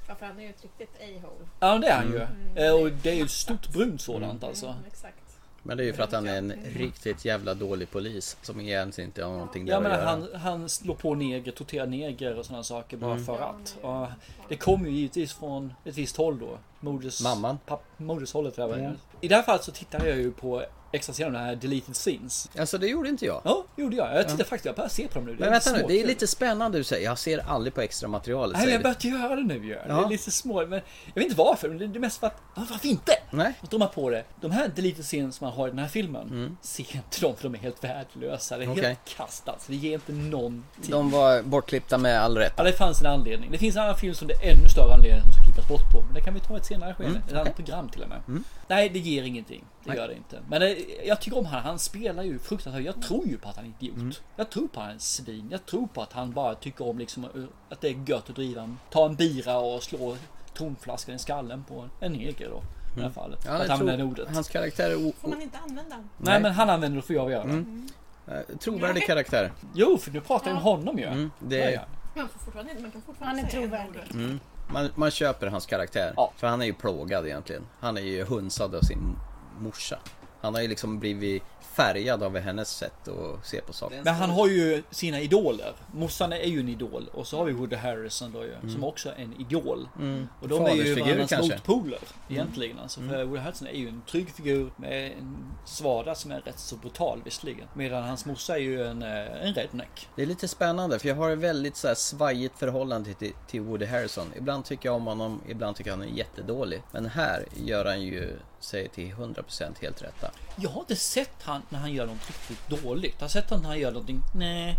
[SPEAKER 3] Ja, för han är ju ett riktigt a-hole.
[SPEAKER 2] Ja det är han ju.
[SPEAKER 3] Mm.
[SPEAKER 2] Eh, Och det är ju ett stort brunt sådant alltså.
[SPEAKER 3] Mm, exakt.
[SPEAKER 1] Men det är ju för att han är en riktigt jävla dålig polis som egentligen inte har någonting där
[SPEAKER 2] Ja men
[SPEAKER 1] att göra.
[SPEAKER 2] han, han slår på neger, torterar neger och sådana saker bara
[SPEAKER 1] Mm.
[SPEAKER 2] för att. Och det kommer ju givetvis från ett visst håll då. Moders,
[SPEAKER 1] Mamman.
[SPEAKER 2] Papp, modershållet där
[SPEAKER 1] Mm.
[SPEAKER 2] mm. I det här fallet så tittar jag ju på extra serien, den här deleted scenes.
[SPEAKER 1] Alltså det gjorde inte jag.
[SPEAKER 2] Ja, gjorde jag. Jag tittar
[SPEAKER 1] Ja.
[SPEAKER 2] faktiskt, jag börjar se på dem nu.
[SPEAKER 1] Men vänta nu, det är
[SPEAKER 2] småkul.
[SPEAKER 1] lite spännande du säger. Jag ser aldrig på extra materialet.
[SPEAKER 2] Nej,
[SPEAKER 1] säger
[SPEAKER 2] jag har
[SPEAKER 1] du.
[SPEAKER 2] börjat göra det nu ju. Det
[SPEAKER 1] Alltså, Ja.
[SPEAKER 2] är lite små, men jag vet inte varför. Men det det är mest för att, ja, varför inte?
[SPEAKER 1] Nej.
[SPEAKER 2] Och då man på det. De här deleted scenes som man har i den här filmen, se inte dem för de är helt värdelösa. Det är
[SPEAKER 1] Mm. Okej.
[SPEAKER 2] helt kastat. Det ger inte någonting.
[SPEAKER 1] De var bortklippta med all rätt.
[SPEAKER 2] Ja, det fanns en anledning. Det finns en annan film som det är ännu större anledning som ska klippas bort på. Men det kan vi ta i ett senare skede.
[SPEAKER 1] Mm,
[SPEAKER 2] Ett
[SPEAKER 1] okej. Mm.
[SPEAKER 2] annat program till och med. Nej, det ger ingenting. Det
[SPEAKER 1] Nej.
[SPEAKER 2] gör det inte. Men det, jag tycker om han. Han spelar ju fruktansvärt. Jag tror ju på att han är idiot.
[SPEAKER 1] Mm.
[SPEAKER 2] Jag tror på att han är ett svin. Jag tror på att han bara tycker om liksom att det är gött att driva en, ta en bira och slå tonflaskan i skallen på en neger då. I det här
[SPEAKER 1] Mm.
[SPEAKER 2] fallet.
[SPEAKER 1] Ja,
[SPEAKER 2] att
[SPEAKER 1] jag
[SPEAKER 2] använda
[SPEAKER 1] tror
[SPEAKER 2] det ordet.
[SPEAKER 1] Hans karaktär är o-
[SPEAKER 3] Får man inte använda honom?
[SPEAKER 2] Nej, men han använder det för jag göra.
[SPEAKER 1] Mm. Eh, Trovärdig karaktär.
[SPEAKER 2] Jo, för nu pratar jag om honom ju.
[SPEAKER 1] Mm, det
[SPEAKER 2] Ja,
[SPEAKER 1] är...
[SPEAKER 2] ja.
[SPEAKER 3] Man, får fortfarande, man kan
[SPEAKER 8] Han
[SPEAKER 3] fortfarande
[SPEAKER 8] är
[SPEAKER 3] säga
[SPEAKER 8] trovärdig.
[SPEAKER 1] Mm. Man, man köper hans karaktär. För han är ju plågad egentligen. Han är ju hunsad av sin morsa. Han har ju liksom blivit färgad av hennes sätt att se på saker.
[SPEAKER 2] Men han har ju sina idoler. Morsan är ju en idol och så har vi Woody Harrison då ju, som också är en idol.
[SPEAKER 1] Mm.
[SPEAKER 2] Och de är ju
[SPEAKER 1] Fadersfigur
[SPEAKER 2] varandras
[SPEAKER 1] kanske. Mm.
[SPEAKER 2] motpoler egentligen. Alltså, för Woody Harrelson är ju en trygg figur med en svada som är rätt så brutal visserligen. Medan hans morsa är ju en, eh, en redneck.
[SPEAKER 1] Det är lite spännande för jag har ett väldigt så här svajigt förhållande till, till Woody Harrison. Ibland tycker jag om honom, ibland tycker jag han är jättedålig. Men här gör han ju sig till 100% helt rätta.
[SPEAKER 2] Jag har inte sett han när han gör något riktigt dåligt. Jag har sett han när han gör någonting, nej.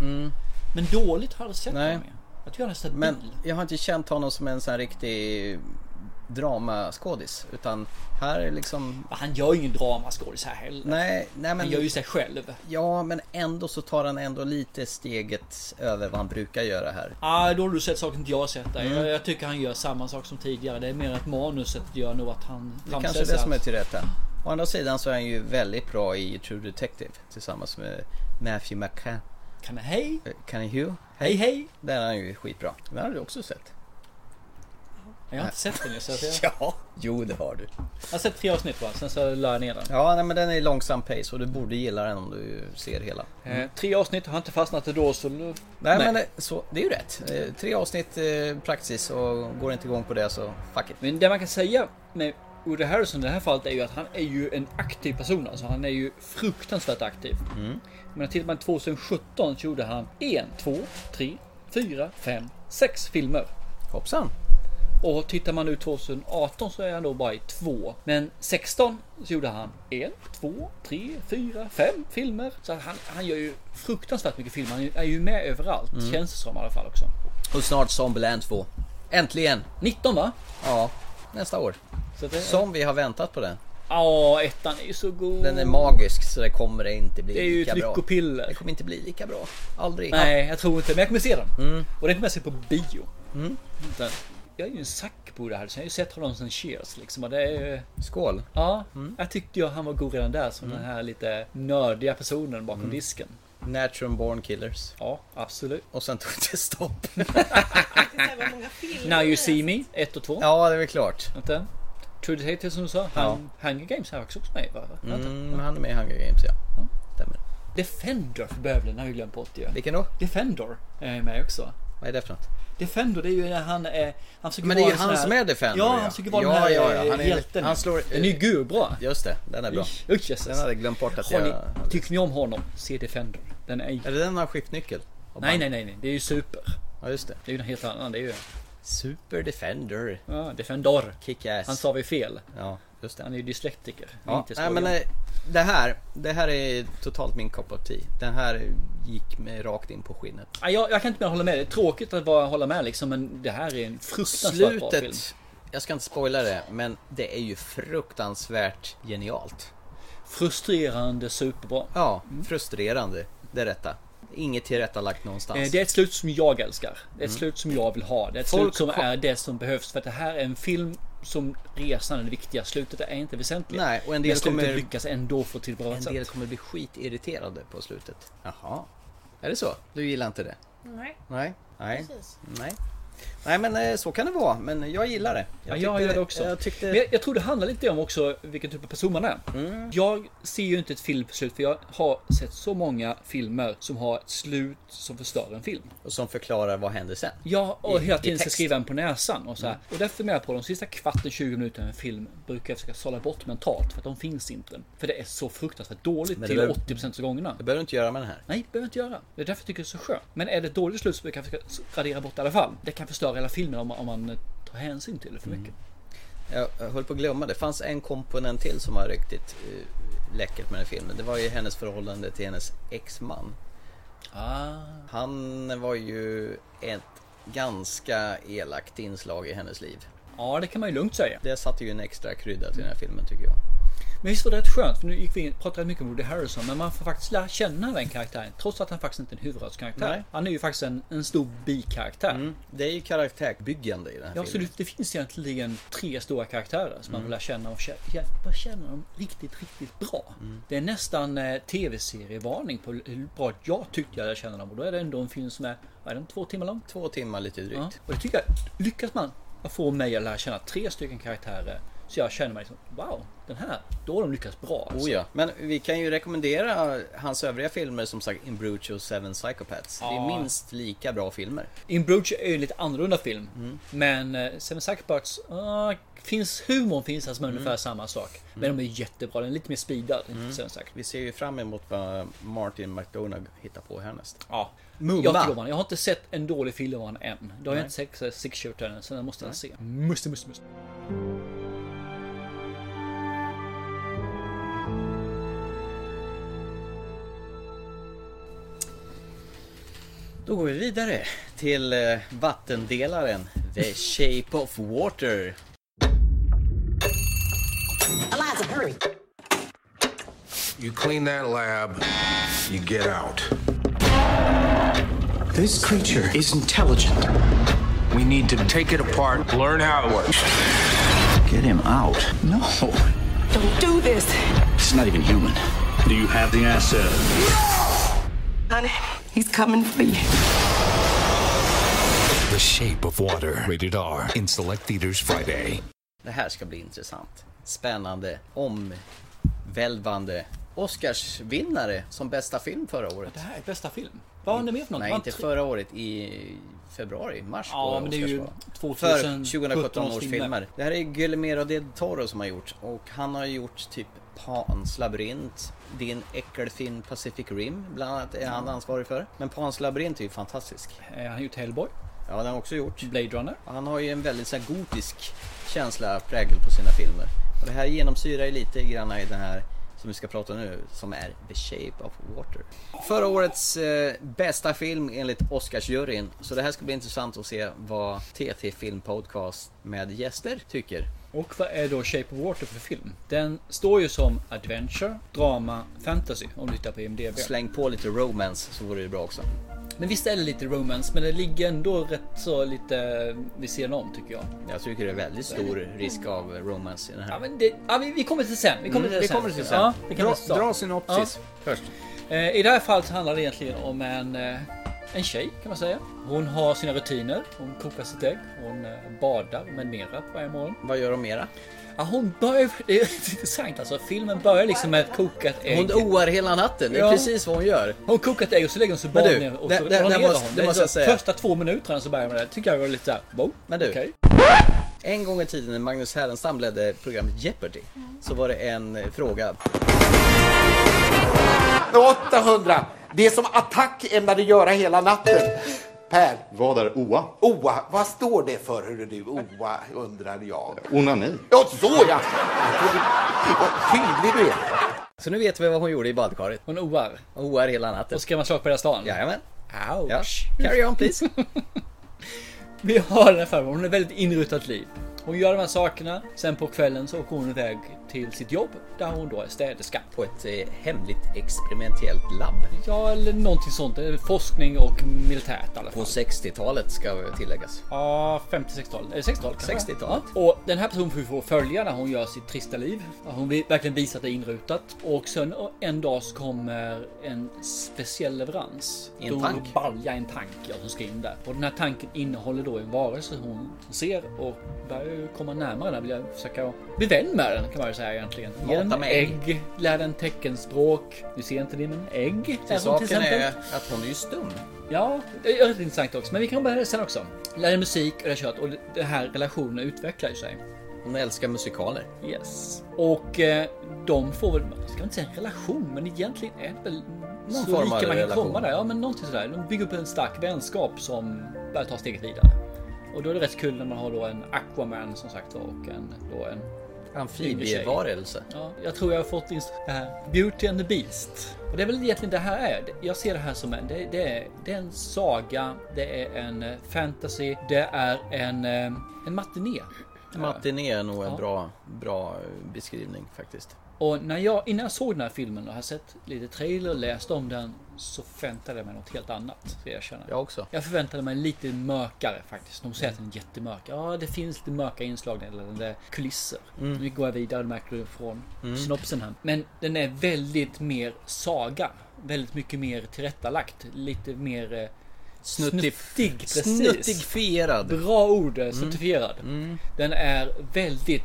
[SPEAKER 2] Men dåligt har jag aldrig sett
[SPEAKER 1] Mm. Nej.
[SPEAKER 2] honom med. Jag tycker han är stabil.
[SPEAKER 1] Men jag har inte känt honom som en sån här riktig dramaskådis. Utan här är liksom...
[SPEAKER 2] Han gör ju ingen dramaskådis här heller.
[SPEAKER 1] Nej, nej men...
[SPEAKER 2] Han gör ju sig själv.
[SPEAKER 1] Ja, men ändå så tar han ändå lite steget över vad han brukar göra här.
[SPEAKER 2] Ah, då har du sett saker inte jag har sett där.
[SPEAKER 1] Mm.
[SPEAKER 2] Jag, jag tycker han gör samma sak som tidigare. Det är mer att manuset gör nog att han
[SPEAKER 1] Det
[SPEAKER 2] framställs
[SPEAKER 1] kanske är det
[SPEAKER 2] här.
[SPEAKER 1] som är till rätta. Å andra sidan så är han ju väldigt bra i True Detective tillsammans med Matthew McCann.
[SPEAKER 2] Kan jag hej?
[SPEAKER 1] Kan jag hej?
[SPEAKER 2] Hej, hej.
[SPEAKER 1] Där är han ju skitbra. Den har du också sett.
[SPEAKER 2] Jag har inte sett den ju, så att jag...
[SPEAKER 1] Ja, jo det har du.
[SPEAKER 2] jag har sett tre avsnitt bara, sen så la jag ner den.
[SPEAKER 1] Ja, nej, men den är i långsam pace och du borde gilla den om du ser hela.
[SPEAKER 2] Eh, tre avsnitt, har jag inte fastnat det då så... Nej,
[SPEAKER 1] Nej, men det, så, det är ju rätt. Eh, Tre avsnitt eh, praxis och går inte igång på det så fuck it.
[SPEAKER 2] Men det man kan säga med Woody Harrison i det här fallet är ju att han är ju en aktiv person. Alltså han är ju fruktansvärt aktiv.
[SPEAKER 1] Mm.
[SPEAKER 2] Men tittar man 2017 så gjorde han en, två, tre, fyra, fem, sex filmer.
[SPEAKER 1] Hoppsan!
[SPEAKER 2] Och tittar man nu 2018 så är han då bara i två. Men 16 så gjorde han en, två, tre, fyra, fem filmer. Så han, han gör ju fruktansvärt mycket filmer. Han är ju med överallt
[SPEAKER 1] Mm.
[SPEAKER 2] känns det som i alla fall också.
[SPEAKER 1] Och snart Zombieland 2. Äntligen!
[SPEAKER 2] 19 va?
[SPEAKER 1] Ja, nästa år.
[SPEAKER 2] Så det är-
[SPEAKER 1] Som vi har väntat på den.
[SPEAKER 2] Ja, ettan är ju så god.
[SPEAKER 1] Den är magisk så det kommer det inte bli
[SPEAKER 2] Det är ju
[SPEAKER 1] lika
[SPEAKER 2] ett
[SPEAKER 1] bra.
[SPEAKER 2] lyckopiller.
[SPEAKER 1] Det kommer inte bli lika bra. Aldrig.
[SPEAKER 2] Nej, jag tror inte. Men jag kommer se den.
[SPEAKER 1] Mm.
[SPEAKER 2] Och den kommer jag se på bio.
[SPEAKER 1] Mm.
[SPEAKER 2] Den- Jag är ju en sack på det här. Så jag har ju sett honom sen Cheers liksom. Och det är ju...
[SPEAKER 1] Skål!
[SPEAKER 2] Ja,
[SPEAKER 1] Mm.
[SPEAKER 2] jag tyckte ju han var god redan där som den här lite nördiga personen bakom
[SPEAKER 1] Mm.
[SPEAKER 2] disken.
[SPEAKER 1] Natural Born Killers.
[SPEAKER 2] Ja, absolut.
[SPEAKER 1] Och sen tog det stopp.
[SPEAKER 2] Now You See Me, 1 och 2.
[SPEAKER 1] Ja, det är väl klart.
[SPEAKER 2] Vänta. True Detective som du sa, han, Hunger Games är också med va? Vänta.
[SPEAKER 1] Mm, han är med i Hunger Games ja. Stämmer.
[SPEAKER 2] Defender för bövelen har jag ju glömt bort ju.
[SPEAKER 1] Vilken då?
[SPEAKER 2] Defender är med också.
[SPEAKER 1] Vad är det för något?
[SPEAKER 2] Defender det är ju när han är... Han försöker
[SPEAKER 1] Men det är ju
[SPEAKER 2] vara en sån
[SPEAKER 1] han
[SPEAKER 2] här-
[SPEAKER 1] som är Defender
[SPEAKER 2] Ja, han försöker vara
[SPEAKER 1] ja,
[SPEAKER 2] den här eh,
[SPEAKER 1] ja, ja. Han är,
[SPEAKER 2] hjälten.
[SPEAKER 1] Han slår...
[SPEAKER 2] Den är ju gurbra.
[SPEAKER 1] Just det, den är bra.
[SPEAKER 2] Usch, usch, jösses.
[SPEAKER 1] Den hade jag glömt bort att
[SPEAKER 2] Har
[SPEAKER 1] jag...
[SPEAKER 2] ni- Tycker ni om honom? Se Defender. Den är...
[SPEAKER 1] Är det den har skiftnyckel? Och
[SPEAKER 2] Nej,
[SPEAKER 1] band?
[SPEAKER 2] nej, nej, nej. Det är ju Super.
[SPEAKER 1] Ja, just det.
[SPEAKER 2] Det är ju en helt annan. Det är ju...
[SPEAKER 1] Super Defender.
[SPEAKER 2] Ja, Defender.
[SPEAKER 1] Kick-ass.
[SPEAKER 2] Han sa vi fel.
[SPEAKER 1] Ja, just det.
[SPEAKER 2] Han är ju dyslektiker. Det är
[SPEAKER 1] Ja,
[SPEAKER 2] inte
[SPEAKER 1] nej,
[SPEAKER 2] skoj
[SPEAKER 1] men
[SPEAKER 2] om.
[SPEAKER 1] eh, det här, det här är totalt min kopp of tea. Den här gick med rakt in på skinnet.
[SPEAKER 2] Ja, jag, jag kan inte mer hålla med. Det är tråkigt att bara hålla med liksom, men det här är en fruktansvärt bra film.
[SPEAKER 1] Slutet, jag ska inte spoila det, men det är ju fruktansvärt genialt.
[SPEAKER 2] Frustrerande superbra.
[SPEAKER 1] Ja,
[SPEAKER 2] Mm.
[SPEAKER 1] frustrerande. Det är rätta. Inget tillrättalagt någonstans.
[SPEAKER 2] Eh, Det är ett slut som jag älskar. Det är ett
[SPEAKER 1] Mm.
[SPEAKER 2] slut som jag vill ha. Det är ett
[SPEAKER 1] Folk
[SPEAKER 2] slut som
[SPEAKER 1] kom-
[SPEAKER 2] är det som behövs. För att det här är en film som resan är det viktiga. Slutet är inte väsentligt.
[SPEAKER 1] Nej, och en del
[SPEAKER 2] Men slutet
[SPEAKER 1] kommer-
[SPEAKER 2] lyckas ändå få till bra
[SPEAKER 1] En
[SPEAKER 2] sätt.
[SPEAKER 1] del kommer bli skitirriterade på slutet. Jaha. Är det så? Du gillar inte det?
[SPEAKER 8] Nej.
[SPEAKER 1] Nej. Nej.
[SPEAKER 8] Precis.
[SPEAKER 1] Nej. Nej men eh, så kan det vara. Men jag gillar det.
[SPEAKER 2] Jag, ja, jag gör det också.
[SPEAKER 1] Jag tyckte...
[SPEAKER 2] Men jag, jag tror det handlar lite om också vilken typ av person man är.
[SPEAKER 1] Mm.
[SPEAKER 2] Jag ser ju inte ett filmslut för jag har sett så många filmer som har ett slut som förstör en film.
[SPEAKER 1] Och som förklarar vad händer sen.
[SPEAKER 2] Ja, och
[SPEAKER 1] I-
[SPEAKER 2] hela
[SPEAKER 1] i
[SPEAKER 2] tiden ska
[SPEAKER 1] text. Mm.
[SPEAKER 2] skriva en på näsan och så här. Och därför menar jag på de sista kvarten, 20 minuterna av en film brukar jag försöka sålla bort mentalt för att de finns inte. För det är så fruktansvärt dåligt
[SPEAKER 1] Men det
[SPEAKER 2] till
[SPEAKER 1] behöver-
[SPEAKER 2] 80% av gångerna.
[SPEAKER 1] Det behöver du inte göra med den här.
[SPEAKER 2] Nej, det behöver jag inte göra. Det är därför jag tycker det är så skönt. Men är det ett dåligt slut så brukar jag försöka radera bort det i alla fall. Det kan förstöra hela filmen om, man- om man tar hänsyn till det för
[SPEAKER 1] Mm.
[SPEAKER 2] mycket.
[SPEAKER 1] Jag jag höll på att glömma. Det fanns en komponent till som var riktigt eh, läckert med den här filmen. Det var ju hennes förhållande till hennes exman. Ah. Han var ju ett ganska elakt inslag i hennes liv.
[SPEAKER 2] Ja, det kan man ju lugnt säga.
[SPEAKER 1] Det satte ju en extra krydda till den här filmen tycker jag.
[SPEAKER 2] Men visst var det rätt skönt, för nu gick vi in, pratade rätt mycket om Woody Harrison, men man får faktiskt lära känna den karaktären trots att han faktiskt inte är en huvudrollskaraktär.
[SPEAKER 1] Nej. Mm.
[SPEAKER 2] Han är ju faktiskt en, en stor bikaraktär.
[SPEAKER 1] Det är ju karaktärsbyggande i den här
[SPEAKER 2] Ja, så
[SPEAKER 1] filmen.
[SPEAKER 2] det, det finns egentligen tre stora karaktärer som man
[SPEAKER 1] Mm.
[SPEAKER 2] vill lära känna och kä- ja, bara känna dem riktigt, riktigt bra.
[SPEAKER 1] Mm.
[SPEAKER 2] Det är nästan eh, tv-serievarning på hur bra jag tyckte jag lärde känna dem och då är det ändå en film som är, vad är den, två timmar lång?
[SPEAKER 1] Två timmar lite drygt.
[SPEAKER 2] Och det tycker jag, lyckas man att få mig att lära känna tre stycken karaktärer. Så jag känner mig liksom, wow, den här, då har de lyckats bra. Alltså.
[SPEAKER 1] Oh ja. Men vi kan ju rekommendera hans övriga filmer som sagt In Bruce och Seven Psychopaths. Det
[SPEAKER 2] Ja.
[SPEAKER 1] är minst lika bra filmer.
[SPEAKER 2] In Bruges är ju en lite annorlunda film. Men eh, Seven Psychopaths, ah, finns, humorn finns alltså med
[SPEAKER 1] Mm.
[SPEAKER 2] ungefär samma sak. Men de är jättebra, den är lite mer speedad.
[SPEAKER 1] Mm.
[SPEAKER 2] Seven Psychopaths.
[SPEAKER 1] Vi ser ju fram emot vad Martin McDonagh hittar på härnäst.
[SPEAKER 2] Ja.
[SPEAKER 1] Mumma.
[SPEAKER 2] Jag, tror man, jag har inte sett en dålig film av honom än. Då
[SPEAKER 1] Nej.
[SPEAKER 2] har jag inte sett eh, Six Shooter än, så den måste jag
[SPEAKER 1] Nej.
[SPEAKER 2] se. Måste, måste, måste.
[SPEAKER 1] Då går vi vidare till eh, vattendelaren The Shape of Water.
[SPEAKER 20] Eliza, hurry.
[SPEAKER 12] You clean that lab, you get out.
[SPEAKER 21] This creature is intelligent. We need to take it apart, learn how it works.
[SPEAKER 22] Get him out. No.
[SPEAKER 20] Don't do this.
[SPEAKER 22] It's not even human. Do you have the asset?
[SPEAKER 20] Honey, he's coming for you.
[SPEAKER 18] The Shape of Water. Rated R. In select theaters Friday.
[SPEAKER 1] Det här ska bli intressant. Spännande, omvälvande. Oscarsvinnare som bästa film förra året. Det
[SPEAKER 2] här är bästa film? Vad var det med för något?
[SPEAKER 1] Nej,
[SPEAKER 2] Var
[SPEAKER 1] inte
[SPEAKER 2] tre-
[SPEAKER 1] förra året. I februari, mars.
[SPEAKER 2] Ja,
[SPEAKER 1] var
[SPEAKER 2] men det är ju
[SPEAKER 1] Oscarsgalan.
[SPEAKER 2] 2017
[SPEAKER 1] För 2017 års
[SPEAKER 2] års
[SPEAKER 1] filmer.
[SPEAKER 2] filmer.
[SPEAKER 1] Det här är Guillermo del Toro som har gjort. Och han har gjort typ Pans labyrint, din äckelfilm Pacific Rim bland annat är han ansvarig för. Men Pans labyrint är ju fantastisk.
[SPEAKER 2] Eh, Han har gjort Hellboy.
[SPEAKER 1] Ja, den har han också gjort.
[SPEAKER 2] Blade Runner.
[SPEAKER 1] Han har ju en väldigt så här, gotisk känsla prägel på sina filmer. Och det här genomsyrar ju lite grann i den här som vi ska prata nu, som är The Shape of Water. Förra årets eh, bästa film enligt Oscarsjuryn. Så det här ska bli intressant att se vad TT Film Podcast med gäster tycker.
[SPEAKER 2] Och vad är då Shape of Water för film? Den står ju som adventure, drama, fantasy om du tittar på IMDB.
[SPEAKER 1] Släng på lite romance så vore det bra också.
[SPEAKER 2] Men visst är det lite romance, men det ligger ändå rätt så lite vid sidan om tycker jag.
[SPEAKER 1] Jag tycker det är väldigt stor risk av romance i den här.
[SPEAKER 2] Ja, men det, ja, vi, vi kommer till sen. Vi kommer
[SPEAKER 1] Mm,
[SPEAKER 2] till
[SPEAKER 1] vi
[SPEAKER 2] sen.
[SPEAKER 1] kommer till sen.
[SPEAKER 2] Ja, det kan
[SPEAKER 1] Dra-
[SPEAKER 2] vi ta.
[SPEAKER 1] dra synopsis först.
[SPEAKER 2] Eh, I det här fallet så handlar det egentligen om en, eh, en tjej kan man säga. Hon har sina rutiner. Hon kokar sitt ägg. Hon eh, badar med mera varje morgon.
[SPEAKER 1] Vad gör hon mera?
[SPEAKER 2] Ja, hon börjar... Det är intressant alltså. Filmen börjar liksom med ett kokat ägg.
[SPEAKER 1] Hon oh. oar hela natten, det är precis vad hon gör.
[SPEAKER 2] Hon kokar ett ägg och så lägger hon sig
[SPEAKER 1] Men
[SPEAKER 2] bara
[SPEAKER 1] du,
[SPEAKER 2] ner och
[SPEAKER 1] det-
[SPEAKER 2] så
[SPEAKER 1] det-
[SPEAKER 2] det,
[SPEAKER 1] det
[SPEAKER 2] hon.
[SPEAKER 1] måste- det
[SPEAKER 2] är
[SPEAKER 1] måste jag
[SPEAKER 2] så-
[SPEAKER 1] säga.
[SPEAKER 2] Första två minuterna så börjar jag med det. tycker jag var lite såhär, wow,
[SPEAKER 1] Men du.
[SPEAKER 2] okej.
[SPEAKER 1] En gång i tiden när Magnus Härenstam ledde programmet Jeopardy så var det en eh, fråga.
[SPEAKER 23] 800! Det som Attack ämnade göra hela natten. Per.
[SPEAKER 24] Vad är OA?
[SPEAKER 23] OA, vad står det för hörru du? OA undrar jag.
[SPEAKER 24] Onani.
[SPEAKER 23] Ja, så ja! Vad tydlig du är.
[SPEAKER 1] Så nu vet vi vad hon gjorde i badkaret.
[SPEAKER 2] Hon oar.
[SPEAKER 1] Oar hela natten.
[SPEAKER 2] Och ska man slag på hela stan?
[SPEAKER 1] Jajamän.
[SPEAKER 2] Ouch.
[SPEAKER 1] Ja. Carry on please.
[SPEAKER 2] Vi har den här farmor, hon har ett väldigt inrutat liv. Hon gör de här sakerna, sen på kvällen så åker hon iväg till sitt jobb där hon då är städerska.
[SPEAKER 1] På ett eh, hemligt experimentellt labb.
[SPEAKER 2] Ja, eller någonting sånt. Eh, Forskning och militärt i alla fall.
[SPEAKER 1] På 60-talet ska tilläggas.
[SPEAKER 2] Ja, 50-60-tal. Eller 60-tal kanske?
[SPEAKER 1] 60-talet.
[SPEAKER 2] Ja. Och den här personen får vi få följa när hon gör sitt trista liv. Hon vill verkligen visa att det är inrutat. Och sen en dag så kommer en speciell leverans.
[SPEAKER 1] I en
[SPEAKER 2] Då
[SPEAKER 1] tank?
[SPEAKER 2] Balja, en tank, ja, som ska in där. Och den här tanken innehåller då en varelse hon ser och börjar ju komma närmare den. Vill jag försöka bli vän med den kan man ju säga egentligen. Ge
[SPEAKER 1] Mata
[SPEAKER 2] den
[SPEAKER 1] med ägg.
[SPEAKER 2] ägg. lär den teckenspråk. Du ser inte det men ägg. är hon
[SPEAKER 1] Till saken
[SPEAKER 2] exempel.
[SPEAKER 1] är att hon är ju stum.
[SPEAKER 2] Ja, det är rätt intressant också. Men vi kan börja det sen också. Lärde musik och det kört och den här relationen utvecklar ju sig.
[SPEAKER 1] Hon älskar musikaler.
[SPEAKER 2] Yes. Och eh, de får väl, jag ska inte säga en relation, men egentligen är det väl
[SPEAKER 1] Någon
[SPEAKER 2] så
[SPEAKER 1] form av
[SPEAKER 2] lika man kan
[SPEAKER 1] relation.
[SPEAKER 2] komma där. Ja, men någonting sådär. De bygger upp en stark vänskap som börjar ta steget vidare. Och då är det rätt kul när man har då en Aquaman som sagt var, och en, då en
[SPEAKER 1] Amfibievarelse.
[SPEAKER 2] Ja, jag tror jag har fått inst- det här Beauty and the Beast. Och det är väl egentligen det här är. Jag ser det här som en, det, det, är, det är en saga, det är en eh, fantasy, det är en, eh, en matiné.
[SPEAKER 1] Matiné är nog en
[SPEAKER 2] Ja.
[SPEAKER 1] bra, bra eh, beskrivning faktiskt.
[SPEAKER 2] Och när jag, innan jag såg den här filmen och har sett lite trailer och läst om den så förväntade jag mig något helt annat. Ska jag känna.
[SPEAKER 1] Jag också.
[SPEAKER 2] Jag förväntade mig lite mörkare faktiskt. De säger att den är jättemörk. Ja, det finns lite mörka inslag när det gäller den där kulisser.
[SPEAKER 1] Mm.
[SPEAKER 2] Nu går jag vidare, märker du, från
[SPEAKER 1] Mm.
[SPEAKER 2] synopsen här. Men den är väldigt mer saga. Väldigt mycket mer tillrättalagt. Lite mer eh,
[SPEAKER 1] Snuttig.
[SPEAKER 2] Snuttig, precis.
[SPEAKER 1] Snuttifierad.
[SPEAKER 2] Bra ord, snuttifierad.
[SPEAKER 1] Mm.
[SPEAKER 2] Den är väldigt,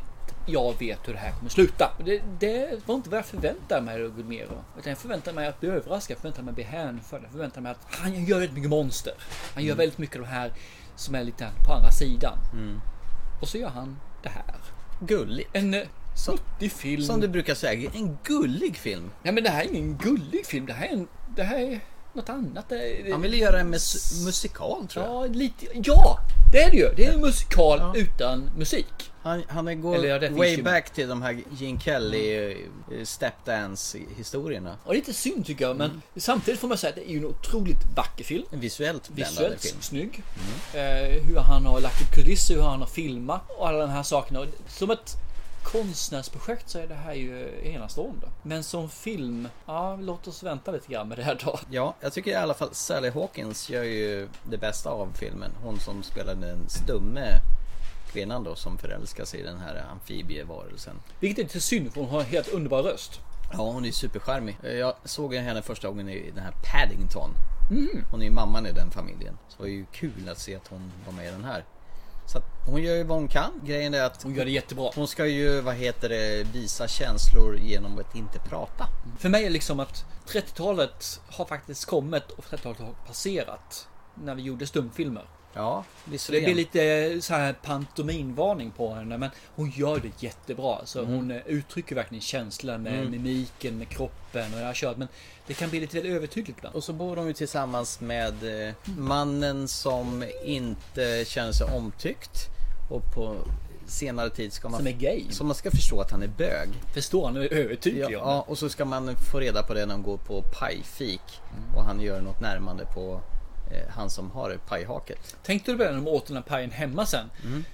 [SPEAKER 2] jag vet hur det här kommer sluta. Det, det var inte vad jag förväntade mig av Gudmero. Utan jag förväntade mig att bli överraskad, jag förväntade mig att bli hänförd. Jag förväntade mig att han gör väldigt mycket monster. Han gör
[SPEAKER 1] Mm.
[SPEAKER 2] väldigt mycket av det här som är lite på andra sidan.
[SPEAKER 1] Mm.
[SPEAKER 2] Och så gör han det här.
[SPEAKER 1] Gulligt.
[SPEAKER 2] En eh, snuttig film.
[SPEAKER 1] Som du brukar säga, en gullig film.
[SPEAKER 2] Ja men det här är ingen gullig film. Det här är, en, det här är något annat. Det, det,
[SPEAKER 1] Han ville göra en mus- musikal tror jag.
[SPEAKER 2] Ja, lite, ja, det är det ju. Det är en musikal utan musik.
[SPEAKER 1] Han, han går
[SPEAKER 2] Eller ja, det finns
[SPEAKER 1] way
[SPEAKER 2] ju-
[SPEAKER 1] back till de här Gene Kelly eh, stepdance historierna.
[SPEAKER 2] Ja, lite synd tycker jag, men samtidigt får man säga att det är ju en otroligt vacker film.
[SPEAKER 1] En visuellt bländande
[SPEAKER 2] Visuellt
[SPEAKER 1] film.
[SPEAKER 2] snygg. Eh, hur han har lagt upp kulisser, hur han har filmat och alla de här sakerna. Och Som ett konstnärsprojekt så är det här ju enastående. Men som film, ja, låt oss vänta lite grann med det här då.
[SPEAKER 1] Ja, jag tycker i alla fall Sally Hawkins gör ju det bästa av filmen. Hon som spelar den stumme kvinnan då som förälskar sig i den här amfibievarelsen.
[SPEAKER 2] Vilket är lite synd för hon har en helt underbar röst.
[SPEAKER 1] Ja, hon är superskärmig. Eh, Jag såg henne första gången i den här Paddington.
[SPEAKER 2] Mm.
[SPEAKER 1] Hon är ju mamman i den familjen. Så det var ju kul att se att hon var med i den här. Så att hon gör ju vad hon kan. Grejen är att
[SPEAKER 2] hon gör det jättebra.
[SPEAKER 1] Hon ska ju, vad heter det, visa känslor genom att inte prata.
[SPEAKER 2] För mig är liksom att 30-talet har faktiskt kommit och 30-talet har passerat. När vi gjorde stumfilmer.
[SPEAKER 1] Ja,
[SPEAKER 2] Så det blir lite eh, så här pantominvarning på henne. Men hon gör det jättebra. Så Hon eh, uttrycker verkligen känslan med
[SPEAKER 1] Mm.
[SPEAKER 2] mimiken, med kroppen och det här köret. Men det kan bli lite väl övertydligt ibland.
[SPEAKER 1] Och så bor de ju tillsammans med eh, mannen som inte känner sig omtyckt. Och på senare tid ska man...
[SPEAKER 2] Som är gay.
[SPEAKER 1] Så man ska förstå att han är bög.
[SPEAKER 2] Förstår han är övertydlig
[SPEAKER 1] Ja,
[SPEAKER 2] om det.
[SPEAKER 1] ja, och så ska man få reda på det när de går på pajfik. Och han gör något närmande på eh, han som har pajhaket.
[SPEAKER 2] Tänkte du på det när de åt den här pajen hemma sen?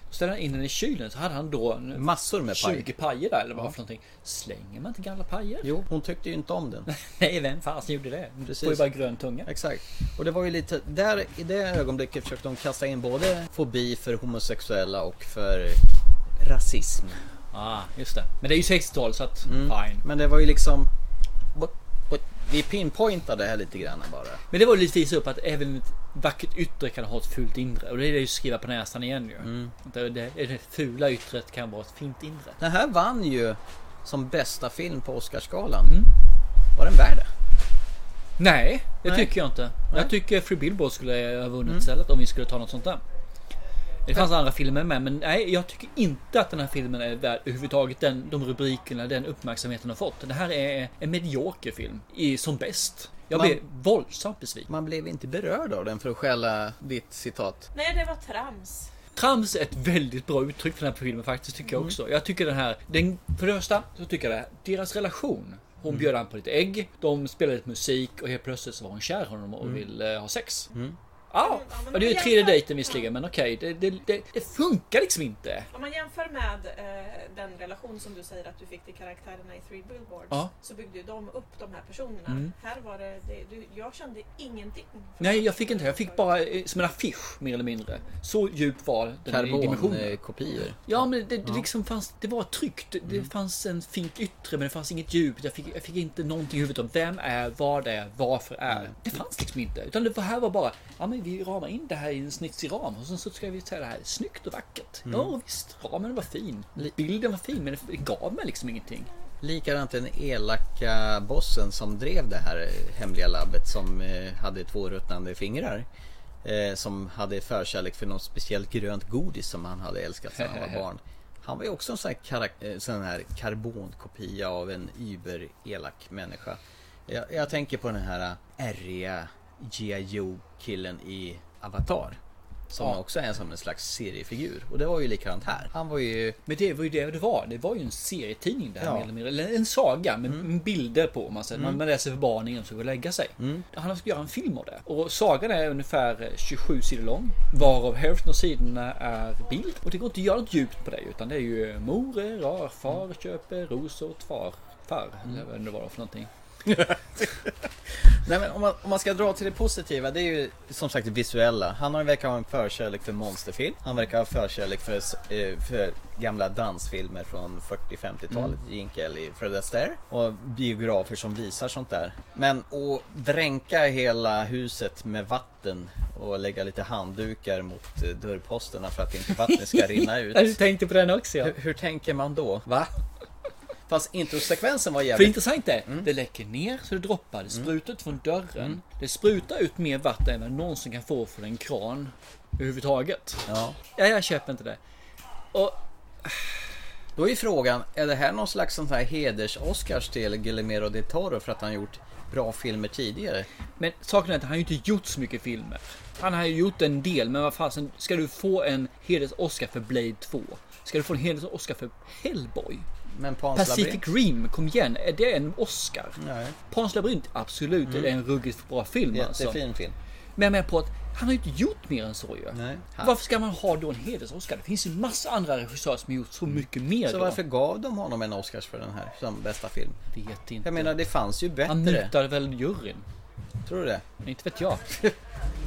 [SPEAKER 2] Då ställde han in den i kylen så hade han då en-
[SPEAKER 1] Massor med paj.
[SPEAKER 2] 20 pajer där eller vad för någonting. Slänger man inte gamla pajer?
[SPEAKER 1] Jo, hon tyckte ju inte om den.
[SPEAKER 2] Nej, vem fasen gjorde det? Precis. Får ju bara grön tunga.
[SPEAKER 1] Exakt. Och det var ju lite, där i det ögonblicket försökte de kasta in både fobi för homosexuella och för rasism.
[SPEAKER 2] Ah, just det. Men det är ju 60-tal så att fine.
[SPEAKER 1] Men det var ju liksom, what- what- vi pinpointade det här lite grann bara.
[SPEAKER 2] Men det var ju lite visa upp att även ett vackert yttre kan ha ett fult inre. Och det är det ju skriva på näsan igen ju. Det, det, det fula yttret kan vara ett fint inre.
[SPEAKER 1] Den här vann ju som bästa film på Oscarsgalan. Var den värd det?
[SPEAKER 2] Nej, det
[SPEAKER 1] Nej.
[SPEAKER 2] tycker jag inte.
[SPEAKER 1] Nej.
[SPEAKER 2] Jag tycker Free Billboard skulle ha vunnit
[SPEAKER 1] Mm.
[SPEAKER 2] istället om vi skulle ta något sånt där. Det fanns andra filmer med men nej jag tycker inte att den här filmen är värd överhuvudtaget den, de rubrikerna, den uppmärksamheten den har fått. Det här är en medioker film i, som bäst. Jag
[SPEAKER 1] Man-
[SPEAKER 2] blev våldsamt besviken.
[SPEAKER 1] Man blev inte berörd av den för att stjäla ditt citat.
[SPEAKER 3] Nej, det var trams.
[SPEAKER 2] Trams är ett väldigt bra uttryck för den här filmen faktiskt tycker
[SPEAKER 1] Mm.
[SPEAKER 2] jag också. Jag tycker den här, den, för det första så tycker jag det här, deras relation. Hon
[SPEAKER 1] Mm.
[SPEAKER 2] bjöd han på lite ägg, de spelade lite musik och helt plötsligt så var hon kär i honom och
[SPEAKER 1] Mm.
[SPEAKER 2] ville ha sex.
[SPEAKER 1] Mm.
[SPEAKER 2] Ja,
[SPEAKER 3] men
[SPEAKER 2] och det är ju
[SPEAKER 3] jämför-
[SPEAKER 2] tredje dejten visserligen men okej, det, det, det, det funkar liksom inte.
[SPEAKER 3] Om man jämför med eh, den relation som du säger att du fick till karaktärerna i Three Billboards
[SPEAKER 2] Ja.
[SPEAKER 3] så byggde ju de upp de här personerna.
[SPEAKER 2] Mm.
[SPEAKER 3] Här var det, det du, jag kände ingenting.
[SPEAKER 2] Nej, jag fick inte Jag fick bara eh, som en affisch mer eller mindre. Så djup var den här
[SPEAKER 1] eh,
[SPEAKER 2] dimensionen.
[SPEAKER 1] Karbonkopior.
[SPEAKER 2] Ja, Mm. men det, det liksom fanns, det var tryggt. Det, det fanns en fint yttre, men det fanns inget djup. Jag fick, jag fick inte någonting i huvudet om vem är, vad är, varför är. Det fanns liksom inte. Utan det här var bara, ja men vi ramar in det här i en snitsig ram och sen så ska vi säga det här är snyggt och vackert.
[SPEAKER 1] Mm.
[SPEAKER 2] Ja visst, ramen var fin. Bilden var fin, men det gav mig liksom ingenting.
[SPEAKER 1] Likadant den elaka bossen som drev det här eh, hemliga labbet som eh, hade två ruttnande fingrar. Eh, som hade förkärlek för något speciellt grönt godis som han hade älskat när han var barn. Han var ju också en sån här, karak- eh, sån här karbonkopia av en über-elak människa. Jag, jag tänker på den här eh, E ärriga G.I. Joe-killen i Avatar. Som
[SPEAKER 2] Ja.
[SPEAKER 1] också är en som en slags seriefigur. Och det var ju likadant här. Han var ju...
[SPEAKER 2] Men det var ju det det var. Det var ju en serietidning det här
[SPEAKER 1] Ja.
[SPEAKER 2] mer eller mindre. Eller en saga med bilder på. om Man, säger.
[SPEAKER 1] Mm.
[SPEAKER 2] man läser för barn innan de ska gå och lägga sig.
[SPEAKER 1] Mm.
[SPEAKER 2] Han skulle göra en film av det. Och sagan är ungefär 27 sidor lång. Varav hälften av sidorna är bild. Och det går inte att göra något djupt på det. Utan det är eh,
[SPEAKER 1] Mm.
[SPEAKER 2] ju mor är rar, far köper rosor åt far. Far, eller vad det nu var för någonting.
[SPEAKER 1] Nej, men om, man, om man ska dra till det positiva, det är ju som sagt det visuella. Han har, verkar ha en förkärlek för monsterfilm. Han verkar ha förkärlek för, s- eh, för gamla dansfilmer från 40-50-talet.
[SPEAKER 5] Mm.
[SPEAKER 1] Jinkel i Fred Astaire. Och biografer som visar sånt där. Men att dränka hela huset med vatten och lägga lite handdukar mot eh, dörrposterna för att inte vattnet ska rinna ut.
[SPEAKER 2] Du tänkte på den också ja.
[SPEAKER 1] Hur, hur tänker man då? Va? Fast introsekvensen var
[SPEAKER 2] För
[SPEAKER 1] jävligt...
[SPEAKER 2] intressant är, det läcker ner så det droppar, det sprutar ut från dörren.
[SPEAKER 1] Mm.
[SPEAKER 2] Det sprutar ut mer vatten än vad någonsin kan få från en kran överhuvudtaget.
[SPEAKER 1] Ja.
[SPEAKER 2] ja, jag köper inte det. Och...
[SPEAKER 1] Då är frågan, är det här någon slags sån här heders-Oscars till Guillermo del Toro för att han gjort bra filmer tidigare?
[SPEAKER 2] Men saken är att han har ju inte gjort så mycket filmer. Han har ju gjort en del, men vad fasen, ska du få en heders-Oscar för Blade 2? Ska du få en heders-Oscar för Hellboy?
[SPEAKER 1] Men Pans
[SPEAKER 2] Pacific
[SPEAKER 1] labyrint?
[SPEAKER 2] Rim, kom igen, är det en Oscar?
[SPEAKER 1] Nej.
[SPEAKER 2] Pans labyrint, absolut,
[SPEAKER 1] Mm.
[SPEAKER 2] det är en ruggigt bra film alltså.
[SPEAKER 1] Jättefin film.
[SPEAKER 2] Men jag menar på att han har ju inte gjort mer än så ju.
[SPEAKER 1] Han-
[SPEAKER 2] Varför ska man ha då en heders-Oscar? Det finns ju massa andra regissörer som har gjort så mycket mer.
[SPEAKER 1] Så
[SPEAKER 2] då.
[SPEAKER 1] varför gav de honom en Oscars för den här som bästa film?
[SPEAKER 2] Vet inte.
[SPEAKER 1] Jag menar, det fanns ju bättre.
[SPEAKER 2] Han mutade väl juryn?
[SPEAKER 1] Tror du det?
[SPEAKER 2] Inte vet jag. Han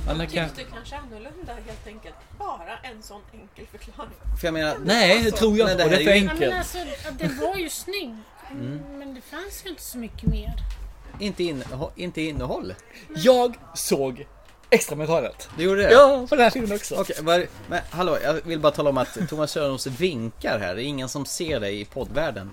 [SPEAKER 3] Han
[SPEAKER 2] har kanske-
[SPEAKER 3] tyckte kanske annorlunda helt enkelt. Bara en sån enkel förklaring.
[SPEAKER 1] För jag menar... Alltså,
[SPEAKER 2] Nej, det tror jag
[SPEAKER 1] Men
[SPEAKER 2] inte på. Det är för
[SPEAKER 1] här ju-
[SPEAKER 8] Ja, men alltså, det var ju snygg.
[SPEAKER 1] Mm.
[SPEAKER 8] Men det fanns ju inte så mycket mer.
[SPEAKER 1] Inte, inneho- inte innehåll.
[SPEAKER 2] Jag såg extramaterialet.
[SPEAKER 1] Du gjorde det?
[SPEAKER 2] Ja, på den här filmen också.
[SPEAKER 1] Okej, var, men hallå, jag vill bara tala om att Thomas Sörens vinkar här. Det är ingen som ser dig i poddvärlden.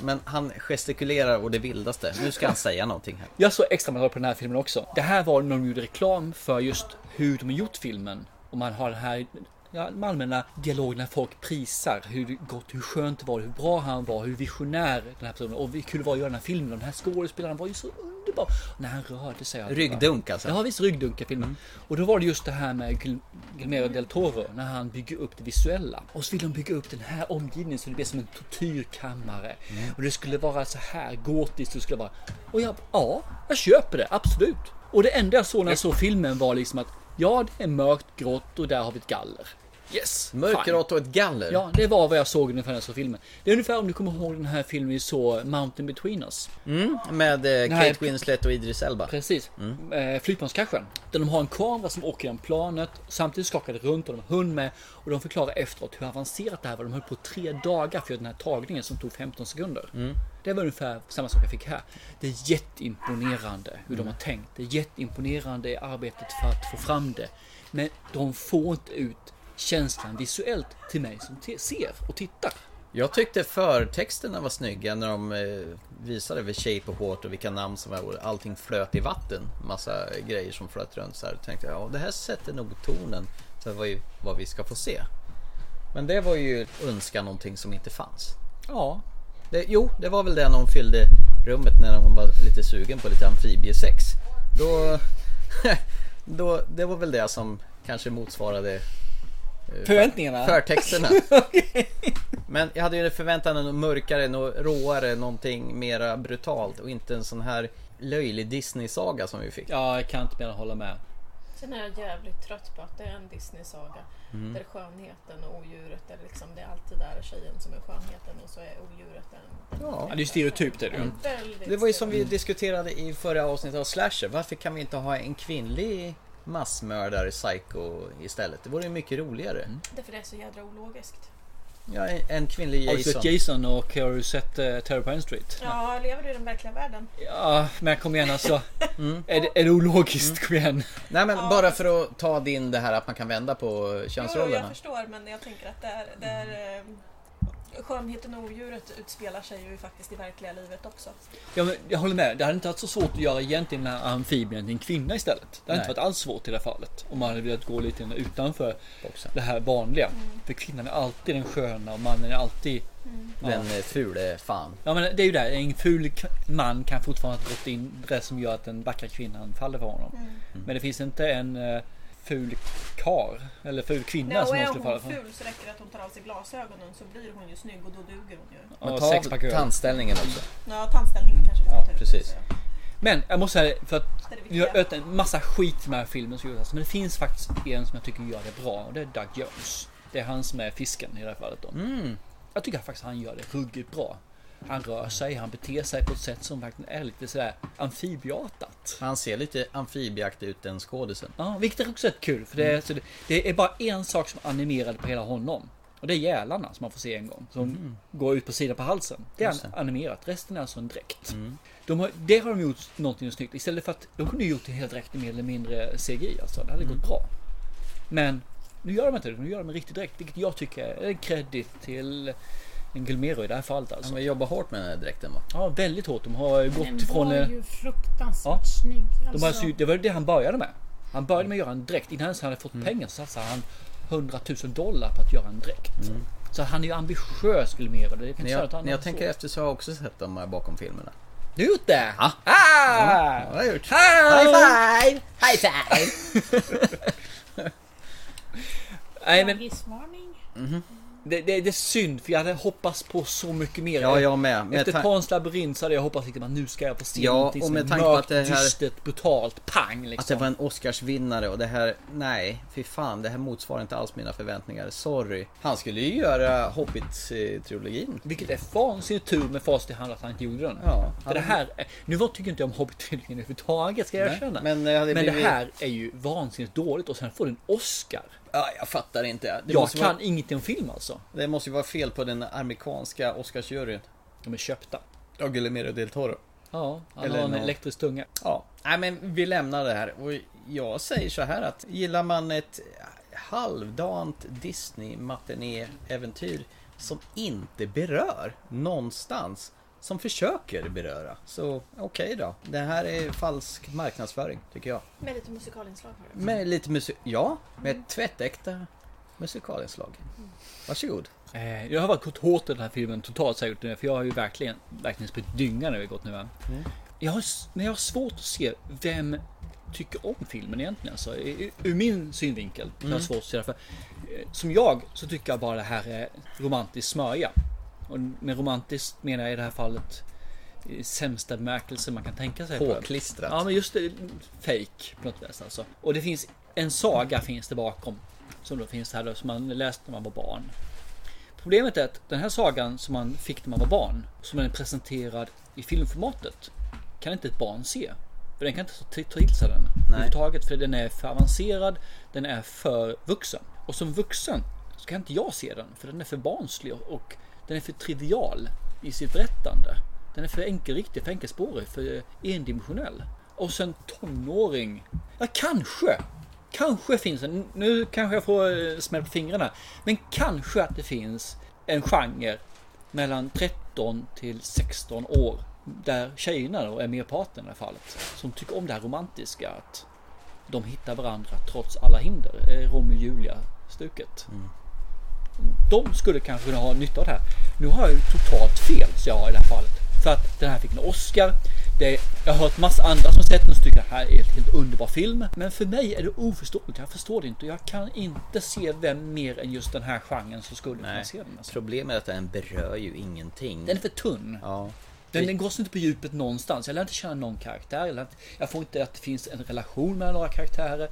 [SPEAKER 1] Men han gestikulerar och det vildaste. Nu ska han säga någonting här.
[SPEAKER 2] Jag såg extra material på den här filmen också. Det här var när de gjorde reklam för just hur de har gjort filmen. Och man har den här ja, de allmänna dialogen när folk prisar hur gott, hur skönt det var, hur bra han var, hur visionär den här personen och hur kul det var att göra den här filmen. Den här skådespelaren var ju så underbar. Och när han rörde sig.
[SPEAKER 1] Ryggdunk, alltså.
[SPEAKER 2] Ja visst, ryggdunk i filmen. Och då var det just det här med Guil- Guillermo del Toro när han bygger upp det visuella. Och så vill de bygga upp den här omgivningen så det blir som en tortyrkammare.
[SPEAKER 1] Mm.
[SPEAKER 2] Och det skulle vara så här gotiskt. och Det skulle vara... Och jag, ja, jag köper det, absolut. Och det enda jag såg när jag såg filmen var liksom att ja, det är mörkt, grått och där har vi ett galler. Yes!
[SPEAKER 1] Mörkerrått och ett galler.
[SPEAKER 2] Ja, det var vad jag såg ungefär när jag såg filmen. Det är ungefär om du kommer ihåg den här filmen vi såg, Mountain Between Us.
[SPEAKER 1] Mm, med eh,
[SPEAKER 2] Nej,
[SPEAKER 1] Kate Winslet och Idris Elba.
[SPEAKER 2] Precis. eh, flygplanskraschen. Där de har en kamera som åker genom planet, samtidigt skakar det runt och de har hund med. Och de förklarar efteråt hur avancerat det här var. De höll på tre dagar för att göra den här tagningen som tog 15 sekunder.
[SPEAKER 1] Mm.
[SPEAKER 2] Det var ungefär samma sak jag fick här. Det är jätteimponerande hur de har tänkt. Det är jätteimponerande i arbetet för att få fram det. Men de får inte ut känslan visuellt till mig som te- ser och tittar.
[SPEAKER 1] Jag tyckte förtexterna var snygga när de eh, visade The Shape of Water, vilka namn som var och allting flöt i vatten. Massa eh, grejer som flöt runt så här. Tänkte jag, ja det här sätter nog tonen för vad, vad vi ska få se. Men det var ju önska någonting som inte fanns.
[SPEAKER 2] Ja.
[SPEAKER 1] Det, jo, det var väl det när hon fyllde rummet när hon var lite sugen på lite amfibiesex. Då, då, det var väl det som kanske motsvarade eh,
[SPEAKER 2] Förväntningarna?
[SPEAKER 1] Förtexterna. Men jag hade ju förväntat mig något mörkare, något råare, någonting mera brutalt och inte en sån här löjlig Disney-saga som vi fick.
[SPEAKER 2] Ja, jag kan inte mer än hålla med.
[SPEAKER 3] Sen är jag jävligt trött på att det är en Disney-saga.
[SPEAKER 1] Mm.
[SPEAKER 3] Där skönheten och odjuret är liksom, det är alltid där tjejen som är skönheten och så är odjuret en...
[SPEAKER 1] Ja.
[SPEAKER 2] det är ju stereotypt det är det
[SPEAKER 3] Mm.
[SPEAKER 2] ju.
[SPEAKER 3] Väldigt
[SPEAKER 1] Det var ju som vi diskuterade i förra avsnittet av Slasher. Varför kan vi inte ha en kvinnlig massmördare, psycho istället? Det vore ju mycket roligare.
[SPEAKER 2] Mm.
[SPEAKER 3] Därför det är så jädra ologiskt.
[SPEAKER 1] Ja, en, en kvinnlig
[SPEAKER 2] Har du
[SPEAKER 1] Jason.
[SPEAKER 2] sett Jason och har du sett uh, Terror på Elm Street?
[SPEAKER 3] Ja, lever du i den verkliga världen?
[SPEAKER 2] Ja, men kom igen alltså.
[SPEAKER 1] Mm.
[SPEAKER 2] Är, det, är det ologiskt? Kom igen.
[SPEAKER 1] Nej men bara för att ta din det här att man kan vända på
[SPEAKER 3] Jo, jag
[SPEAKER 1] könsrollerna.
[SPEAKER 3] förstår men jag tänker att där, där eh, skönheten och odjuret utspelar sig ju faktiskt i verkliga livet också.
[SPEAKER 2] Ja, men jag håller med. Det hade inte varit så svårt att göra egentligen den här amfibien till en kvinna istället. Det hade inte
[SPEAKER 1] Nej.
[SPEAKER 2] varit alls svårt i det här fallet. Om man hade velat gå lite utanför det här vanliga.
[SPEAKER 3] Mm.
[SPEAKER 2] För kvinnan är alltid den sköna och mannen är alltid... Ja.
[SPEAKER 1] Den eh, fule fan.
[SPEAKER 2] Ja men det är ju det. En ful k- man kan fortfarande ha gått in det som gör att den vackra kvinnan faller för honom.
[SPEAKER 3] Mm.
[SPEAKER 1] Mm.
[SPEAKER 2] Men det finns inte en eh, ful kar eller ful kvinna
[SPEAKER 3] Nej, och
[SPEAKER 2] som hon
[SPEAKER 3] är
[SPEAKER 2] skulle falla
[SPEAKER 3] hon
[SPEAKER 2] för.
[SPEAKER 3] ful så räcker det att hon tar av sig glasögonen så blir hon ju snygg och då duger hon ju.
[SPEAKER 2] Ja,
[SPEAKER 1] Men ta av
[SPEAKER 2] sexpack öl.
[SPEAKER 1] tandställningen också.
[SPEAKER 3] Ja, tandställningen kanske vi ska
[SPEAKER 2] Ja,
[SPEAKER 3] ta ut.
[SPEAKER 1] Precis.
[SPEAKER 2] Men jag måste säga det, för att vi har ött en massa skit med den här filmen som gjordes. Men det finns faktiskt en som jag tycker gör det bra och det är Doug Jones. Det är han som är fisken i det här fallet då. Jag tycker faktiskt han gör det ruggigt bra. Han rör sig, han beter sig på ett sätt som verkligen är lite sådär amfibieartat.
[SPEAKER 1] Han ser lite amfibieaktig ut den skådisen.
[SPEAKER 2] Ja, vilket är också rätt kul. För det, är- så det, det är bara en sak som animerad på hela honom. Och det är gälarna som man får se en gång. Som
[SPEAKER 1] Mhm.
[SPEAKER 2] går ut på sidan på halsen. Mm. Det är
[SPEAKER 1] Just det.
[SPEAKER 2] animerat. Resten är alltså en dräkt. De har, det har de gjort någonting snyggt. Istället för att de kunde ju gjort det helt direkt mer eller mindre CGI. Alltså. Det hade gått bra. Men nu gör de inte det. Nu gör de en riktig dräkt. Vilket jag tycker är en credit till en Gulmero i det här fallet. Alltså.
[SPEAKER 1] Men jobbar hårt med den här dräkten va?
[SPEAKER 2] Ja, väldigt hårt. De har
[SPEAKER 8] Den
[SPEAKER 2] gått ifrån...
[SPEAKER 8] var
[SPEAKER 2] eh,
[SPEAKER 8] ju fruktansvärt
[SPEAKER 2] Ja.
[SPEAKER 8] snygg.
[SPEAKER 2] De har
[SPEAKER 8] alltså.
[SPEAKER 2] sytt, det var det han började med. Han började
[SPEAKER 1] Mm.
[SPEAKER 2] med att göra en dräkt. Innan ens han hade fått pengar så satsade han 100 000 dollar på att göra en dräkt. Så han är ju ambitiös Gulmero. Det kan inte
[SPEAKER 1] Mm. När
[SPEAKER 2] säga något
[SPEAKER 1] jag,
[SPEAKER 2] annat
[SPEAKER 1] när jag
[SPEAKER 2] än
[SPEAKER 1] tänker
[SPEAKER 2] så.
[SPEAKER 1] efter så har jag också sett de här bakom filmerna.
[SPEAKER 2] Du har gjort det?
[SPEAKER 1] Ja.
[SPEAKER 2] Ah!
[SPEAKER 1] Ja, det har jag gjort.
[SPEAKER 2] High
[SPEAKER 1] five! High five!
[SPEAKER 2] Nej, men
[SPEAKER 8] Dagisvarning.
[SPEAKER 2] det, det, det är synd för jag hade hoppats på så mycket mer.
[SPEAKER 1] Ja, jag med. Med
[SPEAKER 2] Efter
[SPEAKER 1] tan-
[SPEAKER 2] Pans labyrint så hade jag hoppats liksom att nu ska jag få se
[SPEAKER 1] Ja,
[SPEAKER 2] någonting
[SPEAKER 1] och
[SPEAKER 2] som
[SPEAKER 1] med
[SPEAKER 2] är
[SPEAKER 1] tanke på
[SPEAKER 2] mörkt,
[SPEAKER 1] att det här-
[SPEAKER 2] dystert, brutalt, pang liksom.
[SPEAKER 1] Att det var en Oscarsvinnare och det här, nej, fy fan, det här motsvarar inte alls mina förväntningar. Sorry. Han skulle ju göra Hobbit-trilogin.
[SPEAKER 2] Vilket är vansinnigt tur med facit i hand att han inte gjorde den.
[SPEAKER 1] Ja,
[SPEAKER 2] För det här är, nu var- tycker inte jag om Hobbit-trilogin överhuvudtaget ska jag
[SPEAKER 1] Nej,
[SPEAKER 2] erkänna.
[SPEAKER 1] men det hade blivit-
[SPEAKER 2] det här är ju vansinnigt dåligt och sen får den Oscar.
[SPEAKER 1] Ja, jag fattar inte. Det
[SPEAKER 2] jag
[SPEAKER 1] måste
[SPEAKER 2] kan
[SPEAKER 1] vara-
[SPEAKER 2] ingenting om film alltså.
[SPEAKER 1] Det måste ju vara fel på den amerikanska Oscarsjuryn.
[SPEAKER 2] De är köpta.
[SPEAKER 1] Ja, Guillermo del Toro.
[SPEAKER 2] Ja, han
[SPEAKER 1] Eller
[SPEAKER 2] har en
[SPEAKER 1] någon-
[SPEAKER 2] elektrisk tunga.
[SPEAKER 1] Ja, nej men vi lämnar det här. Och jag säger så här att gillar man ett halvdant Disney-matiné-äventyr som inte berör någonstans, som försöker beröra. Så okej då. Det här är falsk marknadsföring, tycker jag.
[SPEAKER 3] Med lite musikalinslag har du.
[SPEAKER 1] Med lite musik... Ja, med ett tvättäkta musikalinslag. Varsågod.
[SPEAKER 2] Eh, Jag har varit gått hårt i den här filmen totalt så har jag gjort nu för jag har ju verkligen, verkligen spritt dynga när vi har gått nu. va? Jag har, s- men jag har svårt att se vem tycker om filmen egentligen. Alltså, I- i- ur min synvinkel. Jag har
[SPEAKER 1] Mm.
[SPEAKER 2] svårt att se det. För, eh, som jag så tycker jag bara det här är romantisk smörja. Och med romantiskt menar jag i det här fallet i sämsta bemärkelse man kan tänka sig.
[SPEAKER 1] Påklistrat.
[SPEAKER 2] Ja men just det, fake på något vis alltså. Och det finns en saga finns det bakom. Som då finns här då, som man läste när man var barn. Problemet är att den här sagan som man fick när man var barn, som den är presenterad i filmformatet, kan inte ett barn se. För den kan inte ta till- ta till sig den överhuvudtaget för den är för avancerad, den är för vuxen. Och som vuxen så kan inte jag se den för den är för barnslig och den är för trivial i sitt berättande. Den är för enkelriktig, för enkelspårig, för endimensionell. Och sen tonåring. Ja, kanske Kanske finns en, nu kanske jag får eh, smäll på fingrarna, men kanske att det finns en genre mellan 13 till 16 år där tjejerna då är merparten i det här fallet som tycker om det här romantiska att de hittar varandra trots alla hinder. eh, Romeo och Julia stuket. De skulle kanske kunna ha nytta av det här. Nu har jag ju totalt fel så jag har i det här fallet. För att den här fick en Oscar. Det, jag har hört massa andra som sett den och tycker att det här är en helt underbar film. Men för mig är det oförståeligt. Jag förstår det inte. Jag kan inte se vem mer än just den här genren som skulle kunna se den. Alltså.
[SPEAKER 1] Problemet är att den berör ju ingenting.
[SPEAKER 2] Den är för tunn.
[SPEAKER 1] Ja.
[SPEAKER 2] Den, den går sig inte på djupet någonstans. Jag lär inte känna någon karaktär. Jag, lär inte, jag får inte att det finns en relation mellan några karaktärer.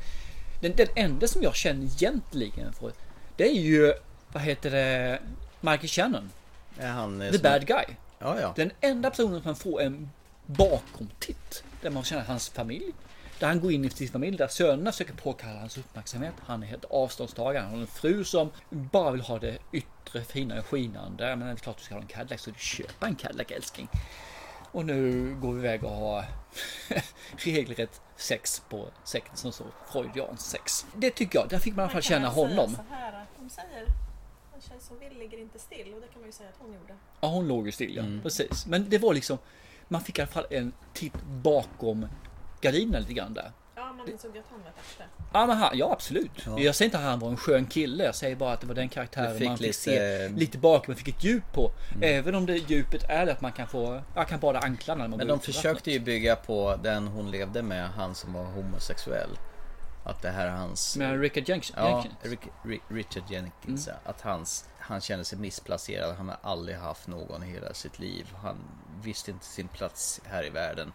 [SPEAKER 2] Den, den enda som jag känner egentligen för, det är ju, vad heter det, Michael Shannon.
[SPEAKER 1] Är han, eh,
[SPEAKER 2] The
[SPEAKER 1] som-
[SPEAKER 2] bad guy.
[SPEAKER 1] Ja, ja.
[SPEAKER 2] Den enda personen som får en bakomtitt. Där man känner hans familj. Där han går in i sin familj, där sönerna försöker påkalla hans uppmärksamhet. Han är helt avståndstagande. Han har en fru som bara vill ha det yttre fina och skinande. Men det är klart du ska ha en Cadillac, så du köper en Cadillac älskling. Och nu går vi iväg och har regelrätt sex på sekten som står freudianskt sex. Det tycker jag, där fick man i alla fall känna
[SPEAKER 3] alltså
[SPEAKER 2] honom.
[SPEAKER 3] Så här att de säger en tjej som vill ligger inte still och det kan man ju säga att hon gjorde.
[SPEAKER 2] Ja, hon låg ju still, ja.
[SPEAKER 1] Mm.
[SPEAKER 2] Precis. Men det var liksom... Man fick i alla fall en titt bakom gardinerna lite grann där.
[SPEAKER 3] Ja, man insåg ju att han var ett äkta.
[SPEAKER 2] Ja, men han, ja absolut. Jag säger inte att han var en skön kille. Jag säger bara att det var den karaktären
[SPEAKER 1] Du fick
[SPEAKER 2] man fick
[SPEAKER 1] lite- Mm.
[SPEAKER 2] se lite bakom. Man fick ett djup på. Även om det djupet är att man kan få... Jag kan bada anklarna. när man
[SPEAKER 1] Men
[SPEAKER 2] går
[SPEAKER 1] de
[SPEAKER 2] ut i
[SPEAKER 1] försökte ju bygga på den hon levde med, han som var homosexuell. Att det här är hans...
[SPEAKER 2] Med Richard Jenks-
[SPEAKER 1] Ja,
[SPEAKER 2] Jenkins. Mm.
[SPEAKER 1] Rick- Ri- Richard Jenkins. ja. Att hans, han kände sig missplacerad. Han har aldrig haft någon i hela sitt liv. Han visste inte sin plats här i världen.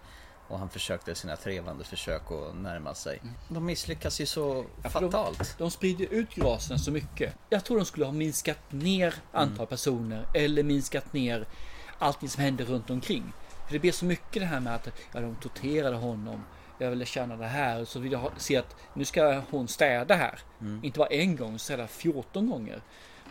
[SPEAKER 1] Och han försökte sina trevande försök att närma sig.
[SPEAKER 2] Mm.
[SPEAKER 1] De misslyckas ju så fatalt.
[SPEAKER 2] De, de sprider ut grasen
[SPEAKER 1] Mm.
[SPEAKER 2] så mycket. Jag tror de skulle ha minskat ner antal personer eller minskat ner allting som hände runt omkring. För det blir så mycket det här med att ja, de torterade honom. Jag ville känna det här. Så vill jag ha, se att nu ska hon städa här.
[SPEAKER 1] Mm.
[SPEAKER 2] Inte bara en gång, städa 14 gånger.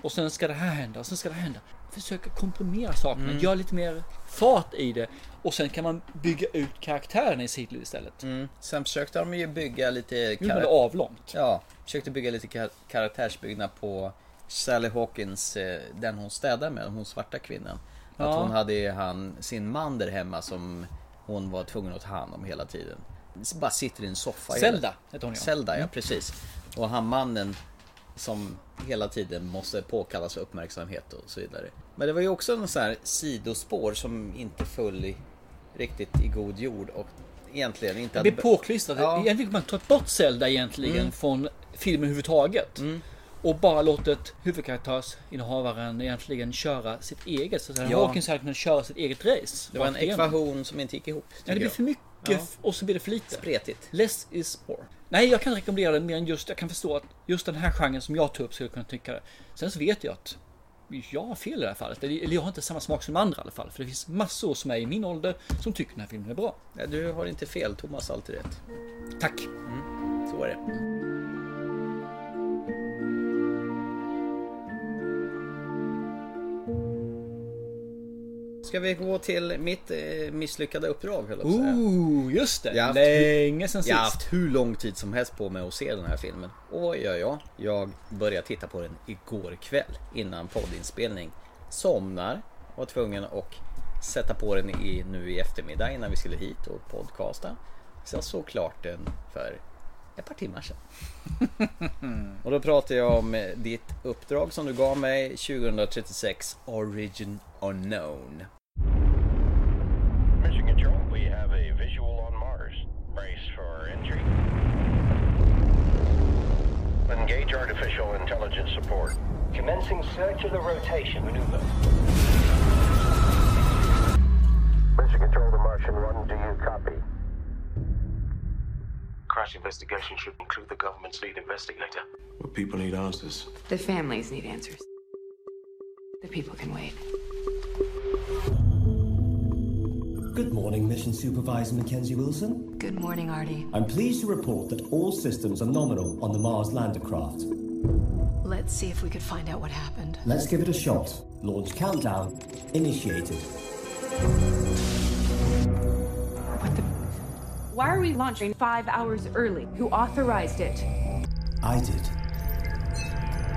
[SPEAKER 2] Och sen ska det här hända, och sen ska det hända. Försöka komprimera sakerna,
[SPEAKER 1] Mm.
[SPEAKER 2] gör lite mer fart i det. Och sen kan man bygga ut karaktären i sitt liv istället.
[SPEAKER 1] Mm. Sen försökte de ju bygga lite...
[SPEAKER 2] Gjorde man det avlångt?
[SPEAKER 1] Ja, försökte bygga lite kar- karaktärsbyggnad på Sally Hawkins, eh, den hon städar med, hon svarta kvinnan. Att
[SPEAKER 2] Ja.
[SPEAKER 1] hon hade ju han, sin man där hemma som hon var tvungen att ta hand om hela tiden. S- Bara sitter i en soffa. hela-
[SPEAKER 2] Zelda heter hon, ja.
[SPEAKER 1] Zelda, ja
[SPEAKER 2] Mm.
[SPEAKER 1] precis. Och han mannen som hela tiden måste påkallas uppmärksamhet och så vidare. Men det var ju också en sån här sidospår som inte föll i, riktigt i god jord och egentligen inte
[SPEAKER 2] Det blir
[SPEAKER 1] hade-
[SPEAKER 2] påklistrat. Egentligen kunde man tagit bort Zelda egentligen
[SPEAKER 1] Mm.
[SPEAKER 2] från filmen överhuvudtaget. Och bara låtit huvudkaraktärsinnehavaren egentligen köra sitt eget. Så att
[SPEAKER 1] Ja.
[SPEAKER 2] Hawkins hade kunnat köra sitt eget race.
[SPEAKER 1] Det var en
[SPEAKER 2] Rakt igenom.
[SPEAKER 1] ekvation som inte gick ihop.
[SPEAKER 2] Ja, det
[SPEAKER 1] tycker
[SPEAKER 2] blir
[SPEAKER 1] jag.
[SPEAKER 2] för mycket
[SPEAKER 1] Ja.
[SPEAKER 2] f- och så blir det för lite.
[SPEAKER 1] Spretigt.
[SPEAKER 2] Less is more. Nej, jag kan inte rekommendera det mer än just, jag kan förstå att just den här genren som jag tog upp skulle jag kunna tycka det. Sen så vet jag att jag har fel i det här fallet. Eller eller jag har inte samma smak som andra i alla fall. För det finns massor som är i min ålder som tycker den här filmen är bra.
[SPEAKER 1] Nej, du har inte fel. Thomas har alltid rätt.
[SPEAKER 2] Tack.
[SPEAKER 1] Så är det. Ska vi gå till mitt eh, misslyckade uppdrag höll jag på att säga.
[SPEAKER 2] Ooh, just det.
[SPEAKER 1] Jag har haft-
[SPEAKER 2] Länge sedan
[SPEAKER 1] Jag har
[SPEAKER 2] sist.
[SPEAKER 1] haft hur lång tid som helst på mig att se den här filmen. Och vad gör jag? Jag börjar titta på den igår kväll innan poddinspelning. Somnar, var tvungen och sätta på den i, nu i eftermiddag innan vi skulle hit och podcasta. Så jag såg klart den för ett par timmar sedan. Och då pratar jag om eh, ditt uppdrag som du gav mig 2036 Origin Unknown.
[SPEAKER 5] Mission Control, we have a visual on Mars. Brace for entry. Engage artificial intelligence support. Commencing circular rotation maneuver. Mission Control to Martian 1, do you copy?
[SPEAKER 9] Crash investigation should include the government's lead investigator.
[SPEAKER 5] But people need answers.
[SPEAKER 9] The families need answers. The people can wait.
[SPEAKER 10] Good morning, Mission Supervisor Mackenzie Wilson.
[SPEAKER 14] Good morning, Artie.
[SPEAKER 10] I'm pleased to report that all systems are nominal on the Mars lander craft.
[SPEAKER 14] Let's see if we could find out what happened.
[SPEAKER 10] Let's give it a shot. Launch countdown initiated.
[SPEAKER 24] Why are we launching five hours early? Who authorized it?
[SPEAKER 10] I did.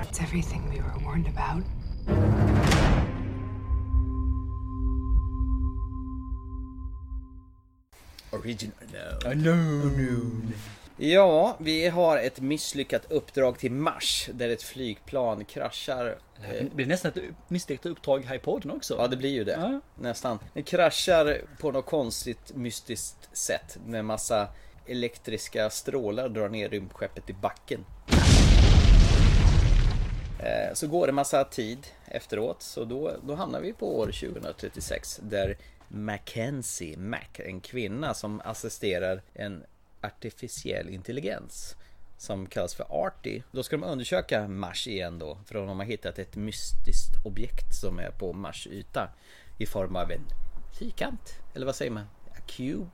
[SPEAKER 24] It's everything we were warned about.
[SPEAKER 1] Origin Unknown.
[SPEAKER 2] Unknown.
[SPEAKER 1] Ja, vi har ett misslyckat uppdrag till Mars där ett flygplan kraschar. eh,
[SPEAKER 2] Det blir nästan ett misslyckat uppdrag här i podden också.
[SPEAKER 1] Ja, det blir ju det. Nästan. Det kraschar på något konstigt mystiskt sätt när massa elektriska strålar drar ner rymdskeppet i backen. Eh, Så går det massa tid efteråt, så då, då hamnar vi på år 2036 där Mackenzie Mac, en kvinna som assisterar en artificiell intelligens som kallas för Artie. Då ska de undersöka Mars igen då, för de har hittat ett mystiskt objekt som är på Mars yta i form av en fyrkant, eller vad säger man? A cube?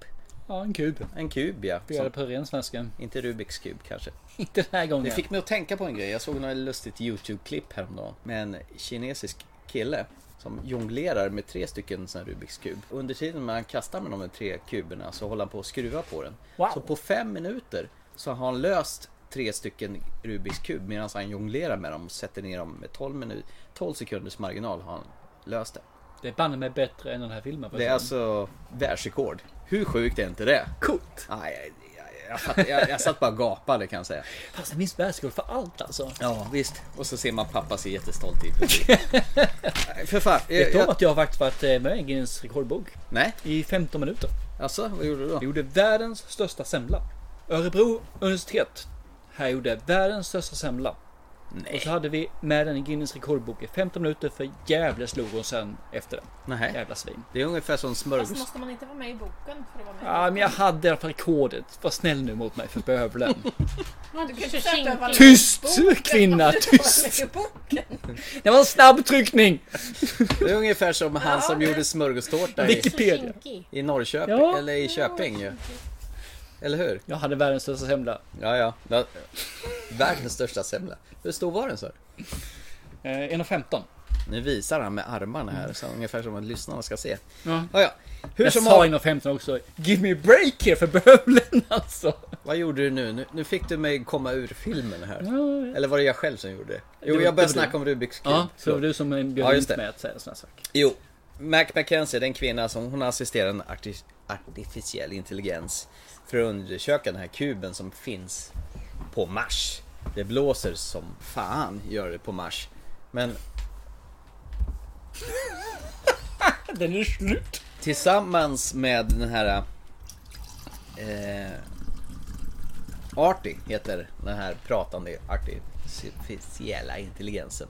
[SPEAKER 2] Ja, en kub.
[SPEAKER 1] En kub ja.
[SPEAKER 2] Vi gör det på ren svenska.
[SPEAKER 1] Inte Rubiks kub kanske.
[SPEAKER 2] Inte den här gången.
[SPEAKER 1] Det fick mig att tänka på en grej. Jag såg något lustigt YouTube-klipp häromdagen med en kinesisk kille som jonglerar med tre stycken sån här Rubiks kub. Under tiden man kastar med de här tre kuberna så håller han på att skruva på den. Så på fem minuter så har han löst tre stycken Rubiks kub medan han jonglerar med dem och sätter ner dem med 12, minut, 12 sekunders marginal har han löst det.
[SPEAKER 2] Det är banne mig bättre än den här filmen.
[SPEAKER 1] Det är alltså världsrekord. Hur sjukt är inte det? Coolt! Ah, jag, jag, jag, fatt- jag, jag satt bara och gapade kan jag säga.
[SPEAKER 2] Fast det minns världsrekord för allt alltså.
[SPEAKER 1] Ja, visst. Och så ser man pappa se jättestolt ut. Nej, för fan.
[SPEAKER 2] Vet du om
[SPEAKER 1] jag-
[SPEAKER 2] att jag har faktiskt varit eh, med i Guinness rekordbok?
[SPEAKER 1] Nej.
[SPEAKER 2] I 15 minuter.
[SPEAKER 1] Alltså, vad gjorde du då?
[SPEAKER 2] Jag gjorde världens största semla. Örebro universitet här gjorde världens största semla. Och så hade vi med den i Guinness rekordbok i 15 minuter för jävla slog hon sen efter den.
[SPEAKER 1] Nej.
[SPEAKER 2] Jävla svin.
[SPEAKER 1] Det är ungefär som smörgås...
[SPEAKER 8] Fast Alltså, måste man inte vara med i boken för att vara med?
[SPEAKER 2] Ja, men jag hade i alla fall kodet. Var snäll nu mot mig för jag behöver den.
[SPEAKER 8] Ja, du kan ju försöka öva lite.
[SPEAKER 2] Tyst kvinna, tyst! Det var en snabb tryckning!
[SPEAKER 1] Det är ungefär som han som gjorde smörgåstårta i,
[SPEAKER 2] Wikipedia.
[SPEAKER 1] i Norrköping, eller i Köping ju. Eller hur?
[SPEAKER 2] Jag hade världens största semla.
[SPEAKER 1] Ja, ja. Ja. Världens största semla. Hur stor var den så?
[SPEAKER 2] Eh, 1,15.
[SPEAKER 1] Nu visar han med armarna här, så ungefär som att lyssnarna ska se.
[SPEAKER 2] Ja.
[SPEAKER 1] Ja, ja. Hur
[SPEAKER 2] jag
[SPEAKER 1] som
[SPEAKER 2] sa
[SPEAKER 1] av-
[SPEAKER 2] 1,15 också. Give me a break here för bövlen alltså.
[SPEAKER 1] Vad gjorde du nu? nu? Nu fick du mig komma ur filmen här.
[SPEAKER 2] Ja, ja.
[SPEAKER 1] Eller var det jag själv som gjorde det? Jo,
[SPEAKER 2] var-
[SPEAKER 1] jag
[SPEAKER 2] det var
[SPEAKER 1] började snacka
[SPEAKER 2] du.
[SPEAKER 1] om Rubiks kub.
[SPEAKER 2] Ja, så det var
[SPEAKER 1] Förlåt.
[SPEAKER 2] du som bjöd
[SPEAKER 1] Ja,
[SPEAKER 2] in
[SPEAKER 1] just det.
[SPEAKER 2] mig att säga sådana saker.
[SPEAKER 1] Jo, Mac McKenzie, den kvinna som hon assisterar en arti- artificiell intelligens för att undersöka den här kuben som finns på Mars. Det blåser som fan gör det på Mars. Men
[SPEAKER 2] Den är slut.
[SPEAKER 1] tillsammans med den här eh, Arti heter den här pratande artificiella intelligensen.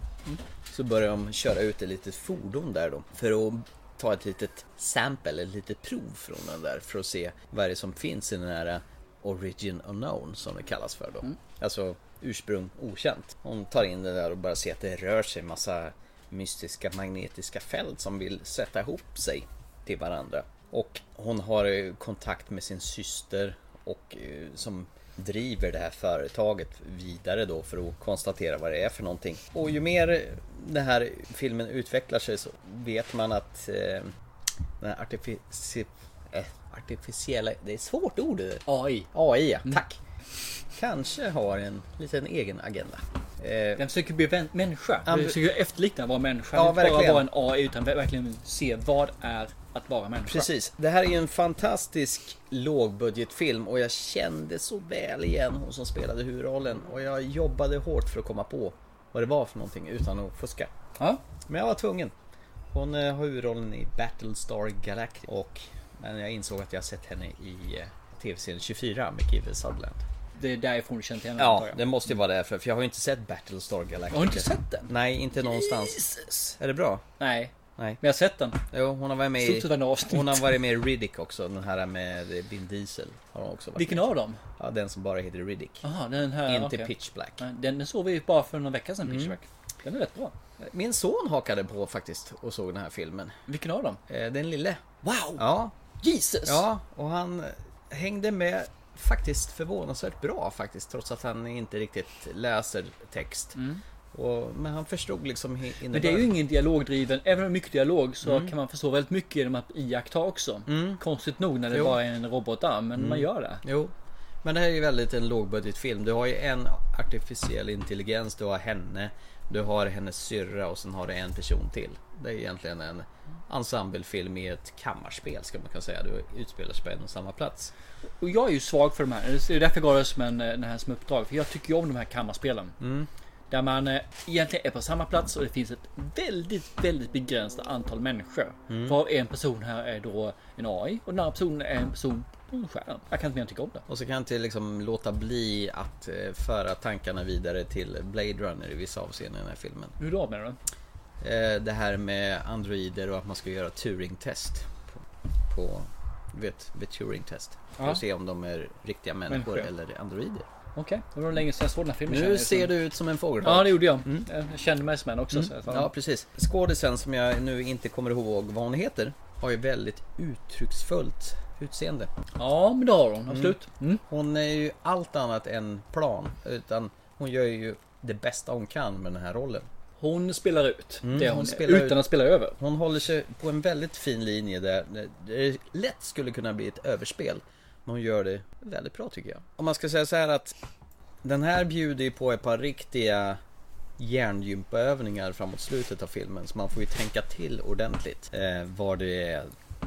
[SPEAKER 1] Så börjar de köra ut ett litet fordon där då för att ta ett litet sample, ett litet prov från den där för att se vad är det som finns i den här origin unknown som det kallas för då. Alltså ursprung okänt. Hon tar in det där och bara ser att det rör sig en massa mystiska magnetiska fält som vill sätta ihop sig till varandra. Och hon har eh, kontakt med sin syster och eh, som driver det här företaget vidare då för att konstatera vad det är för någonting. Och ju mer den här filmen utvecklar sig så vet man att eh, den här artifici- eh, artificiella, det är ett svårt ord det där.
[SPEAKER 2] AI.
[SPEAKER 1] AI ja, tack. Kanske har en liten egen agenda. Eh,
[SPEAKER 2] Den försöker bli vän- människa.
[SPEAKER 1] Ja,
[SPEAKER 2] Den
[SPEAKER 1] men-
[SPEAKER 2] försöker efterlikna vara människa.
[SPEAKER 1] Ja,
[SPEAKER 2] Inte bara
[SPEAKER 1] verkligen.
[SPEAKER 2] vara en AI utan verkligen se vad är att vara människa.
[SPEAKER 1] Precis. Det här är ju en fantastisk lågbudgetfilm och jag kände så väl igen hon som spelade huvudrollen och jag jobbade hårt för att komma på vad det var för någonting utan att fuska.
[SPEAKER 2] Ja.
[SPEAKER 1] Men jag var tvungen. Hon eh, har huvudrollen i Battlestar Galactica och men jag insåg att jag sett henne i eh, tv-serien 24 med Kiefer Sutherland.
[SPEAKER 2] Det är därifrån du känner till henne antar
[SPEAKER 1] Ja,
[SPEAKER 2] jag.
[SPEAKER 1] det måste ju vara därför för jag har ju inte sett Battlestar Galactica.
[SPEAKER 2] Har du inte sett den?
[SPEAKER 1] Nej, inte någonstans. Är det bra?
[SPEAKER 2] Nej.
[SPEAKER 1] Nej.
[SPEAKER 2] Men jag har sett den.
[SPEAKER 1] Jo, hon har varit med
[SPEAKER 2] Stort sett varje
[SPEAKER 1] i,
[SPEAKER 2] avsnitt.
[SPEAKER 1] hon har varit med i Riddick också, den här med Vin Diesel. Har hon också varit
[SPEAKER 2] Vilken
[SPEAKER 1] med.
[SPEAKER 2] av dem?
[SPEAKER 1] Ja, den som bara heter Riddick.
[SPEAKER 2] Jaha, den här.
[SPEAKER 1] Inte
[SPEAKER 2] okej.
[SPEAKER 1] Pitch Mm. Black.
[SPEAKER 2] Nej, Den, den såg vi ju bara för någon vecka sedan, Pitch Black. Den är rätt bra.
[SPEAKER 1] Min son hakade på faktiskt och såg den här filmen.
[SPEAKER 2] Vilken av dem?
[SPEAKER 1] Eh, Den lille.
[SPEAKER 2] Wow!
[SPEAKER 1] Ja,
[SPEAKER 2] Jesus!
[SPEAKER 1] ja, och han hängde med faktiskt förvånansvärt bra faktiskt, trots att han inte riktigt läser text. Och, men han förstod liksom he-
[SPEAKER 2] Mm. Men det är
[SPEAKER 1] innebörden.
[SPEAKER 2] ju ingen dialogdriven, även om det är mycket dialog så
[SPEAKER 1] Mm.
[SPEAKER 2] kan man förstå väldigt mycket genom att iaktta också. Konstigt nog när det
[SPEAKER 1] Jo. Mm.
[SPEAKER 2] bara är en robotarm, men man gör det.
[SPEAKER 1] Jo, men det här är ju väldigt en lågbudgetfilm. Du har ju en artificiell intelligens, du har henne, du har hennes syrra och sen har du en person till. Det är egentligen en ensemblefilm i ett kammarspel ska man kunna säga. Du utspelar sig på en och samma plats.
[SPEAKER 2] Och jag är ju svag för de här. Det är därför jag gav det som en, eh, den här som uppdrag. För jag tycker ju om de här kammarspelen.
[SPEAKER 1] Mm.
[SPEAKER 2] Där man eh, egentligen är på samma plats och det finns ett väldigt, väldigt begränsat antal människor.
[SPEAKER 1] Mm.
[SPEAKER 2] Var en person här är då en AI och den andra personen är en person på en skärm. Jag kan inte mer än tycka om det.
[SPEAKER 1] Och så kan jag inte liksom låta bli att eh, föra tankarna vidare till Blade Runner i vissa avseenden i den här filmen.
[SPEAKER 2] Hur då menar du?
[SPEAKER 1] Eh, Det här med androider och att man ska göra Turing-test. På, på du vet, vet Turing-test. För
[SPEAKER 2] Ja.
[SPEAKER 1] att se om de är riktiga människor
[SPEAKER 2] Människor.
[SPEAKER 1] eller androider.
[SPEAKER 2] Okej, det var länge sedan jag såg den här filmen. känner
[SPEAKER 1] Nu
[SPEAKER 2] jag.
[SPEAKER 1] ser du ut som en fågelholk.
[SPEAKER 2] Ja, det gjorde jag. Jag kände mig som en också. Så jag
[SPEAKER 1] Ja,
[SPEAKER 2] fan.
[SPEAKER 1] precis. Skådisen som jag nu inte kommer ihåg vad hon heter har ju väldigt uttrycksfullt utseende.
[SPEAKER 2] ja, men det har hon. Absolut.
[SPEAKER 1] Hon är ju allt annat än plan, utan hon gör ju det bästa hon kan med den här rollen.
[SPEAKER 2] Hon spelar ut det
[SPEAKER 1] Mm. hon
[SPEAKER 2] hon
[SPEAKER 1] spelar
[SPEAKER 2] utan
[SPEAKER 1] ut.
[SPEAKER 2] att spela över.
[SPEAKER 1] Hon håller sig på en väldigt fin linje där det lätt skulle kunna bli ett överspel. Men hon gör det väldigt bra tycker jag. Om man ska säga så här att den här bjuder ju på ett par riktiga hjärngympaövningar framåt slutet av filmen. Så man får ju tänka till ordentligt eh, vad det är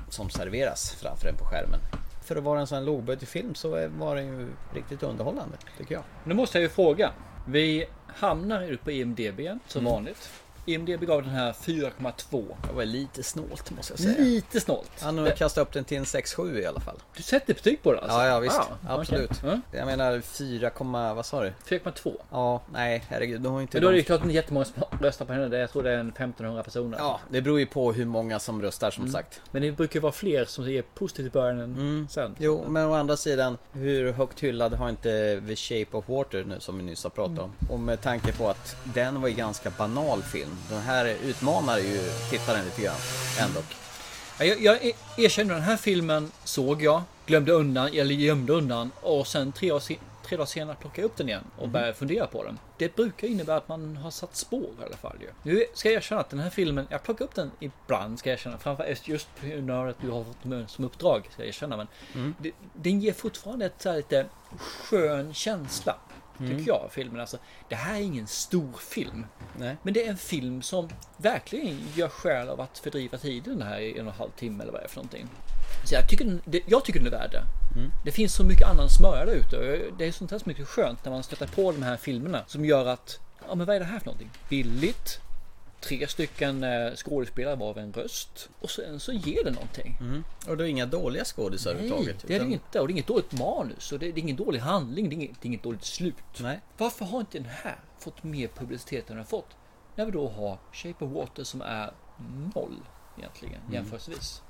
[SPEAKER 1] som serveras framför en på skärmen. För att vara en sån här lågbudgetfilm så är- var den ju riktigt underhållande tycker jag.
[SPEAKER 2] E
[SPEAKER 1] Mm.
[SPEAKER 2] Nu måste jag ju fråga. Vi hamnar ju på IMDB som vanligt. E IMDB gav den här 4,2.
[SPEAKER 1] Det var lite snålt måste jag säga.
[SPEAKER 2] Lite snålt.
[SPEAKER 1] Han har kastat upp den till en 6-7 i alla fall.
[SPEAKER 2] Du sätter betyg på den alltså?
[SPEAKER 1] Ja, ja visst.
[SPEAKER 2] Ah,
[SPEAKER 1] Absolut.
[SPEAKER 2] okej. Mm.
[SPEAKER 1] Jag menar 4, komma- vad sa du?
[SPEAKER 2] 4,2.
[SPEAKER 1] Ja, nej herregud. De har ju inte
[SPEAKER 2] Men då är det
[SPEAKER 1] de-
[SPEAKER 2] ju klart att det är jättemånga som röstar på henne. Det- Jag tror det är en 1500 personer.
[SPEAKER 1] Ja, det beror ju på hur många som röstar som
[SPEAKER 2] Mm.
[SPEAKER 1] sagt.
[SPEAKER 2] Men det brukar ju vara fler som är positivt i början än
[SPEAKER 1] Mm.
[SPEAKER 2] sen.
[SPEAKER 1] Jo, men å andra sidan, hur högt hyllad har inte The Shape of Water nu som vi nyss har pratat
[SPEAKER 2] Mm.
[SPEAKER 1] om? Och med tanke på att den var ju ganska banal film. Den här utmanar ju tittaren lite grann, ändå.
[SPEAKER 2] Ja, Jag, jag er- erkänner den här filmen såg jag, glömde undan, eller gömde undan och sen tre, år se, tre dagar senare plockade jag upp den igen och
[SPEAKER 1] Mhm.
[SPEAKER 2] började fundera på den. Det brukar innebära att man har satt spår i alla fall ju. Nu ska jag erkänna att den här filmen, jag plockar upp den ibland ska jag erkänna, framförallt just på grund av att du har fått den som uppdrag ska jag erkänna. Men
[SPEAKER 1] Mm.
[SPEAKER 2] det, den ger fortfarande ett så här lite skön känsla.
[SPEAKER 1] Mm.
[SPEAKER 2] Tycker jag filmen alltså. Det här är ingen stor film.
[SPEAKER 1] Nej.
[SPEAKER 2] Men det är en film som verkligen gör skäl av att fördriva tiden här i en och en halv timme eller vad det är för någonting. Så jag tycker den, det- jag tycker den är värd det.
[SPEAKER 1] Mm.
[SPEAKER 2] Det finns så mycket annan smörja där ute. och Det är sånt här som är mycket skönt när man stöter på de här filmerna som gör att, ja men vad är det här för någonting? Billigt, tre stycken eh, skådespelare varav en röst och sen så ger det någonting.
[SPEAKER 1] Och det är inga dåliga skådisar
[SPEAKER 2] Nej,
[SPEAKER 1] överhuvudtaget.
[SPEAKER 2] det är det
[SPEAKER 1] Mm. utan-
[SPEAKER 2] inte. Och det är inget dåligt manus och det det är ingen dålig handling. Det är inget, det är inget dåligt slut.
[SPEAKER 1] Nej.
[SPEAKER 2] Varför har inte den här fått mer publicitet än den har fått? När vi då har Shape of Water som är noll egentligen
[SPEAKER 1] Mm.
[SPEAKER 2] jämförelsevis.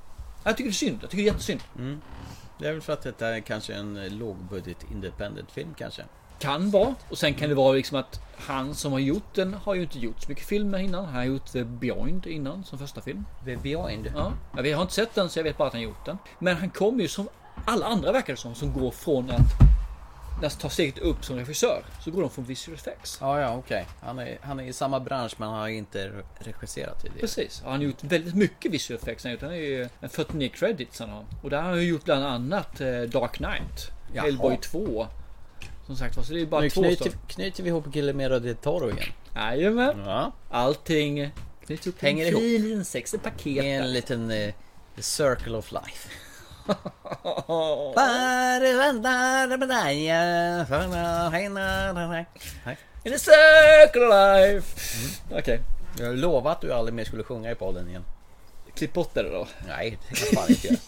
[SPEAKER 2] Jag tycker det är synd. Jag tycker det är jättesynd.
[SPEAKER 1] Mm. Det är väl för att detta är kanske en eh, lågbudget independent film kanske.
[SPEAKER 2] Kan vara. Och sen kan det vara liksom att han som har gjort den har ju inte gjort så mycket filmer innan. Han har gjort The Beyond innan som första film.
[SPEAKER 1] The Beyond?
[SPEAKER 2] Ja. ja. Vi har inte sett den så jag vet bara att han gjort den. Men han kommer ju som alla andra verkar det som, som går från att när han tar steget upp som regissör så går de från visual effects.
[SPEAKER 1] Ja, ja, okej. Han, är, han är i samma bransch men han har inte re- regisserat tidigare.
[SPEAKER 2] Precis. Och Han har gjort väldigt mycket visual effects. Han har gjort- han har ju en 49 credits han har. Och där har han ju gjort bland annat eh, Dark Knight,
[SPEAKER 1] Jaha.
[SPEAKER 2] Hellboy 2. Som sagt var, så det är bara
[SPEAKER 1] Nu
[SPEAKER 2] två
[SPEAKER 1] knyter,
[SPEAKER 2] stycken.
[SPEAKER 1] knyter vi ihop Guillermo del Toro igen.
[SPEAKER 2] Jajamän.
[SPEAKER 1] Ja.
[SPEAKER 2] Allting Mm. knyter upp i
[SPEAKER 1] Hänger
[SPEAKER 2] en
[SPEAKER 1] ihop.
[SPEAKER 2] fin liten sexig paket.
[SPEAKER 1] Det är
[SPEAKER 2] där.
[SPEAKER 1] en liten eh, the circle of life.
[SPEAKER 2] In a circle of life. Okej.
[SPEAKER 1] Jag lovade att du aldrig mer skulle sjunga i podden igen.
[SPEAKER 2] Klipp bort det då.
[SPEAKER 1] Nej, det kan jag fan inte göra.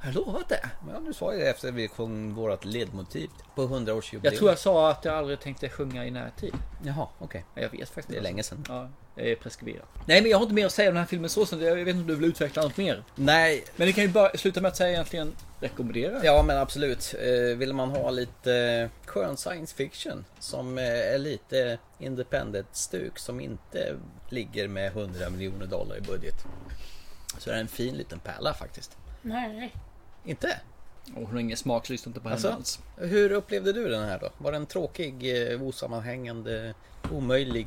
[SPEAKER 2] Har jag lovat det?
[SPEAKER 1] Ja, du sa ju det efter vi sjöng vårt ledmotiv på 100-årsjubileet.
[SPEAKER 2] Jag tror jag sa att jag aldrig tänkte sjunga i närtid.
[SPEAKER 1] Jaha, okej.
[SPEAKER 2] Jag vet faktiskt
[SPEAKER 1] Det är
[SPEAKER 2] inte.
[SPEAKER 1] länge sedan.
[SPEAKER 2] Ja, jag är preskriberad. Nej, men jag har inte mer att säga om den här filmen så. så Jag vet inte om du vill utveckla något mer.
[SPEAKER 1] Nej.
[SPEAKER 2] Men det kan ju bara sluta med att säga egentligen rekommendera.
[SPEAKER 1] Ja men absolut. Eh, Vill man ha lite eh, skön science fiction som eh, är lite independent stuk som inte ligger med 100 miljoner dollar i budget. Så är det en fin liten pärla faktiskt.
[SPEAKER 8] Nej.
[SPEAKER 1] Inte?
[SPEAKER 2] Och hon har ingen smak, så lyssna inte på henne
[SPEAKER 1] Alltså,
[SPEAKER 2] alls.
[SPEAKER 1] hur upplevde du den här då? Var den tråkig, eh, osammanhängande, omöjlig,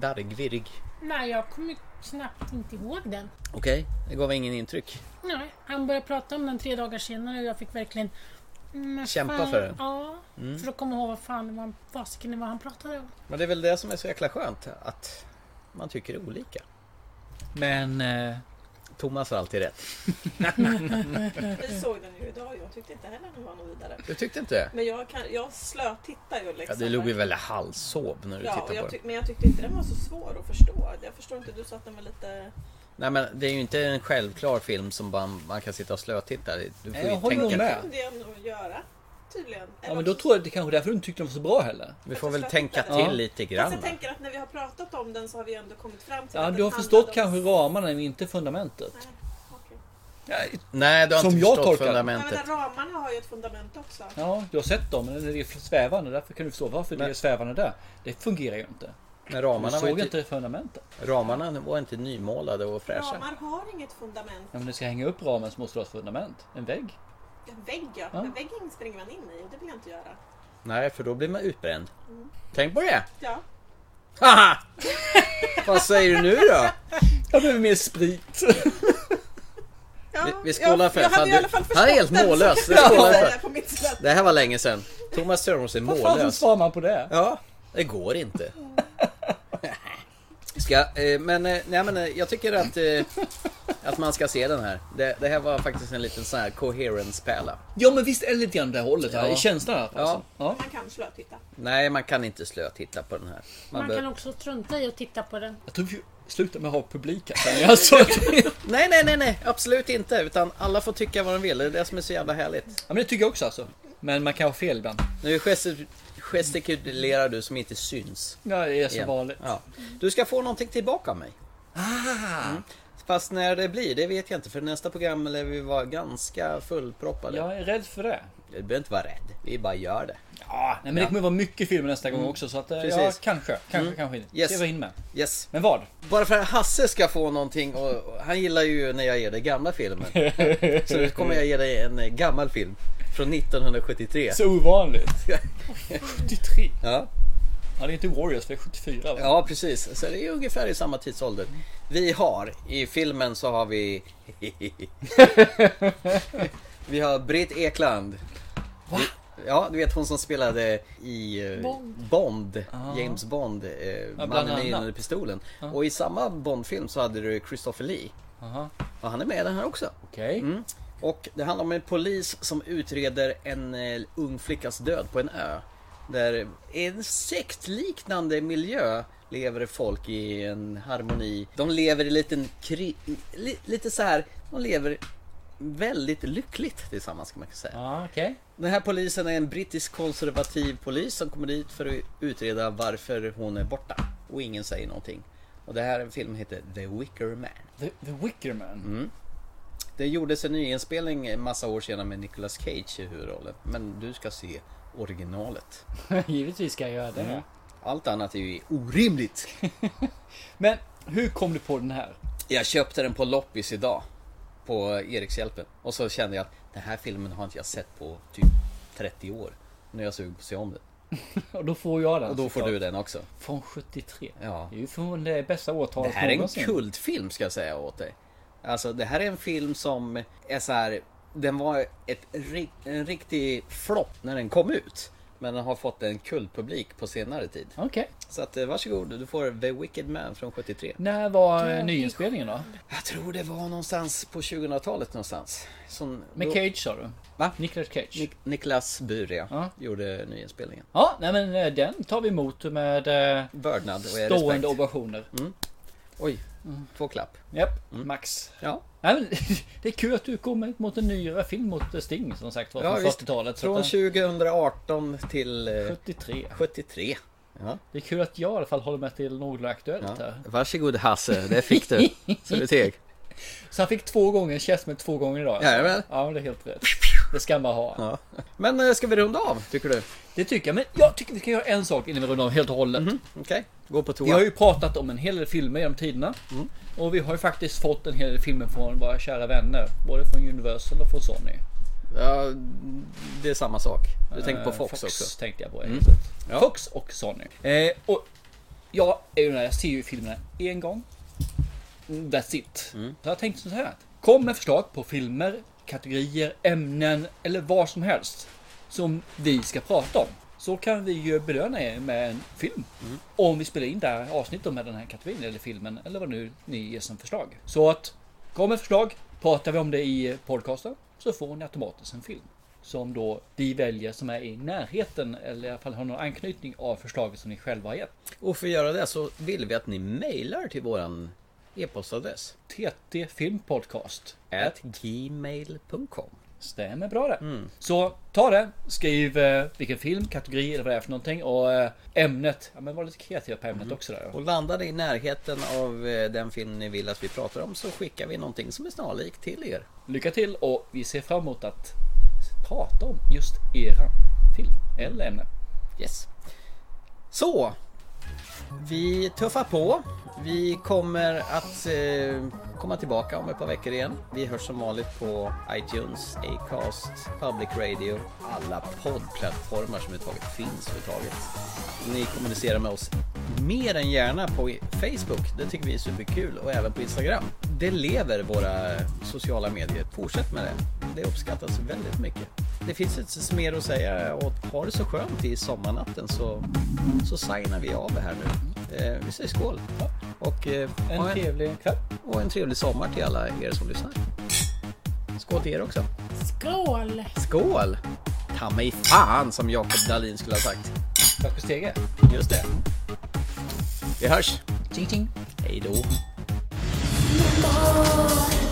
[SPEAKER 1] darrigvirrig?
[SPEAKER 8] Nej, jag kommer knappt inte ihåg den.
[SPEAKER 1] Okej, det gav ingen intryck.
[SPEAKER 8] Nej, han började prata om den tre dagar senare och jag fick verkligen... mm,
[SPEAKER 1] Kämpa
[SPEAKER 8] fan,
[SPEAKER 1] för den.
[SPEAKER 8] Ja,
[SPEAKER 1] Mm.
[SPEAKER 8] för att komma ihåg vad fan det var, fasiken det var han pratade om.
[SPEAKER 1] Men det är väl det som är så jäkla skönt, att man tycker olika.
[SPEAKER 2] Men... Eh,
[SPEAKER 1] Thomas har alltid rätt.
[SPEAKER 3] Vi såg den ju idag och jag tyckte inte heller den var någon vidare.
[SPEAKER 1] Du tyckte inte det?
[SPEAKER 3] Men jag, kan, jag slötittar ju
[SPEAKER 1] Ja,
[SPEAKER 3] liksom.
[SPEAKER 1] du låg ju väl halvsov när du
[SPEAKER 3] Ja, och
[SPEAKER 1] tittade på
[SPEAKER 3] jag
[SPEAKER 1] den.
[SPEAKER 3] tyck, men jag tyckte inte den var så svår att förstå. Jag förstår inte, du sa att den var lite...
[SPEAKER 1] Nej men det är ju inte en självklar film som bara man kan sitta och slötitta. i. Du får
[SPEAKER 2] Nej,
[SPEAKER 1] ju
[SPEAKER 2] jag håller
[SPEAKER 1] tänka.
[SPEAKER 2] nog med.
[SPEAKER 3] Det kunde jag nog göra, tydligen.
[SPEAKER 2] ja, men då tror jag att det kanske är därför du inte tyckte de var så bra heller.
[SPEAKER 1] Vi får väl tänka till
[SPEAKER 2] Ja.
[SPEAKER 1] lite
[SPEAKER 3] Fast
[SPEAKER 1] grann.
[SPEAKER 3] jag tänker att när vi har pratat om den så har vi ändå kommit fram
[SPEAKER 2] Ja,
[SPEAKER 3] till att
[SPEAKER 2] du
[SPEAKER 3] den
[SPEAKER 2] har
[SPEAKER 3] handlade
[SPEAKER 2] förstått
[SPEAKER 3] om-
[SPEAKER 2] kanske ramarna, men inte fundamentet. Nej,
[SPEAKER 1] Nej, du har
[SPEAKER 2] Som
[SPEAKER 1] inte
[SPEAKER 2] jag
[SPEAKER 1] förstått
[SPEAKER 2] tolkar det.
[SPEAKER 3] Nej, men
[SPEAKER 1] fundamentet.
[SPEAKER 3] den ramarna har ju ett fundament också.
[SPEAKER 2] Ja, du har sett dem, men det är svävande. Därför kan du förstå varför det är svävande där. Det fungerar ju inte.
[SPEAKER 1] Men ramarna
[SPEAKER 2] du
[SPEAKER 1] var
[SPEAKER 2] såg
[SPEAKER 1] ju
[SPEAKER 2] inte
[SPEAKER 1] inte,
[SPEAKER 2] fundamentet.
[SPEAKER 1] ramarna var inte nymålade och fräscha.
[SPEAKER 3] Ramar har inget fundament.
[SPEAKER 2] Ja, men du ska hänga upp ramen så måste du ha ett fundament. En vägg.
[SPEAKER 3] En vägg ja.
[SPEAKER 2] Ja.
[SPEAKER 3] Men väggen springer man in i och det vill jag inte göra.
[SPEAKER 1] Nej, för då blir man utbränd.
[SPEAKER 3] Mm.
[SPEAKER 1] Tänk på det!
[SPEAKER 3] Ja.
[SPEAKER 1] Haha! Vad säger du nu då?
[SPEAKER 2] Jag behöver mer sprit.
[SPEAKER 1] Vi, vi
[SPEAKER 3] jag-
[SPEAKER 1] skålar
[SPEAKER 3] jag
[SPEAKER 1] för
[SPEAKER 3] hade
[SPEAKER 1] fan,
[SPEAKER 3] i
[SPEAKER 1] du,
[SPEAKER 3] alla fall
[SPEAKER 1] Han är helt
[SPEAKER 3] förstått den,
[SPEAKER 1] mållös.
[SPEAKER 3] så
[SPEAKER 1] Vi
[SPEAKER 3] jag kan
[SPEAKER 1] skålar
[SPEAKER 3] säga
[SPEAKER 1] för.
[SPEAKER 3] på mitt sätt.
[SPEAKER 1] Det här var länge sedan. Thomas Sörmos är
[SPEAKER 2] Vad fan så
[SPEAKER 1] mållös.
[SPEAKER 2] svarar man på det?
[SPEAKER 1] Ja, det går inte. Ska, eh, men, eh, nej, men eh, jag tycker att, eh, att man ska se den här. Det, det här var faktiskt en liten sån här coherence-pärla.
[SPEAKER 2] Ja men visst är det lite grann det hållet.
[SPEAKER 1] Ja.
[SPEAKER 2] Ja. I känslan i alla fall.
[SPEAKER 1] Ja.
[SPEAKER 2] Alltså. Ja.
[SPEAKER 3] Man kan slötitta.
[SPEAKER 1] Nej, man kan inte slöa titta på den här. Man
[SPEAKER 8] Man
[SPEAKER 1] bör-
[SPEAKER 8] kan också strunta i att titta på den.
[SPEAKER 2] Jag tror vi slutar med att ha publik här. sen, Alltså.
[SPEAKER 1] nej, nej, nej, nej, absolut inte. Utan alla får tycka vad de vill. Det är det som är så jävla härligt.
[SPEAKER 2] Ja men det tycker jag också alltså. Men man kan ha fel ibland.
[SPEAKER 1] Nu gesti- gestikulerar du som inte syns.
[SPEAKER 2] Ja, det är som
[SPEAKER 1] Igen.
[SPEAKER 2] vanligt.
[SPEAKER 1] Ja. Du ska få någonting tillbaka av mig.
[SPEAKER 2] Ah,
[SPEAKER 1] Mm. Fast när det blir, det vet jag inte. För nästa program lär vi vara ganska fullproppade.
[SPEAKER 2] Jag är rädd för det.
[SPEAKER 1] Du behöver inte vara rädd. Vi bara gör det.
[SPEAKER 2] Ja, nej, men det kommer vara mycket filmer nästa gång också så att eh, ja,
[SPEAKER 1] Mm. Precis.
[SPEAKER 2] kanske, kanske,
[SPEAKER 1] Mm.
[SPEAKER 2] kanske inte.
[SPEAKER 1] Yes.
[SPEAKER 2] Se vad jag hinner med.
[SPEAKER 1] Yes.
[SPEAKER 2] Men vad?
[SPEAKER 1] Bara för att Hasse ska få någonting och och han gillar ju när jag ger dig gamla filmer. Så nu kommer jag ge dig en eh, gammal film. Från 1973.
[SPEAKER 2] Så ovanligt. 73.
[SPEAKER 1] Ja.
[SPEAKER 2] Ja, det är inte Warriors för det är 74 va?
[SPEAKER 1] Ja precis, så det är ungefär i samma tidsålder. Vi har, i filmen så har vi... vi har Britt Ekland. Va? Ja, du vet hon som spelade i eh,
[SPEAKER 2] Bond.
[SPEAKER 1] Bond,
[SPEAKER 2] Ah.
[SPEAKER 1] James Bond, eh,
[SPEAKER 2] bland
[SPEAKER 1] mannen med
[SPEAKER 2] annat.
[SPEAKER 1] gyllene pistolen.
[SPEAKER 2] Ja.
[SPEAKER 1] Och i samma Bond-film så hade du Christopher Lee.
[SPEAKER 2] Aha.
[SPEAKER 1] Och han är med i den här också.
[SPEAKER 2] Okej.
[SPEAKER 1] Mm. Och det handlar om en polis som utreder en eh, ung flickas död på en ö. Där i en sektliknande miljö lever det folk i en harmoni. De lever i liten kri- li- lite så här, de lever väldigt lyckligt tillsammans kan man säga.
[SPEAKER 2] Ja, okej.
[SPEAKER 1] Den här polisen är en brittisk konservativ polis som kommer dit för att utreda varför hon är borta. Och ingen säger någonting. Och det här filmen heter The Wicker Man.
[SPEAKER 2] The, the Wicker Man?
[SPEAKER 1] Mm. Det gjordes en nyinspelning en massa år senare med Nicolas Cage i huvudrollen. Men du ska se originalet.
[SPEAKER 2] Givetvis ska jag göra det.
[SPEAKER 1] Mm. Allt annat är ju orimligt.
[SPEAKER 2] Men hur kom du på den här?
[SPEAKER 1] Jag köpte den på loppis idag. På Erikshjälpen. Och så kände jag att den här filmen har inte jag sett på typ 30 år. Nu är jag sugen på att se om den.
[SPEAKER 2] Och då får jag den.
[SPEAKER 1] Och då får
[SPEAKER 2] såklart.
[SPEAKER 1] du den också.
[SPEAKER 2] Från 73.
[SPEAKER 1] Ja.
[SPEAKER 2] Det är ju från det bästa årtalet
[SPEAKER 1] Det här är en
[SPEAKER 2] någonsin.
[SPEAKER 1] kultfilm ska jag säga åt dig. Alltså det här är en film som är så här. Den var ett, ri- en riktig flopp när den kom ut. Men den har fått en kultpublik på senare tid.
[SPEAKER 2] Okej.
[SPEAKER 1] Så att, eh, varsågod, du får The Wicked Man från 73.
[SPEAKER 2] När var eh, nyinspelningen då?
[SPEAKER 1] Jag tror det var någonstans på 2000-talet någonstans. Som,
[SPEAKER 2] Med
[SPEAKER 1] då-
[SPEAKER 2] Cage sa du?
[SPEAKER 1] Va?
[SPEAKER 2] Nicolas Cage?
[SPEAKER 1] Nik- Niklas Buria gjorde nyinspelningen.
[SPEAKER 2] ja, nej men eh, den tar vi emot med eh,
[SPEAKER 1] Vördnad och er respekt. Mm.
[SPEAKER 2] stående ovationer.
[SPEAKER 1] Oj, två klapp.
[SPEAKER 2] Japp,
[SPEAKER 1] Mm.
[SPEAKER 2] max.
[SPEAKER 1] Ja.
[SPEAKER 2] Nej, men, det är kul att du kommer mot en nyare film mot eh, Sting som sagt var från
[SPEAKER 1] visst.
[SPEAKER 2] 40-talet. så
[SPEAKER 1] Från
[SPEAKER 2] att, eh,
[SPEAKER 1] 2018 till... eh,
[SPEAKER 2] 73.
[SPEAKER 1] 73. Ja.
[SPEAKER 2] Det är kul att jag i alla fall håller med till några aktuellt här.
[SPEAKER 1] Varsågod Hasse, det fick du. Så du teg.
[SPEAKER 2] Så han fick två gånger käftsmäll två gånger idag. alltså.
[SPEAKER 1] Jajamän.
[SPEAKER 2] Ja, men det är helt rätt. Det ska man ha.
[SPEAKER 1] Ja. Men eh, ska vi runda av, tycker du?
[SPEAKER 2] Det tycker jag. Men jag tycker vi kan göra en sak innan vi rundar av helt och hållet.
[SPEAKER 1] Okej, gå på
[SPEAKER 2] Vi har
[SPEAKER 1] toa.
[SPEAKER 2] ju pratat om en hel del filmer genom tiderna.
[SPEAKER 1] Mm.
[SPEAKER 2] Och vi har ju faktiskt fått en hel del filmer från våra kära vänner. Både från Universal och från Sony.
[SPEAKER 1] Ja, det är samma sak. Du tänker på
[SPEAKER 2] Eh,
[SPEAKER 1] Fox,
[SPEAKER 2] Fox
[SPEAKER 1] också?
[SPEAKER 2] tänkte jag på.
[SPEAKER 1] Mm.
[SPEAKER 2] helt rätt.
[SPEAKER 1] Ja.
[SPEAKER 2] Fox och Sony. Eh, och jag, är ju den här, jag ser ju filmerna en gång. Mm, That's it.
[SPEAKER 1] Mm.
[SPEAKER 2] Så jag tänkte så här. att Kom med förslag på filmer, kategorier, ämnen eller vad som helst. Som vi ska prata om. Så kan vi ju belöna er med en film. Om vi spelar in det här avsnittet med den här kategorin eller filmen eller vad nu ni ger som förslag. Så att kom med förslag. Pratar vi om det i podcasten så får ni automatiskt en film. Som då vi väljer som är i närheten eller i alla fall har någon anknytning av förslaget som ni själva har gett.
[SPEAKER 1] Och för att göra det så vill vi att ni mejlar till våran e-postadress.
[SPEAKER 2] TT Filmpodcast.
[SPEAKER 1] At gmail.com
[SPEAKER 2] Stämmer bra det. Så ta det, skriv eh, vilken film, kategori eller vad det är för någonting och eh, ämnet. Ja men var lite kreativ på ämnet också där.
[SPEAKER 1] Och landar det i närheten av eh, den film ni vill att vi pratar om så skickar vi någonting som är snarlikt till er.
[SPEAKER 2] Lycka till och vi ser fram emot att prata om just eran film eller ämne.
[SPEAKER 1] Yes. Så. Vi tuffar på. Vi kommer att eh, komma tillbaka om ett par veckor igen. Vi hörs som vanligt på iTunes, Acast, Public Radio, alla poddplattformar som överhuvudtaget finns överhuvudtaget. Ni kommunicerar med oss mer än gärna på Facebook. Det tycker vi är superkul och även på Instagram. Det lever våra sociala medier. Fortsätt med det. Det uppskattas väldigt mycket. Det finns inte mer att säga och ha det så skönt i sommarnatten så, så signar vi av det här nu. Eh, vi säger skål! Och, eh,
[SPEAKER 2] En
[SPEAKER 1] ha
[SPEAKER 2] trevlig kväll.
[SPEAKER 1] och en trevlig sommar till alla er som lyssnar. Skål till er också!
[SPEAKER 8] Skål!
[SPEAKER 1] Skål! Ta mig fan som Jakob Dahlin skulle ha sagt.
[SPEAKER 2] Bakom stege.
[SPEAKER 1] Just det. Vi hörs! Tjing tjing! Hej då!
[SPEAKER 6] oh.